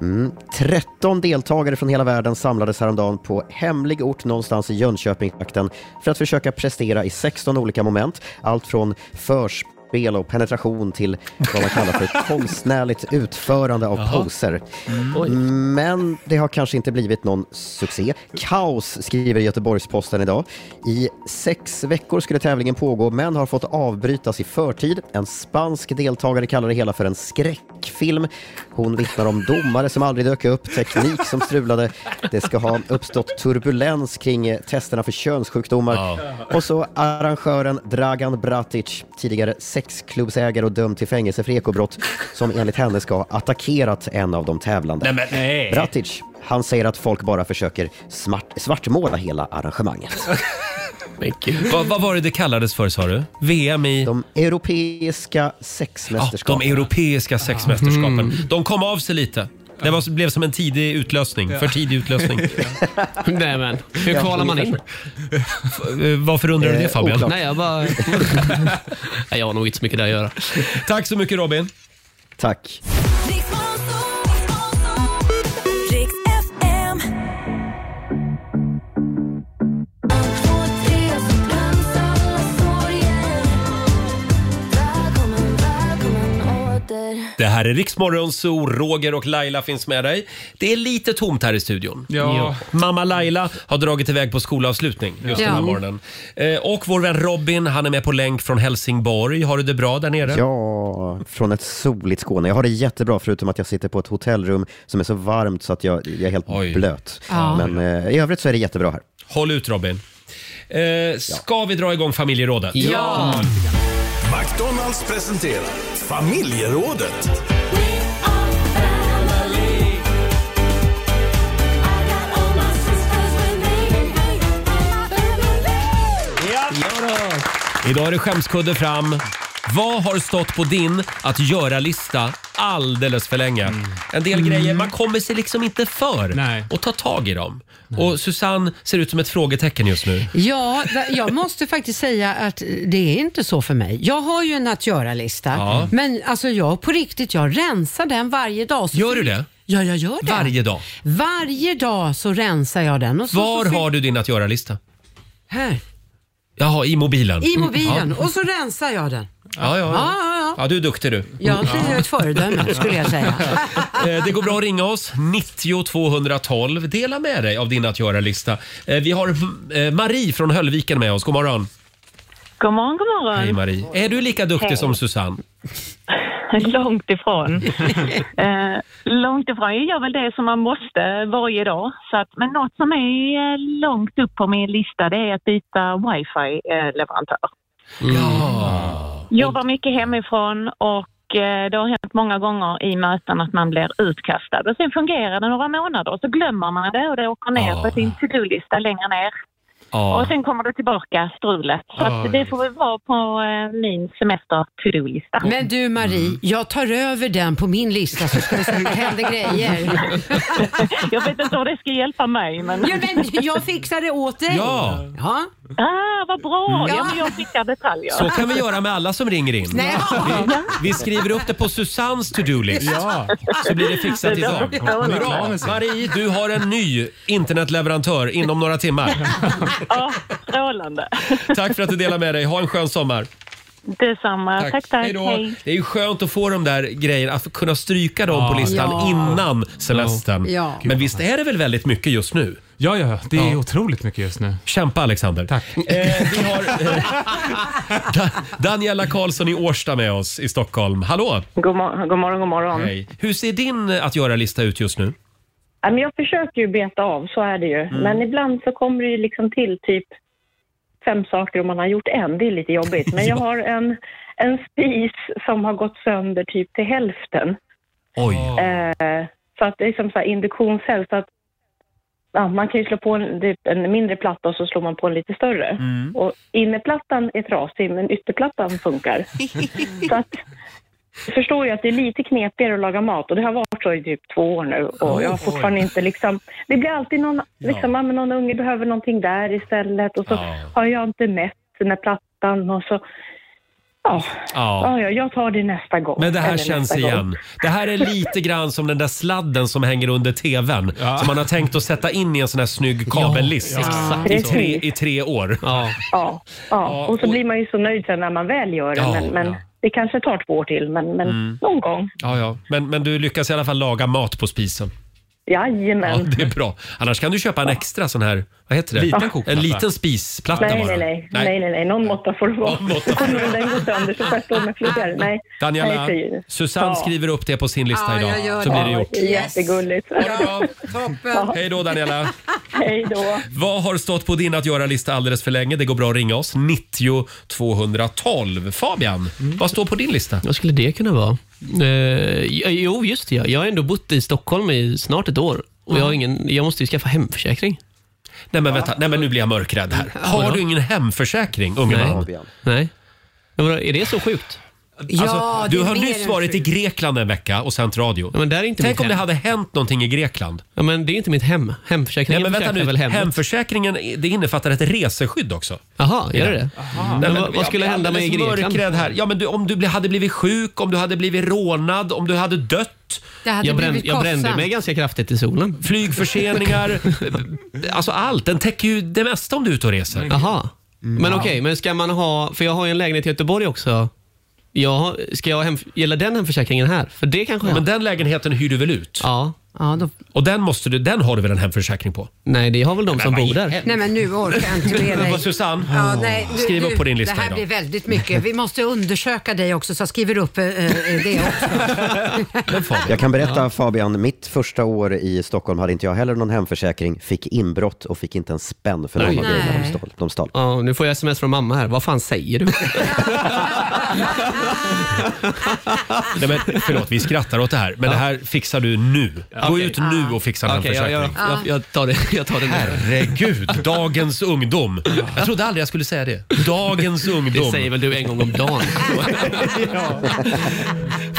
[SPEAKER 5] Mm. 13 deltagare från hela världen samlades häromdagen på hemlig ort någonstans i Jönköpingstrakten för att försöka prestera i 16 olika moment. Allt från förspel och penetration till vad man kallar för konstnärligt utförande av
[SPEAKER 7] Jaha.
[SPEAKER 5] poser.
[SPEAKER 7] Mm. Oj.
[SPEAKER 5] Men det har kanske inte blivit någon succé. Kaos, skriver Göteborgs-Posten idag. I sex veckor skulle tävlingen pågå, men har fått avbrytas i förtid. En spansk deltagare kallar det hela för en skräckfilm. Hon vittnar om domare som aldrig dök upp, teknik som strulade. Det ska ha uppstått turbulens kring eh, testerna för könssjukdomar. Och så arrangören Dragan Bratic, tidigare sexklubbsägare och dömd till fängelse för ekobrott, som enligt henne ska ha attackerat en av de tävlande.
[SPEAKER 1] Nej, men nej.
[SPEAKER 5] Bratic, han säger att folk bara försöker smart, svartmåla hela arrangemanget.
[SPEAKER 1] Vad, vad var det det kallades för sa du? VM i?
[SPEAKER 5] De europeiska sexmästerskapen.
[SPEAKER 1] Ja, de europeiska sexmästerskapen. De kom av sig lite. Det var, blev som en tidig utlösning. För tidig utlösning.
[SPEAKER 9] Nej men, hur
[SPEAKER 1] Ja,
[SPEAKER 9] kvalar man in?
[SPEAKER 1] ungefär Eh, Varför undrar du det Fabian?
[SPEAKER 9] Nej, jag bara... Nej, jag har nog inte så mycket där att göra.
[SPEAKER 1] Tack så mycket Robin.
[SPEAKER 5] Tack.
[SPEAKER 7] Rix FM. Två, tre, så blandas alla sorger. Välkommen, välkommen åter.
[SPEAKER 1] Det här är Riksmorgon Zoo. Roger och Laila finns med dig. Det är lite tomt här i studion.
[SPEAKER 8] Ja.
[SPEAKER 1] Mamma Laila har dragit iväg på skolavslutning just den här
[SPEAKER 8] Ja.
[SPEAKER 1] morgonen. Eh, och vår vän Robin, han är med på länk från Helsingborg. Har du det bra där nere?
[SPEAKER 5] Ja, från ett soligt Skåne. Jag har det jättebra förutom att jag sitter på ett hotellrum som är så varmt så att jag, jag är helt blöt.
[SPEAKER 1] Ja.
[SPEAKER 5] Men eh, i övrigt så är det jättebra här.
[SPEAKER 1] Håll ut Robin. Eh, ska vi dra igång familjerådet?
[SPEAKER 3] Ja. McDonalds presenterar familjerådet.
[SPEAKER 1] Idag är det skämskudde fram. Vad har stått på din att göra-lista alldeles för länge? En del grejer man kommer sig liksom inte för och ta tag i dem. Och Susanne ser ut som ett frågetecken just nu.
[SPEAKER 6] Ja, va- jag måste faktiskt säga att det är inte så för mig. Jag har ju en att göra-lista,
[SPEAKER 1] Ja.
[SPEAKER 6] men alltså jag på riktigt, jag rensar den varje dag. Så
[SPEAKER 1] Gör du det?
[SPEAKER 6] Ja, jag gör det.
[SPEAKER 1] Varje dag?
[SPEAKER 6] Varje dag så rensar jag den. Och så,
[SPEAKER 1] Var
[SPEAKER 6] så,
[SPEAKER 1] har du din att göra-lista?
[SPEAKER 6] Här,
[SPEAKER 1] Jaha, i mobilen.
[SPEAKER 6] i mobilen.
[SPEAKER 1] Mm, Ja.
[SPEAKER 6] Och så rensar jag den.
[SPEAKER 1] Ja, Ah, ja,
[SPEAKER 6] Ja,
[SPEAKER 1] ja.
[SPEAKER 6] ja, ja.
[SPEAKER 1] ja, du är duktig du.
[SPEAKER 6] Jag är ett
[SPEAKER 1] Mm.
[SPEAKER 6] föredöme skulle jag säga.
[SPEAKER 1] Eh, Det går bra att ringa oss, 90 212. Dela med dig av din att göra-lista. Eh, Vi har eh, Marie från Höllviken med oss. God morgon.
[SPEAKER 13] God morgon, god morgon.
[SPEAKER 1] Hej Marie. Är du lika duktig
[SPEAKER 13] Hej.
[SPEAKER 1] som Susanne?
[SPEAKER 13] Långt ifrån. eh, långt ifrån. Jag gör väl det som man måste varje dag. Så att, men något som är eh, långt upp på min lista det är att byta eh, wifi-leverantör.
[SPEAKER 1] Ja.
[SPEAKER 13] Jobbar mycket hemifrån och eh, det har hänt många gånger i möten att man blir utkastad. Och sen fungerar det några månader och så glömmer man det och det åker ner på sin to-do-lista längre ner.
[SPEAKER 1] Ja.
[SPEAKER 9] Ah.
[SPEAKER 13] Och sen kommer det tillbaka, strulet. Så
[SPEAKER 6] Ja,
[SPEAKER 13] att det
[SPEAKER 6] ja.
[SPEAKER 13] får väl vara på eh, min semester to-do-lista.
[SPEAKER 6] Men du
[SPEAKER 1] Mm.
[SPEAKER 6] Marie, jag tar över den på min lista så ska vi se om det händer grejer.
[SPEAKER 13] jag vet inte om det ska hjälpa mig men...
[SPEAKER 6] Ja, men jag fixar det åt dig.
[SPEAKER 1] Ja.
[SPEAKER 6] ja.
[SPEAKER 13] Ah, vad bra!
[SPEAKER 6] Mm.
[SPEAKER 13] Ja, men jag skickar detaljer.
[SPEAKER 1] Så kan vi göra med alla som ringer in.
[SPEAKER 13] Nej.
[SPEAKER 1] Vi, vi skriver upp det på Susannes to-do-list.
[SPEAKER 13] Ja.
[SPEAKER 1] Så blir det fixat
[SPEAKER 13] Det låter
[SPEAKER 1] idag.
[SPEAKER 13] strålande.
[SPEAKER 1] Bra! Marie, du har en ny internetleverantör inom några timmar.
[SPEAKER 13] Ja, strålande.
[SPEAKER 1] Tack för att du delar med dig. Ha en skön sommar.
[SPEAKER 13] Detsamma. Tack, tack.
[SPEAKER 1] Hej då.
[SPEAKER 4] Mm.
[SPEAKER 13] Hej.
[SPEAKER 1] Det är ju skönt att få de där grejerna, att kunna stryka dem
[SPEAKER 8] Ja.
[SPEAKER 1] på listan
[SPEAKER 8] Ja.
[SPEAKER 1] innan semestern.
[SPEAKER 8] Ja.
[SPEAKER 1] Men visst är det väl väldigt mycket just nu?
[SPEAKER 14] Ja, ja, ja. det är otroligt mycket just nu.
[SPEAKER 1] Kämpa Alexander. Eh,
[SPEAKER 14] Tack.
[SPEAKER 1] vi har... Da Daniela Karlsson i Årsta med oss i Stockholm. Hallå!
[SPEAKER 4] God, mor- god morgon, god morgon.
[SPEAKER 1] Hej. Hur ser din att göra-lista ut just nu?
[SPEAKER 4] Ja, men jag försöker ju beta av, så är det ju.
[SPEAKER 1] Mm.
[SPEAKER 4] Men ibland så kommer det ju liksom till typ fem saker och man har gjort en. Det är lite jobbigt. Men jag
[SPEAKER 15] Ja.
[SPEAKER 4] har en, en spis som har gått sönder typ till hälften.
[SPEAKER 1] Oj.
[SPEAKER 4] Eh, så att det är som så här induktionshäll. Så att, ja, man kan ju slå på en, typ en mindre platta och så slår man på en lite större.
[SPEAKER 16] Mm.
[SPEAKER 4] Och innerplattan är trasig, men ytterplattan funkar. så att, jag förstår ju att det är lite knepigare att laga mat och det har varit så i typ två år nu. Och jag har
[SPEAKER 16] Oj.
[SPEAKER 4] fortfarande inte liksom... Det blir alltid någon, liksom, ja. men någon unge behöver någonting där istället och så
[SPEAKER 16] Ja.
[SPEAKER 4] har jag inte mätt den här plattan och så... Ja, ja. ja jag tar det nästa gång.
[SPEAKER 1] Men det här
[SPEAKER 4] Eller
[SPEAKER 1] känns
[SPEAKER 4] nästa gång.
[SPEAKER 1] igen. Det här är lite grann som den där sladden som hänger under tvn. Som man har tänkt att sätta in i en sån här snygg kabellist.
[SPEAKER 4] Ja, ja.
[SPEAKER 1] I,
[SPEAKER 4] Precis.
[SPEAKER 1] tre, I tre år.
[SPEAKER 4] Ja, ja. och så blir man ju så nöjd sen när man väl gör det.
[SPEAKER 1] Ja,
[SPEAKER 4] men men det kanske tar två år till, men, men
[SPEAKER 1] Mm.
[SPEAKER 4] någon gång.
[SPEAKER 1] Ja, ja. Men, men du lyckas i alla fall laga mat på spisen.
[SPEAKER 4] Jajamän.
[SPEAKER 1] Ja, det är bra. Annars kan du köpa en extra sån här, vad heter det?
[SPEAKER 4] Liten kokplatta.
[SPEAKER 1] En liten spisplatta
[SPEAKER 4] nej,
[SPEAKER 1] bara.
[SPEAKER 4] nej, nej, nej, nej, nej, någon måtta får det vara. Kommer den gå sönder så får jag stå med flugan. Nej. Nej,
[SPEAKER 1] Daniela,
[SPEAKER 4] säger du.
[SPEAKER 1] Susanne
[SPEAKER 4] Ja.
[SPEAKER 1] skriver upp det på sin lista
[SPEAKER 4] Ja, jag
[SPEAKER 1] idag.
[SPEAKER 4] gör
[SPEAKER 1] Så
[SPEAKER 4] det.
[SPEAKER 1] blir det gjort.
[SPEAKER 4] Ja, Jättegulligt.
[SPEAKER 6] Toppen.
[SPEAKER 1] Hej då Daniela.
[SPEAKER 4] Hej då.
[SPEAKER 1] Vad har stått på din att göra-lista alldeles för länge? Det går bra att ringa oss. 90 212. Fabian,
[SPEAKER 9] Mm.
[SPEAKER 1] vad står på din lista?
[SPEAKER 9] Vad skulle det kunna vara? Eh, jo, just det. ja. Jag har ändå bott i Stockholm i snart ett år. Och jag, har ingen, jag måste ju skaffa hemförsäkring.
[SPEAKER 1] Nej men vänta, nej men nu blir jag mörkrädd här. Har du ingen hemförsäkring, unge
[SPEAKER 9] Nej.
[SPEAKER 1] man?
[SPEAKER 9] Nej. Men vadå, är det så sjukt?
[SPEAKER 1] Alltså, du har nyss varit i Grekland en vecka och sänt radio.
[SPEAKER 9] Ja, men där är inte
[SPEAKER 1] Tänk
[SPEAKER 9] mitt
[SPEAKER 1] om det
[SPEAKER 9] hem.
[SPEAKER 1] hade hänt någonting i Grekland.
[SPEAKER 9] Ja, men det är inte mitt hem.
[SPEAKER 1] Nej,
[SPEAKER 9] Hemförsäkringen
[SPEAKER 1] men vänta
[SPEAKER 9] försäkrar
[SPEAKER 1] nu.
[SPEAKER 9] väl hemmet?
[SPEAKER 1] Hemförsäkringen det innefattar ett reseskydd också.
[SPEAKER 9] Jaha, gör det det?
[SPEAKER 1] Nej,
[SPEAKER 9] Men
[SPEAKER 1] men
[SPEAKER 9] vad-
[SPEAKER 1] jag
[SPEAKER 9] vad skulle
[SPEAKER 1] blir
[SPEAKER 9] hända med i
[SPEAKER 1] alldeles
[SPEAKER 9] Grekland?
[SPEAKER 1] mörkrädd Här. Ja, men du, om du bli- hade blivit sjuk, om du hade blivit rånad, om du hade dött.
[SPEAKER 6] Det hade Jag brän- blivit jag brände kostsamt. mig
[SPEAKER 9] ganska kraftigt i solen.
[SPEAKER 1] Flygförseningar, alltså allt. Den täcker ju det mesta om du är ute och reser.
[SPEAKER 9] Jaha.
[SPEAKER 1] Mm.
[SPEAKER 9] Men okej, men ska man ha... För jag har ju en lägenhet i Göteborg också. Jag, har- ska jag hem, gälla den hemförsäkringen här? För det kanske
[SPEAKER 1] Men den lägenheten hyr du väl ut?
[SPEAKER 9] Ja.
[SPEAKER 6] ja
[SPEAKER 1] Och den, måste du, den har du väl en hemförsäkring på?
[SPEAKER 9] Nej, det har väl de som bor där.
[SPEAKER 6] Nej men nu orkar jag inte med dig.
[SPEAKER 1] Vad, Susanne?
[SPEAKER 6] Ja, nej, du,
[SPEAKER 1] Skriv
[SPEAKER 6] du,
[SPEAKER 1] upp på din lista
[SPEAKER 6] Det här
[SPEAKER 1] idag.
[SPEAKER 6] blir väldigt mycket. Vi måste undersöka dig också så jag skriver upp eh, eh, det också.
[SPEAKER 5] Jag kan berätta Fabian, mitt första år i Stockholm hade inte jag heller någon hemförsäkring, fick inbrott och fick inte en spänn för någon
[SPEAKER 9] Nej.
[SPEAKER 5] av grejerna de
[SPEAKER 9] Nej.
[SPEAKER 5] stal. De stal.
[SPEAKER 9] Ja, nu får jag sms från mamma här. Vad fan säger du?
[SPEAKER 1] Nej, men, förlåt, vi skrattar åt det här. Men det här fixar du nu. Gå
[SPEAKER 9] Okej.
[SPEAKER 1] ut nu och fixa en
[SPEAKER 9] Okej, jag-
[SPEAKER 1] hemförsäkring.
[SPEAKER 9] jag- jag- jag tar det- jag tar det nu.
[SPEAKER 1] Herregud, dagens ungdom. Jag trodde aldrig jag skulle säga det. Dagens ungdom.
[SPEAKER 9] Det säger väl du en gång om dagen.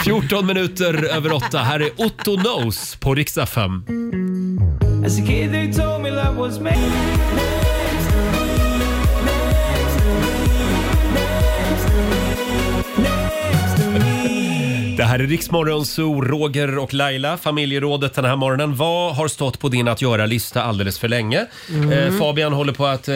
[SPEAKER 1] 14 minuter över 8. Här är Otto Knows på riksdag 5.
[SPEAKER 16] As a kid they told me love was made
[SPEAKER 1] Det här är Riksmorgon Zoo, Roger och Laila, familjerådet den här morgonen. Vad har stått på din att göra-lista alldeles för länge?
[SPEAKER 9] Mm.
[SPEAKER 1] Eh, Fabian håller på att eh,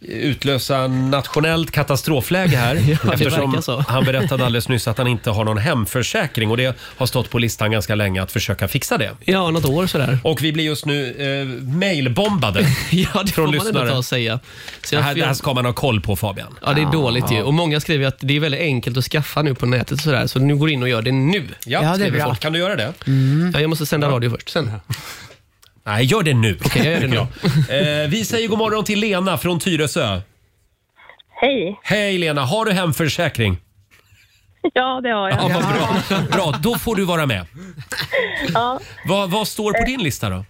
[SPEAKER 1] utlösa nationellt katastrofläge här
[SPEAKER 9] det verkar
[SPEAKER 1] eftersom
[SPEAKER 9] så.
[SPEAKER 1] han berättade alldeles nyss att han inte har någon hemförsäkring och det har stått på listan ganska länge att försöka fixa det.
[SPEAKER 9] Ja, något år sådär.
[SPEAKER 1] Och vi blir just nu eh, mailbombade
[SPEAKER 9] ja,
[SPEAKER 1] från
[SPEAKER 9] det får man ändå
[SPEAKER 1] lyssnare.
[SPEAKER 9] ta och säga. Så
[SPEAKER 1] det,
[SPEAKER 9] jag-
[SPEAKER 1] här, det här ska man ha koll på Fabian.
[SPEAKER 9] Ja, det är dåligt ju.
[SPEAKER 1] Ja.
[SPEAKER 9] Och många skriver ju att det är väldigt enkelt att skaffa nu på nätet och sådär, så nu går in och gör det nu.
[SPEAKER 1] Ja, det är bra. Kan du göra det?
[SPEAKER 9] Ja, jag måste sända radio först. Sen.
[SPEAKER 1] Nej, gör det nu. Okej,
[SPEAKER 9] jag gör det nu.
[SPEAKER 1] Eh, vi säger god morgon till Lena från Tyresö.
[SPEAKER 17] Hej.
[SPEAKER 1] Hej Lena, har du hemförsäkring?
[SPEAKER 17] Ja, det har jag.
[SPEAKER 1] Ja, vad bra. bra, då får du vara med.
[SPEAKER 17] Ja,
[SPEAKER 1] Vad, vad står på din lista då?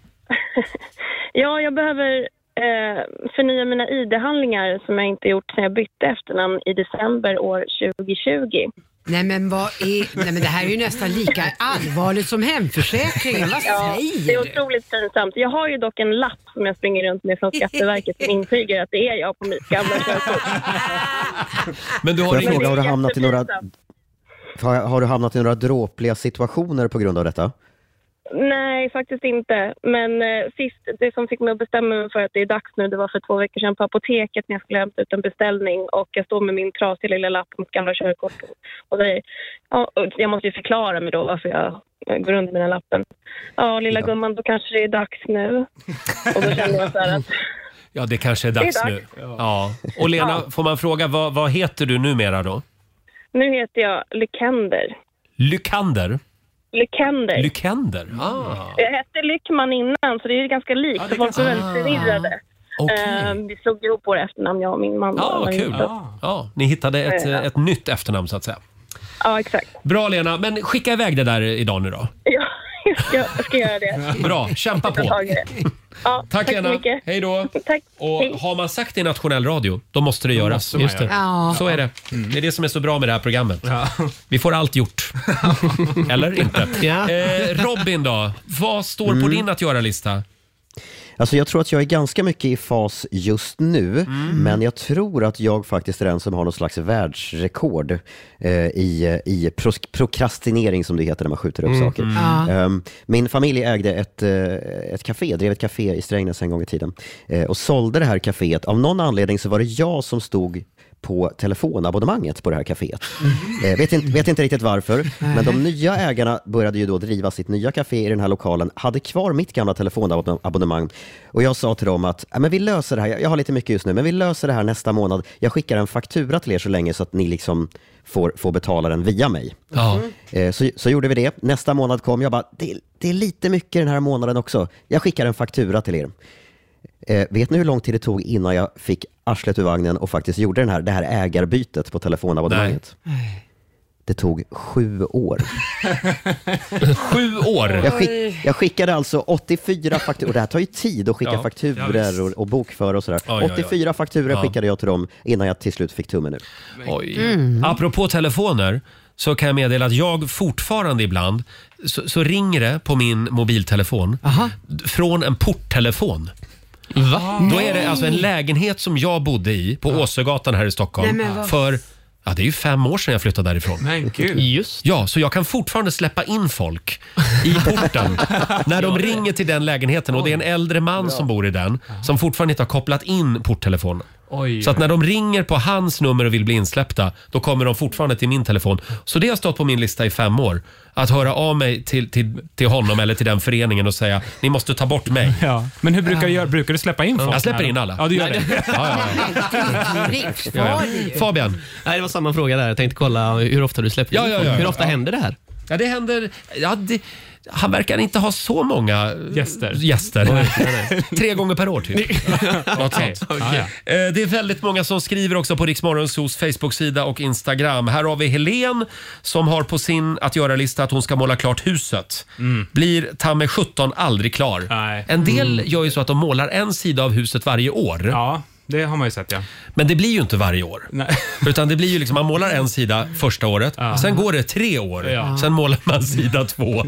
[SPEAKER 17] ja jag behöver eh, förnya mina ID-handlingar som jag inte gjort sedan jag bytte efternamn i december år 2020.
[SPEAKER 6] Nej men vad är... Nej men det här är ju nästan lika allvarligt som hemförsäkringen. Vad
[SPEAKER 17] Det är
[SPEAKER 6] säger du?
[SPEAKER 17] otroligt pinsamt. Jag har ju dock en lapp som jag springer runt med från Skatteverket som intygar att det är jag på mitt gamla körkort.
[SPEAKER 1] Men du
[SPEAKER 5] Får jag fråga, har du, hamnat i några,
[SPEAKER 17] jättepinsamt.
[SPEAKER 5] har, har du hamnat i några dråpliga situationer på grund av detta?
[SPEAKER 18] Nej, faktiskt inte. Men eh, sist, det som fick mig att bestämma mig för att det är dags nu, det var för två veckor sedan på apoteket när jag skulle hämta ut en beställning och jag står med min trasiga lilla lapp mot gamla körkort och säger, ja, och jag måste ju förklara mig då varför jag eh, går runt med den här lappen. Ja, lilla gumman, då kanske det är dags nu. Och då kände jag så här att
[SPEAKER 1] Ja, det kanske är dags,
[SPEAKER 18] Det är
[SPEAKER 1] nu.
[SPEAKER 18] dags.
[SPEAKER 1] Ja. Och Lena, får man fråga, vad, vad heter du numera då?
[SPEAKER 18] nu heter jag Lykander.
[SPEAKER 1] Lykander?
[SPEAKER 18] Lykander.
[SPEAKER 1] Lykander? Ah.
[SPEAKER 18] Jag hette Lyckman innan, så det är ganska likt. så folk blev väldigt förvirrade. Eh, vi slog ihop våra efternamn, jag och min man.
[SPEAKER 1] Ja, vad kul. Ja, ni hittade ett,
[SPEAKER 18] Ja.
[SPEAKER 1] ett nytt efternamn så att säga.
[SPEAKER 18] Ja, exakt.
[SPEAKER 1] Bra Lena, men skicka iväg det där idag nu då.
[SPEAKER 18] Ja, jag ska, jag ska göra det.
[SPEAKER 1] Bra, kämpa
[SPEAKER 18] Jag tar
[SPEAKER 1] på.
[SPEAKER 18] tag i det. Ja,
[SPEAKER 1] Tack,
[SPEAKER 18] tack
[SPEAKER 1] Lena.
[SPEAKER 18] så mycket.
[SPEAKER 1] Hej då.
[SPEAKER 18] Tack.
[SPEAKER 1] Och
[SPEAKER 18] Hej.
[SPEAKER 1] har man sagt det i nationell radio, då måste det göras.
[SPEAKER 8] man
[SPEAKER 1] Just det.
[SPEAKER 8] göra det. Ja.
[SPEAKER 1] Så är det. Det är det som är så bra med det här programmet. Vi får allt gjort. Eller inte. Eh, Robin då, vad står på
[SPEAKER 5] Mm.
[SPEAKER 1] din att göra-lista?
[SPEAKER 5] Alltså jag tror att jag är ganska mycket i fas just nu,
[SPEAKER 1] Mm.
[SPEAKER 5] men jag tror att jag faktiskt är den som har någon slags världsrekord eh, i, i pros- prokrastinering, som det heter när man skjuter upp
[SPEAKER 19] Mm.
[SPEAKER 5] saker.
[SPEAKER 19] Mm. Ja.
[SPEAKER 5] Ehm, min familj ägde ett, eh, ett café, drev ett café i Strängnäs en gång i tiden eh, och sålde det här caféet. Av någon anledning så var det jag som stod på telefonabonnemanget på det här caféet. Eh, vet, inte, vet inte riktigt varför, men de nya ägarna började ju då driva sitt nya café i den här lokalen, hade kvar mitt gamla telefonabonnemang och jag sa till dem att "Ja, men vi löser det här, jag jag har lite mycket just nu, men vi löser det här nästa månad. Jag skickar en faktura till er så länge så att ni liksom får, får betala den via mig.
[SPEAKER 1] Ja.
[SPEAKER 5] Eh, Så, så gjorde vi det. Nästa månad kom jag bara, det, det är lite mycket den här månaden också. Jag skickar en faktura till er. Eh, vet ni hur lång tid det tog innan jag fick arslet ur vagnen och faktiskt gjorde den här, det här ägarbytet på telefonabonnemanget? Det tog sju år.
[SPEAKER 1] Sju år?
[SPEAKER 5] Jag, skick, jag skickade alltså 84 fakturor. Det här tar ju tid att skicka
[SPEAKER 1] Ja, ja, visst.
[SPEAKER 5] fakturor och, och bokföra och sådär.
[SPEAKER 1] Oj, oj, oj.
[SPEAKER 5] 84 fakturor
[SPEAKER 1] Ja.
[SPEAKER 5] skickade jag till dem innan jag till slut fick tummen ur.
[SPEAKER 1] Oj.
[SPEAKER 9] Mm.
[SPEAKER 1] Apropå telefoner så kan jag meddela att jag fortfarande ibland så, så ringer det på min mobiltelefon d- från en porttelefon.
[SPEAKER 9] Ah.
[SPEAKER 1] Va? Då är det alltså en lägenhet som jag bodde i på Åsögatan här i Stockholm
[SPEAKER 9] Nej, men vad-
[SPEAKER 1] för Ja, det är ju fem år sedan jag flyttade därifrån.
[SPEAKER 8] Men gud.
[SPEAKER 1] Just. Ja, så jag kan fortfarande släppa in folk i porten när de ringer till den lägenheten och det är en äldre man som bor i den som fortfarande inte har kopplat in porttelefonen.
[SPEAKER 8] Oj.
[SPEAKER 1] Så att när de ringer på hans nummer och vill bli insläppta, då kommer de fortfarande till min telefon. Så det har stått på min lista i fem år. Att höra av mig till, till, till honom eller till den föreningen och säga ni måste ta bort mig.
[SPEAKER 8] Men hur brukar du göra? Brukar du släppa in folk?
[SPEAKER 1] Jag släpper
[SPEAKER 8] här då?
[SPEAKER 1] in alla.
[SPEAKER 8] Ja, du gör
[SPEAKER 1] Nej,
[SPEAKER 8] det.
[SPEAKER 1] Ja, ja, Ja, ja. Fabian?
[SPEAKER 9] Nej, det var samma fråga där. Jag tänkte kolla hur ofta du släpper
[SPEAKER 1] Ja,
[SPEAKER 9] in
[SPEAKER 1] ja,
[SPEAKER 9] folk.
[SPEAKER 1] ja, ja.
[SPEAKER 9] Hur ofta
[SPEAKER 1] Ja.
[SPEAKER 9] händer det här?
[SPEAKER 1] Ja, det händer... Ja, det, han verkar inte ha så många eh, gäster. Tre gånger per år typ. Något sånt. Eh, Det är väldigt många som skriver också på Riksmorgonsos Facebook-sida och Instagram. Här har vi Helen som har på sin att göra-lista att hon ska måla klart huset. Blir ta mig 17 aldrig klar. En del gör ju så att de målar en sida av huset varje år.
[SPEAKER 8] Ja, det har man ju sett ja.
[SPEAKER 1] Men det blir ju inte varje år. Utan det blir ju liksom, man målar en sida första året, sen går det tre år,
[SPEAKER 6] Ja.
[SPEAKER 1] sen målar man sida två.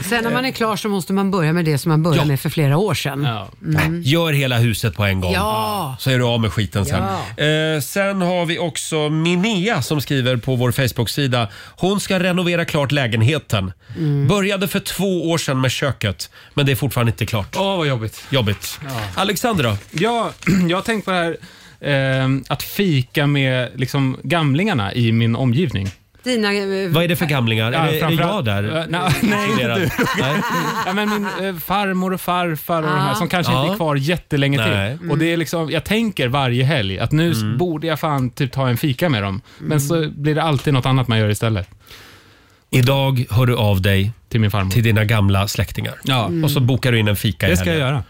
[SPEAKER 6] Sen när man är klar så måste man börja med det som man började med för flera år sedan. Mm.
[SPEAKER 1] Gör hela huset på en gång.
[SPEAKER 6] Ja.
[SPEAKER 1] Så är du av med skiten sen. Eh, sen har vi också Minea som skriver på vår Facebook-sida. Hon ska renovera klart lägenheten.
[SPEAKER 6] Mm.
[SPEAKER 1] Började för två år sedan med köket, men det är fortfarande inte klart.
[SPEAKER 8] Åh, vad jobbigt.
[SPEAKER 1] Jobbigt. Alexander då?
[SPEAKER 8] Ja, jag har tänkt på det här ehm, att fika med liksom, gamlingarna i min omgivning.
[SPEAKER 6] Dina, eh,
[SPEAKER 1] Vad är det för gamlingar? är, det, är det jag
[SPEAKER 8] framförallt-
[SPEAKER 1] där?
[SPEAKER 8] Eh, nej, nej, inte du.
[SPEAKER 1] Nej.
[SPEAKER 8] Ja, men min eh, farmor och farfar och de här
[SPEAKER 1] Ah.
[SPEAKER 8] som kanske inte
[SPEAKER 1] Ja.
[SPEAKER 8] är kvar jättelänge till.
[SPEAKER 1] Nej.
[SPEAKER 8] Och det är liksom, jag tänker varje helg att nu
[SPEAKER 9] Mm.
[SPEAKER 8] s- borde jag fan typ ta en fika med dem. Men så blir det alltid något annat man gör istället.
[SPEAKER 1] Idag hör du av dig
[SPEAKER 8] till min farmor.
[SPEAKER 1] Till dina gamla släktingar.
[SPEAKER 8] Ja. Mm.
[SPEAKER 1] Och så bokar du in en fika i
[SPEAKER 8] Det ska jag
[SPEAKER 1] helgen.
[SPEAKER 8] göra.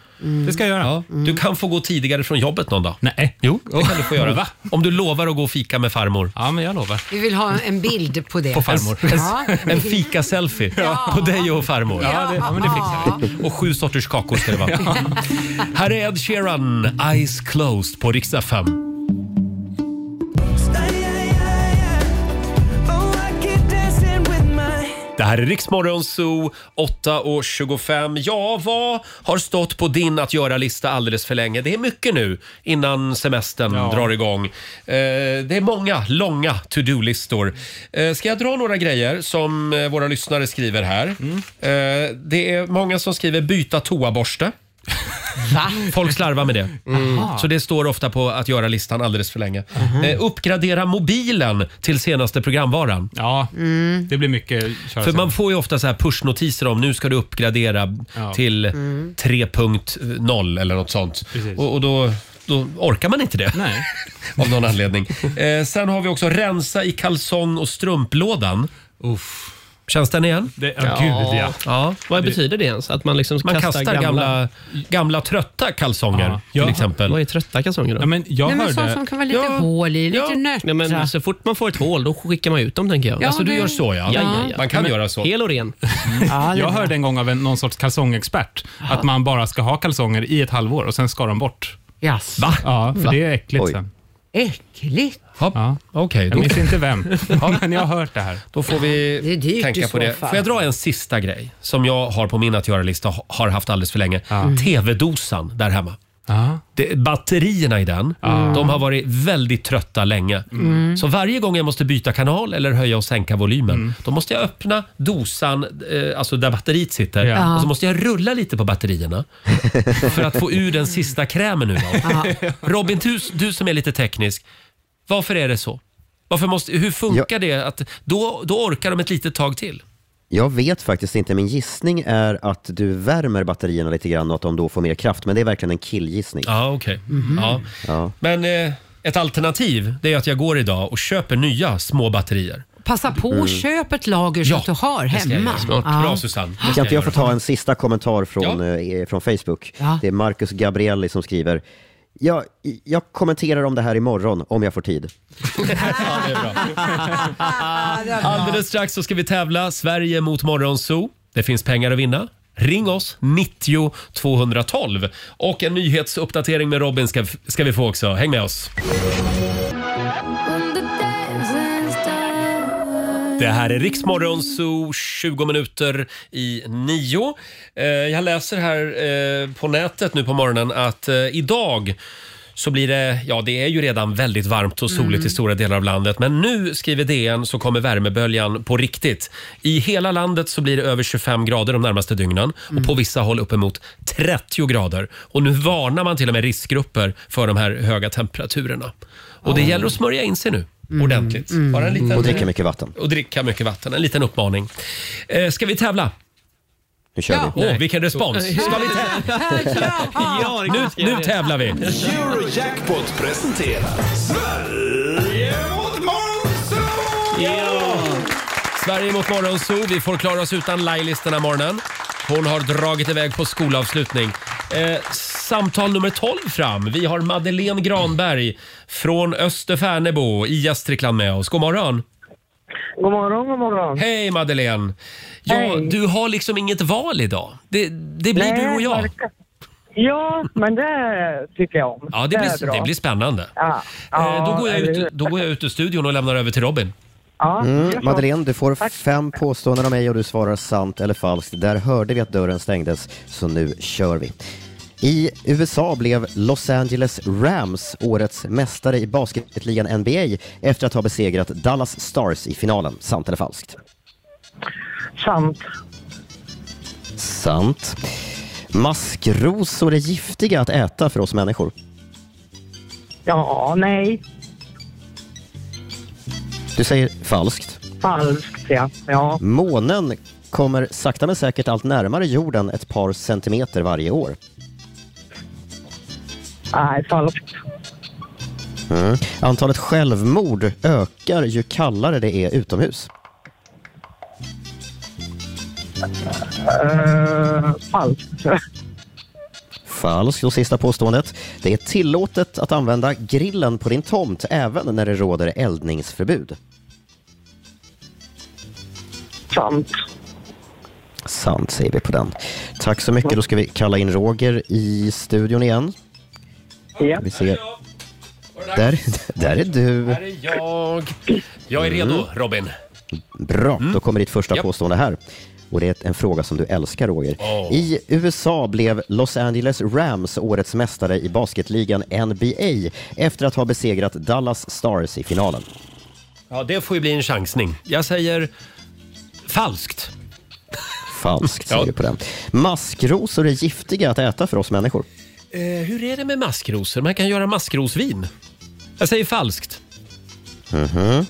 [SPEAKER 8] Det ska jag göra.
[SPEAKER 1] Ja,
[SPEAKER 6] Mm.
[SPEAKER 1] du kan få gå tidigare från jobbet någon dag.
[SPEAKER 8] Nej.
[SPEAKER 1] Jo, det kan du få göra.
[SPEAKER 8] Va?
[SPEAKER 1] Om du lovar att gå och fika med farmor.
[SPEAKER 8] Ja, men jag lovar.
[SPEAKER 6] Vi vill ha en bild på det.
[SPEAKER 1] På farmor.
[SPEAKER 6] Ja.
[SPEAKER 1] En, en fika-selfie på dig och farmor.
[SPEAKER 6] Ja, det- ja, men det
[SPEAKER 1] fixar vi. Och sju sorters kakor ska det vara. Här är Ed Sheeran, Eyes Closed på riksdag 5.
[SPEAKER 9] Oh,
[SPEAKER 1] Det här är Riksmorgon Zoo, 8.25. Ja, vad har stått på din att göra-lista alldeles för länge? Det är mycket nu innan semestern drar igång. Eh, det är många långa to-do-listor. Eh, ska jag dra några grejer som eh, våra lyssnare skriver här? Eh, det är många som skriver byta toaborste. Folk slarvar med det.
[SPEAKER 9] Mm.
[SPEAKER 1] Så det står ofta på att göra-listan alldeles för länge. Eh, uppgradera mobilen till senaste programvaran.
[SPEAKER 8] Ja, det blir mycket köra
[SPEAKER 1] För
[SPEAKER 8] sen.
[SPEAKER 1] man får ju ofta så här pushnotiser om nu ska du uppgradera
[SPEAKER 8] Ja.
[SPEAKER 1] till
[SPEAKER 8] Mm.
[SPEAKER 1] 3.0 eller något sånt.
[SPEAKER 8] Precis.
[SPEAKER 1] Och, och då, då orkar man inte det.
[SPEAKER 8] Nej.
[SPEAKER 1] Av någon anledning. Eh, sen har vi också rensa i kalsong och strumplådan. Uff. Känns den igen?
[SPEAKER 8] Det- ja, gud, ja.
[SPEAKER 9] Vad betyder det ens? Att man liksom
[SPEAKER 1] Man kastar gamla- gamla trötta kalsonger till exempel.
[SPEAKER 9] Vad är trötta kalsonger då?
[SPEAKER 8] Ja, men jag Nej, men sånt hörde- som
[SPEAKER 6] kan vara lite hål i, lite nötter.
[SPEAKER 9] Nej, men så fort man får ett hål då skickar man ut dem tänker jag.
[SPEAKER 6] Ja, Alltså, du det- gör
[SPEAKER 1] så, ja.
[SPEAKER 9] ja, ja, ja.
[SPEAKER 1] Man kan
[SPEAKER 9] Men-
[SPEAKER 1] göra så.
[SPEAKER 9] Hel och ren.
[SPEAKER 8] jag hörde en gång av en, någon sorts kalsongexpert att man bara ska ha kalsonger i ett halvår och sen ska de bort.
[SPEAKER 6] Yes.
[SPEAKER 1] Va?
[SPEAKER 8] Ja, för
[SPEAKER 1] Va?
[SPEAKER 8] det är äckligt
[SPEAKER 1] Oj.
[SPEAKER 8] sen.
[SPEAKER 6] Äckligt.
[SPEAKER 8] Ja.
[SPEAKER 1] Okej,
[SPEAKER 8] Jag
[SPEAKER 1] då-
[SPEAKER 8] minns inte vem, men jag har hört det här.
[SPEAKER 1] Då får vi
[SPEAKER 8] Det är dyrt i
[SPEAKER 1] tänka
[SPEAKER 8] så
[SPEAKER 1] på det.
[SPEAKER 8] fall.
[SPEAKER 1] Får jag dra en sista grej som jag har på min att göra-lista har haft alldeles för länge. TV-dosan där hemma. Det, batterierna i den, de har varit väldigt trötta länge.
[SPEAKER 9] Mm.
[SPEAKER 1] Så varje gång jag måste byta kanal eller höja och sänka volymen, då måste jag öppna dosan, eh, alltså där batteriet sitter,
[SPEAKER 9] Ja.
[SPEAKER 1] och så måste jag rulla lite på batterierna för att få ur den sista krämen nu. Robin, du, du som är lite teknisk, varför är det så? Varför måste, hur funkar det? Att, då, då orkar de ett litet tag till.
[SPEAKER 5] Jag vet faktiskt inte. Min gissning är att du värmer batterierna lite grann och att de då får mer kraft. Men det är verkligen en killgissning.
[SPEAKER 1] Ja, okej. Ja.
[SPEAKER 5] Ja.
[SPEAKER 1] Mhm. Men eh, ett alternativ det är att jag går idag och köper nya små batterier.
[SPEAKER 6] Passa på och
[SPEAKER 5] Mm.
[SPEAKER 6] köp ett lager så att du har
[SPEAKER 1] det ska jag
[SPEAKER 6] hemma.
[SPEAKER 1] göra. Smart.
[SPEAKER 6] Ja.
[SPEAKER 1] Bra, Susanne. Det ska
[SPEAKER 5] Kan inte jag
[SPEAKER 1] jag
[SPEAKER 5] få ta en sista kommentar från, eh, från Facebook? Det är Marcus Gabrielli som skriver jag, jag kommenterar om det här imorgon om jag får tid.
[SPEAKER 1] Ja, det är bra. Alldeles strax så ska vi tävla Sverige mot Morgonzoo. Det finns pengar att vinna. Ring oss, 90 212. Och en nyhetsuppdatering med Robin ska, ska vi få också. Häng med oss. Det här är Riksmorgon Zoo, 20 minuter i nio. Eh, jag läser här eh, på nätet nu på morgonen att eh, idag så blir det, ja det är ju redan väldigt varmt och soligt
[SPEAKER 9] Mm.
[SPEAKER 1] i stora delar av landet. Men nu, skriver DN, så kommer värmeböljan på riktigt. I hela landet så blir det över 25 grader de närmaste dygnen och på vissa håll uppemot 30 grader. Och nu varnar man till och med riskgrupper för de här höga temperaturerna. Och det gäller att smörja in sig nu. Ordentligt. Bara en liten...
[SPEAKER 5] Och dricka mycket vatten.
[SPEAKER 1] Och dricka mycket vatten. En liten uppmaning. Eh, ska vi tävla?
[SPEAKER 5] Nu kör
[SPEAKER 1] Åh,
[SPEAKER 5] vi.
[SPEAKER 1] vilken respons! Ska vi tävla?
[SPEAKER 3] Ja, det
[SPEAKER 1] nu,
[SPEAKER 3] ska
[SPEAKER 1] nu
[SPEAKER 3] vi.
[SPEAKER 1] tävlar vi!
[SPEAKER 3] Eurojackpot presenterar Sverige mot Monzo!
[SPEAKER 1] Sverige mot Morgonzoo. Vi får klara oss utan Lailis den här morgonen. Hon har dragit iväg på skolavslutning. Eh, samtal nummer 12 fram. Vi har Madeleine Granberg från Österfärnebo i Gästrikland med oss. God morgon!
[SPEAKER 19] God morgon, god morgon.
[SPEAKER 1] Hej Madeleine! Ja, Du har liksom inget val idag. Det, det blir
[SPEAKER 19] Nej,
[SPEAKER 1] du och jag.
[SPEAKER 19] verkligen. Ja, men det tycker jag om.
[SPEAKER 1] Ja, det,
[SPEAKER 19] är bra.
[SPEAKER 1] blir, det blir spännande.
[SPEAKER 19] Ja,
[SPEAKER 1] Eh,
[SPEAKER 19] ja,
[SPEAKER 1] då, går jag
[SPEAKER 19] eller hur?
[SPEAKER 1] ut, då går jag ut ur studion och lämnar över till Robin.
[SPEAKER 19] Ja,
[SPEAKER 5] Mm,
[SPEAKER 19] jag
[SPEAKER 5] Madeleine, du får fem påståenden av mig och du svarar sant eller falskt. Där hörde vi att dörren stängdes, så nu kör vi. I USA blev Los Angeles Rams årets mästare i basketligan NBA efter att ha besegrat Dallas Stars i finalen. Sant eller falskt?
[SPEAKER 19] Sant.
[SPEAKER 5] Sant. Maskrosor är giftiga att äta för oss människor.
[SPEAKER 19] Ja, nej.
[SPEAKER 5] Du säger falskt.
[SPEAKER 19] Falskt, ja. ja.
[SPEAKER 5] Månen kommer sakta men säkert allt närmare jorden ett par centimeter varje år.
[SPEAKER 19] Nej, falskt.
[SPEAKER 5] Mm. Antalet självmord ökar ju kallare det är utomhus.
[SPEAKER 19] Eh, falskt.
[SPEAKER 5] Falskt. Och sista påståendet. Det är tillåtet att använda grillen på din tomt även när det råder eldningsförbud.
[SPEAKER 19] Sant.
[SPEAKER 5] Sant säger vi på den. Tack så mycket. Då ska vi kalla in Roger i studion igen.
[SPEAKER 19] Ja.
[SPEAKER 5] Vi ser. Där, där är du.
[SPEAKER 1] Mm. Här är jag. Jag är redo, Robin.
[SPEAKER 5] Bra, då kommer ditt första påstående här. Och det är en fråga som du älskar, Roger. I USA blev Los Angeles Rams årets mästare i basketligan NBA efter att ha besegrat Dallas Stars i finalen.
[SPEAKER 1] Ja, det får ju bli en chansning. Jag säger falskt.
[SPEAKER 5] Falskt, säger du på den. Maskrosor är giftiga att äta för oss människor.
[SPEAKER 1] Eh, hur är det med maskrosor? Man kan göra maskrosvin. Jag säger falskt.
[SPEAKER 5] Mhm.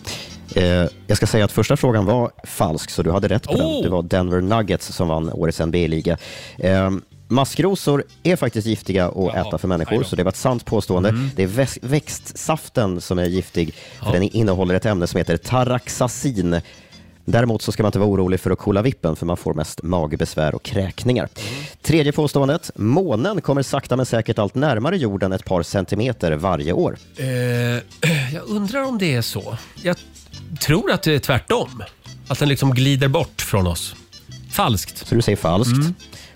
[SPEAKER 5] Eh, jag ska säga att första frågan var falsk, så du hade rätt på den. Det var Denver Nuggets som vann årets NBA-liga. Eh, maskrosor är faktiskt giftiga att äta för människor, så det var ett sant påstående. Det är väx- växtsaften som är giftig, för den innehåller ett ämne som heter taraxacin. Däremot så ska man inte vara orolig för att kolla vippen, för man får mest magbesvär och kräkningar. Tredje påståendet. Månen kommer sakta men säkert allt närmare jorden ett par centimeter varje år.
[SPEAKER 1] Eh, jag undrar om det är så. Jag tror att det är tvärtom. Att den liksom glider bort från oss. Falskt.
[SPEAKER 5] Så du säger falskt.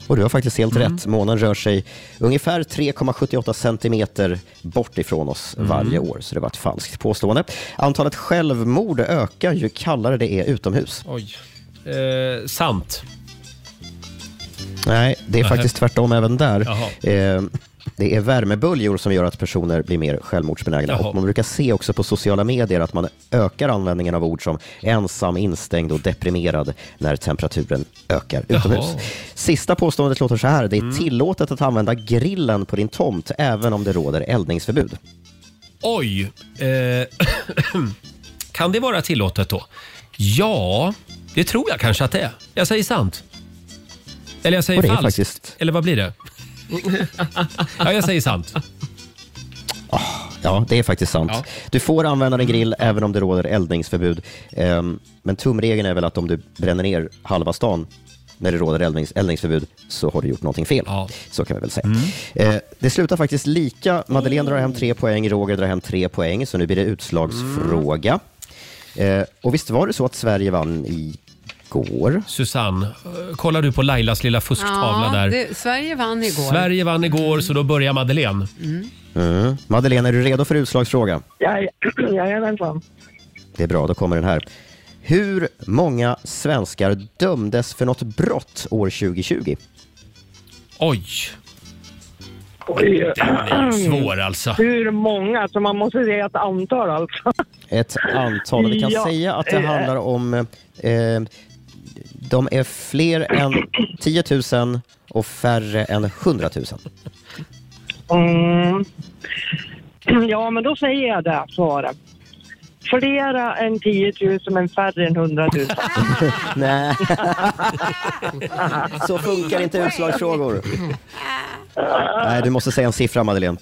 [SPEAKER 5] Och du har faktiskt helt rätt. Månen rör sig ungefär 3,78 centimeter bort ifrån oss varje år, så det var ett falskt påstående. Antalet självmord ökar ju kallare det är utomhus.
[SPEAKER 1] Oj. Eh, sant.
[SPEAKER 5] Nej, det är
[SPEAKER 1] Nähä.
[SPEAKER 5] faktiskt tvärtom även där.
[SPEAKER 1] Jaha.
[SPEAKER 5] Eh, det är värmeböljor som gör att personer blir mer självmordsbenägna.
[SPEAKER 1] Jaha.
[SPEAKER 5] Och man brukar se också på sociala medier att man ökar användningen av ord som ensam, instängd och deprimerad när temperaturen ökar
[SPEAKER 3] Jaha.
[SPEAKER 5] utomhus. Sista påståendet låter så här. Det är tillåtet att använda grillen på din tomt även om det råder eldningsförbud.
[SPEAKER 1] Oj. Eh, kan det vara tillåtet då? Ja, det tror jag kanske att det är. Jag säger sant. Eller jag säger
[SPEAKER 5] Och det är
[SPEAKER 1] falskt.
[SPEAKER 5] faktiskt-
[SPEAKER 1] Eller vad blir det? ja, jag säger sant.
[SPEAKER 5] Ja, det är faktiskt sant. Du får använda din grill även om det råder eldningsförbud. Ehm, men tumregeln är väl att om du bränner ner halva stan när det råder eldnings, eldningsförbud så har du gjort någonting fel. Så kan vi väl säga. Eh, det slutar faktiskt lika. Madeleine drar hem tre poäng, Roger drar hem tre poäng, så nu blir det utslagsfråga. Eh, och visst var det så att Sverige vann igår?
[SPEAKER 1] Susanne, kollar du på Lailas lilla fusktavla där?
[SPEAKER 6] det, Sverige vann igår.
[SPEAKER 1] Sverige vann igår, så då börjar Madeleine.
[SPEAKER 5] Mm. Madeleine, är du redo för utslagsfråga?
[SPEAKER 19] Jajamensan.
[SPEAKER 5] Det är bra, då kommer den här. Hur många svenskar dömdes för något brott år 2020?
[SPEAKER 1] Oj.
[SPEAKER 19] Oj.
[SPEAKER 1] Den är svår alltså.
[SPEAKER 19] Hur många? Så man måste säga ett antal alltså.
[SPEAKER 5] Ett antal. Vi kan
[SPEAKER 19] Ja,
[SPEAKER 5] säga att det
[SPEAKER 19] eh.
[SPEAKER 5] handlar om... Eh, de är fler än 10 000 och färre än 100 000.
[SPEAKER 19] Mm. Ja, men då säger jag det svaret. Flera än 10 000 men färre än 100 000.
[SPEAKER 5] Nej. Så funkar inte utslagsfrågor. Nej, du måste säga en siffra, Madeleine.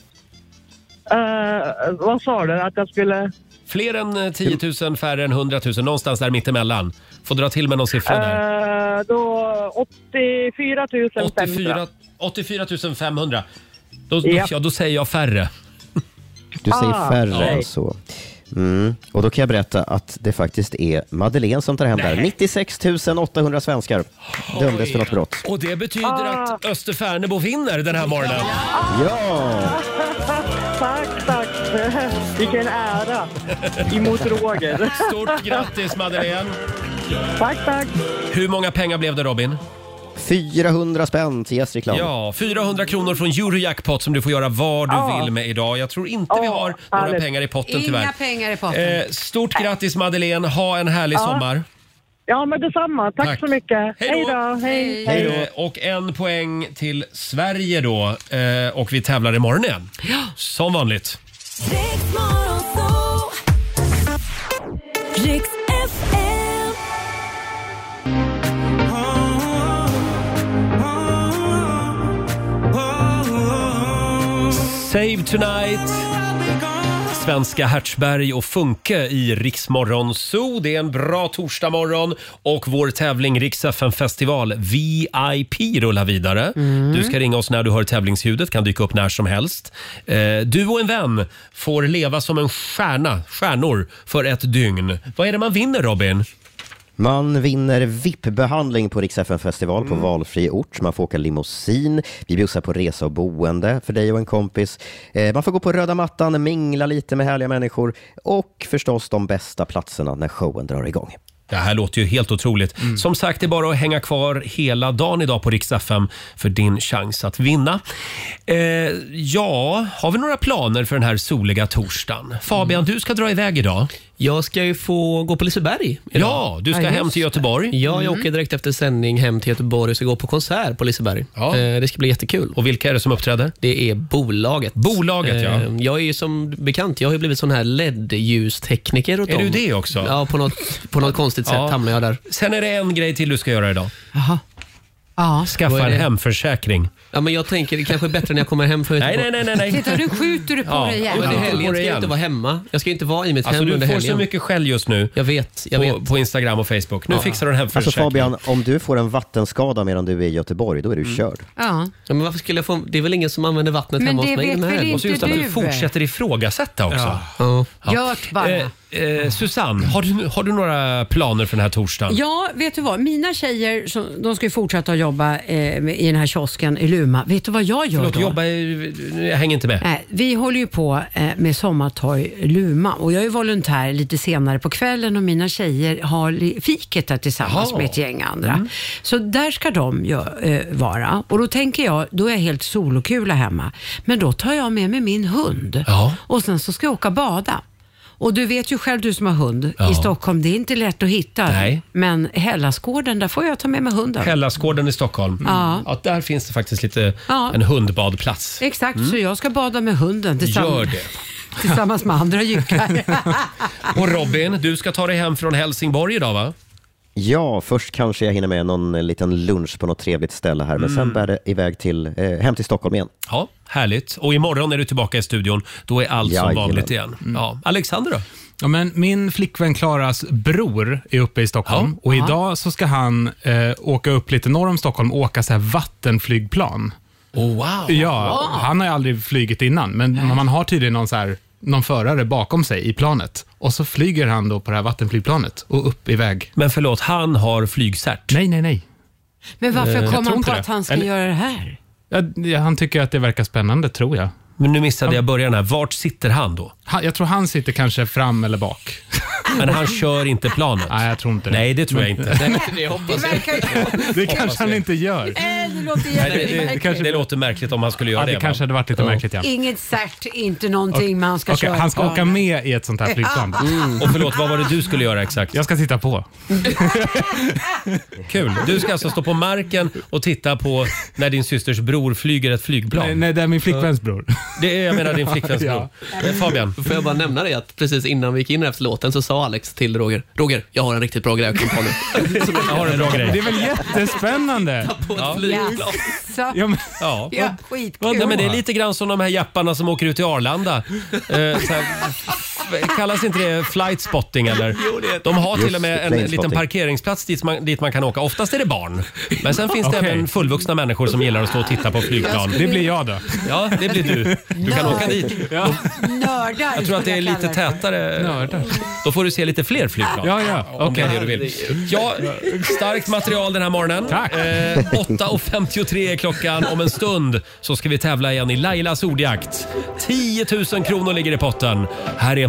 [SPEAKER 19] Eh, vad sa du att jag skulle...
[SPEAKER 1] Fler än eh, 10 000, färre än 100 000. Någonstans där mittemellan. Får dra till med någon siffra där.
[SPEAKER 19] Eh, då 84 500.
[SPEAKER 1] 84, 84 500. Då, då,
[SPEAKER 19] Ja.
[SPEAKER 1] ja, då säger jag färre.
[SPEAKER 5] Du säger
[SPEAKER 1] Ah,
[SPEAKER 5] färre
[SPEAKER 1] okej.
[SPEAKER 5] än så. Mm. Och då kan jag berätta att det faktiskt är Madeleine som tar hem det här. 96 800 svenskar dömdes för något brott.
[SPEAKER 1] Och det betyder
[SPEAKER 19] Ah.
[SPEAKER 1] att Österfärnebo vinner den här morgonen.
[SPEAKER 5] Ja!
[SPEAKER 19] tack, tack. Vilken ära. Emot Roger.
[SPEAKER 1] Stort grattis Madeleine.
[SPEAKER 19] Tack, tack.
[SPEAKER 1] Hur många pengar blev det Robin?
[SPEAKER 5] 400 spänn till Gästrikland.
[SPEAKER 1] Ja, 400 kronor från Eurojackpot som du får göra vad du
[SPEAKER 19] Ah.
[SPEAKER 6] Ja.
[SPEAKER 1] vill med idag. Jag tror inte vi har några
[SPEAKER 6] härligt.
[SPEAKER 1] pengar i potten
[SPEAKER 6] Inga
[SPEAKER 1] tyvärr.
[SPEAKER 6] pengar i potten.
[SPEAKER 1] Eh, stort grattis Madeleine, ha en härlig
[SPEAKER 19] Ja.
[SPEAKER 1] sommar.
[SPEAKER 19] Ja, men detsamma. Tack,
[SPEAKER 1] Tack.
[SPEAKER 19] så mycket.
[SPEAKER 1] Hej
[SPEAKER 19] Hej
[SPEAKER 1] då.
[SPEAKER 19] då. Hej.
[SPEAKER 1] Eh, Och en poäng till Sverige då. Eh, och vi tävlar imorgon igen. Som vanligt.
[SPEAKER 7] Riks FM.
[SPEAKER 1] Save Tonight. Svenska Hertzberg och Funke i Riksmorgon Zoo. Det är en bra torsdagmorgon och vår tävling Rix FM festival VIP rullar vidare.
[SPEAKER 19] Mm.
[SPEAKER 1] Du ska ringa oss när du hör tävlingsljudet, kan dyka upp när som helst. Eh, du och en vän får leva som en stjärna, stjärnor, för ett dygn. Vad är det man vinner Robin?
[SPEAKER 5] Man vinner VIP-behandling på Rix FM festival
[SPEAKER 1] Mm.
[SPEAKER 5] på valfri ort. Man får åka limousin. Vi bjussar på resa och boende för dig och en kompis. Eh, Man får gå på röda mattan, mingla lite med härliga människor och förstås de bästa platserna när showen drar igång.
[SPEAKER 1] Det här låter ju helt otroligt. Som sagt, det är bara att hänga kvar hela dagen idag på Rix FM för din chans att vinna. Eh, ja, har vi några planer för den här soliga torsdagen? Fabian, du ska dra iväg idag.
[SPEAKER 9] Jag ska ju få gå på Liseberg idag.
[SPEAKER 1] Ja, du ska hem till Göteborg.
[SPEAKER 9] Ja, jag
[SPEAKER 1] Mm.
[SPEAKER 9] åker direkt efter sändning hem till Göteborg och ska gå på konsert på Liseberg. Eh, Det ska bli jättekul.
[SPEAKER 1] Och vilka är det som uppträder?
[SPEAKER 9] Det är bolaget.
[SPEAKER 1] Bolaget, ja.
[SPEAKER 9] Eh, Jag är ju som bekant, jag har ju blivit sån här LED-ljustekniker åt
[SPEAKER 1] Är
[SPEAKER 9] dem.
[SPEAKER 1] du det också?
[SPEAKER 9] Ja, på något, på något konstigt sätt
[SPEAKER 1] Ja.
[SPEAKER 9] hamnar jag där.
[SPEAKER 1] Sen är det en grej till du ska göra idag.
[SPEAKER 6] Ja.
[SPEAKER 9] Vad
[SPEAKER 1] Skaffa
[SPEAKER 9] är
[SPEAKER 1] en
[SPEAKER 9] det?
[SPEAKER 1] hemförsäkring.
[SPEAKER 9] Ja, men jag tänker det kanske är bättre när jag kommer hem från
[SPEAKER 1] Nej, nej,
[SPEAKER 9] Göteborg.
[SPEAKER 1] nej, nej.
[SPEAKER 6] Titta, nu skjuter du på
[SPEAKER 9] Ja,
[SPEAKER 6] dig igen.
[SPEAKER 9] och det är helgen
[SPEAKER 1] På
[SPEAKER 9] ska
[SPEAKER 1] dig
[SPEAKER 9] jag
[SPEAKER 1] igen.
[SPEAKER 9] inte vara hemma. Jag ska inte vara i mitt
[SPEAKER 1] Alltså,
[SPEAKER 9] hem
[SPEAKER 1] du
[SPEAKER 9] under
[SPEAKER 1] får
[SPEAKER 9] helgen.
[SPEAKER 1] så mycket skäll just nu.
[SPEAKER 9] Jag vet, jag
[SPEAKER 1] på,
[SPEAKER 9] vet.
[SPEAKER 1] på Instagram och Facebook. Nu
[SPEAKER 9] Ja.
[SPEAKER 1] fixar du en hemförsäkring.
[SPEAKER 5] Alltså Fabian, om du får en vattenskada medan du är i Göteborg, då är du körd.
[SPEAKER 6] Ja.
[SPEAKER 9] Ja, men varför skulle jag få, det är väl ingen som använder vattnet
[SPEAKER 6] Men
[SPEAKER 9] hemma
[SPEAKER 6] det
[SPEAKER 9] hos mig?
[SPEAKER 6] vet väl
[SPEAKER 9] Nej.
[SPEAKER 6] inte
[SPEAKER 9] Och så just att
[SPEAKER 6] du?
[SPEAKER 9] du
[SPEAKER 1] fortsätter ifrågasätta också.
[SPEAKER 9] Ja.
[SPEAKER 6] Gört bara.
[SPEAKER 1] Eh, eh, Susanne, har du, har du några planer för den här torsdagen?
[SPEAKER 6] Ja, vet du vad? Mina tjejer, som- de ska ju fortsätta att jobba eh, med- i den här kiosken i Luma. Vet du vad jag gör
[SPEAKER 1] Förlåt,
[SPEAKER 6] då?
[SPEAKER 1] jobba, i- jag hänger inte med.
[SPEAKER 6] Nej, Eh, vi håller ju på eh, med Sommartorg Luma och jag är volontär lite senare på kvällen och mina tjejer har li- fiket där tillsammans
[SPEAKER 13] Jaha.
[SPEAKER 6] med ett gäng andra.
[SPEAKER 13] Mm.
[SPEAKER 6] Så där ska de ju, eh, vara och då tänker jag, då är jag helt solokula hemma. Men då tar jag med mig min hund och sen så ska jag åka och bada. Och du vet ju själv du som har hund
[SPEAKER 1] Ja.
[SPEAKER 6] i Stockholm, det är inte lätt att hitta.
[SPEAKER 1] Nej.
[SPEAKER 6] Men Hellasgården, där får jag ta med mig hunden.
[SPEAKER 1] Hellasgården i Stockholm.
[SPEAKER 6] Ja.
[SPEAKER 1] Ja, där finns det faktiskt lite
[SPEAKER 6] Ja.
[SPEAKER 1] en hundbadplats.
[SPEAKER 6] Exakt,
[SPEAKER 1] Mm.
[SPEAKER 6] så jag ska bada med hunden
[SPEAKER 1] Gör
[SPEAKER 6] tillsammans,
[SPEAKER 1] det.
[SPEAKER 6] tillsammans med andra jyckar.
[SPEAKER 1] Och Robin, du ska ta dig hem från Helsingborg idag va?
[SPEAKER 5] Ja, först kanske jag hinner med någon eh, liten lunch på något trevligt ställe här, men
[SPEAKER 1] Mm.
[SPEAKER 5] sen bär det iväg till, eh, hem till Stockholm igen.
[SPEAKER 1] Ja, härligt. Och imorgon är du tillbaka i studion. Då är allt som
[SPEAKER 5] Jajamän.
[SPEAKER 1] vanligt igen. Ja. Alexander då?
[SPEAKER 8] Ja, men min flickvän Klaras bror är uppe i Stockholm
[SPEAKER 1] Ja.
[SPEAKER 8] och
[SPEAKER 1] Ja.
[SPEAKER 8] idag så ska han eh, åka upp lite norr om Stockholm och åka så här vattenflygplan.
[SPEAKER 1] Oh, wow.
[SPEAKER 8] Ja, han har ju aldrig flygit innan, men man har tydligen någon, så här, någon förare bakom sig i planet och så flyger han då på det här vattenflygplanet och upp iväg.
[SPEAKER 1] Men förlåt, han har flygcert?
[SPEAKER 8] Nej, nej, nej.
[SPEAKER 6] Men varför
[SPEAKER 8] Eh, jag tror
[SPEAKER 6] kom han
[SPEAKER 8] inte
[SPEAKER 6] på
[SPEAKER 8] det.
[SPEAKER 6] att han ska
[SPEAKER 8] Eller-
[SPEAKER 6] göra det här?
[SPEAKER 8] Ja, ja, han tycker att det verkar spännande, tror jag.
[SPEAKER 1] Men nu missade jag början här. Vart sitter han då?
[SPEAKER 8] Han, jag tror han sitter kanske fram eller bak.
[SPEAKER 1] Men han kör inte planet?
[SPEAKER 8] Nej, jag tror inte det.
[SPEAKER 1] Nej, det tror jag inte.
[SPEAKER 9] Det hoppas
[SPEAKER 8] Det kanske han inte gör.
[SPEAKER 6] Nej, det låter
[SPEAKER 1] Nej, det, det,
[SPEAKER 6] jättemärkligt.
[SPEAKER 1] det låter märkligt om han skulle göra
[SPEAKER 8] Ja,
[SPEAKER 1] det.
[SPEAKER 8] det kanske hade varit lite märkligt, ja.
[SPEAKER 6] Inget cert, inte någonting, men han ska
[SPEAKER 8] Okej,
[SPEAKER 6] köra
[SPEAKER 8] han ska
[SPEAKER 6] plan.
[SPEAKER 8] åka med i ett sånt här flygplan.
[SPEAKER 1] Och förlåt, vad var det du skulle göra exakt?
[SPEAKER 8] Jag ska sitta på.
[SPEAKER 1] Kul. Du ska alltså stå på marken och titta på när din systers bror flyger ett flygplan.
[SPEAKER 8] Nej, nej, det är min flickväns bror.
[SPEAKER 1] Det är, jag menar din flickväns bror. Eh, Fabian.
[SPEAKER 9] Får jag bara nämna det att precis innan vi gick in efter låten så sa Alex till Roger, Roger, jag har en riktigt bra grej jag kom på nu.
[SPEAKER 1] Jag har en bra grej.
[SPEAKER 8] Det är väl jättespännande?
[SPEAKER 1] Ja.
[SPEAKER 6] Jaså?
[SPEAKER 8] Ja, men,
[SPEAKER 1] Ja.
[SPEAKER 6] Ja,
[SPEAKER 1] Ja,
[SPEAKER 6] Alltså, skitkul.
[SPEAKER 1] nej, men det är lite grann som de här japparna som åker ut till Arlanda. Eh, så här, f- kallas inte det flight spotting eller? De har till
[SPEAKER 9] Just
[SPEAKER 1] och
[SPEAKER 9] det,
[SPEAKER 1] med en
[SPEAKER 9] plane
[SPEAKER 1] liten
[SPEAKER 9] spotting.
[SPEAKER 1] parkeringsplats dit man, dit man kan åka. Oftast är det barn. Men sen finns det
[SPEAKER 8] Okej.
[SPEAKER 1] även fullvuxna människor som gillar att stå och titta på flygplan.
[SPEAKER 8] Det blir jag då.
[SPEAKER 1] Ja, det blir du. Du kan åka dit.
[SPEAKER 8] Ja.
[SPEAKER 6] Nördar
[SPEAKER 1] Jag tror att det är
[SPEAKER 6] skulle jag
[SPEAKER 1] lite
[SPEAKER 6] kalla det.
[SPEAKER 1] tätare. Då får du se lite fler flygplan.
[SPEAKER 8] Ja, ja.
[SPEAKER 1] Om det är
[SPEAKER 8] Okej.
[SPEAKER 1] det du vill. Ja, starkt material den här morgonen. Tack. Eh, 8.53 är klockan. Om en stund så ska vi tävla igen i Lailas ordjakt. 10 000 kronor ligger i potten. Här är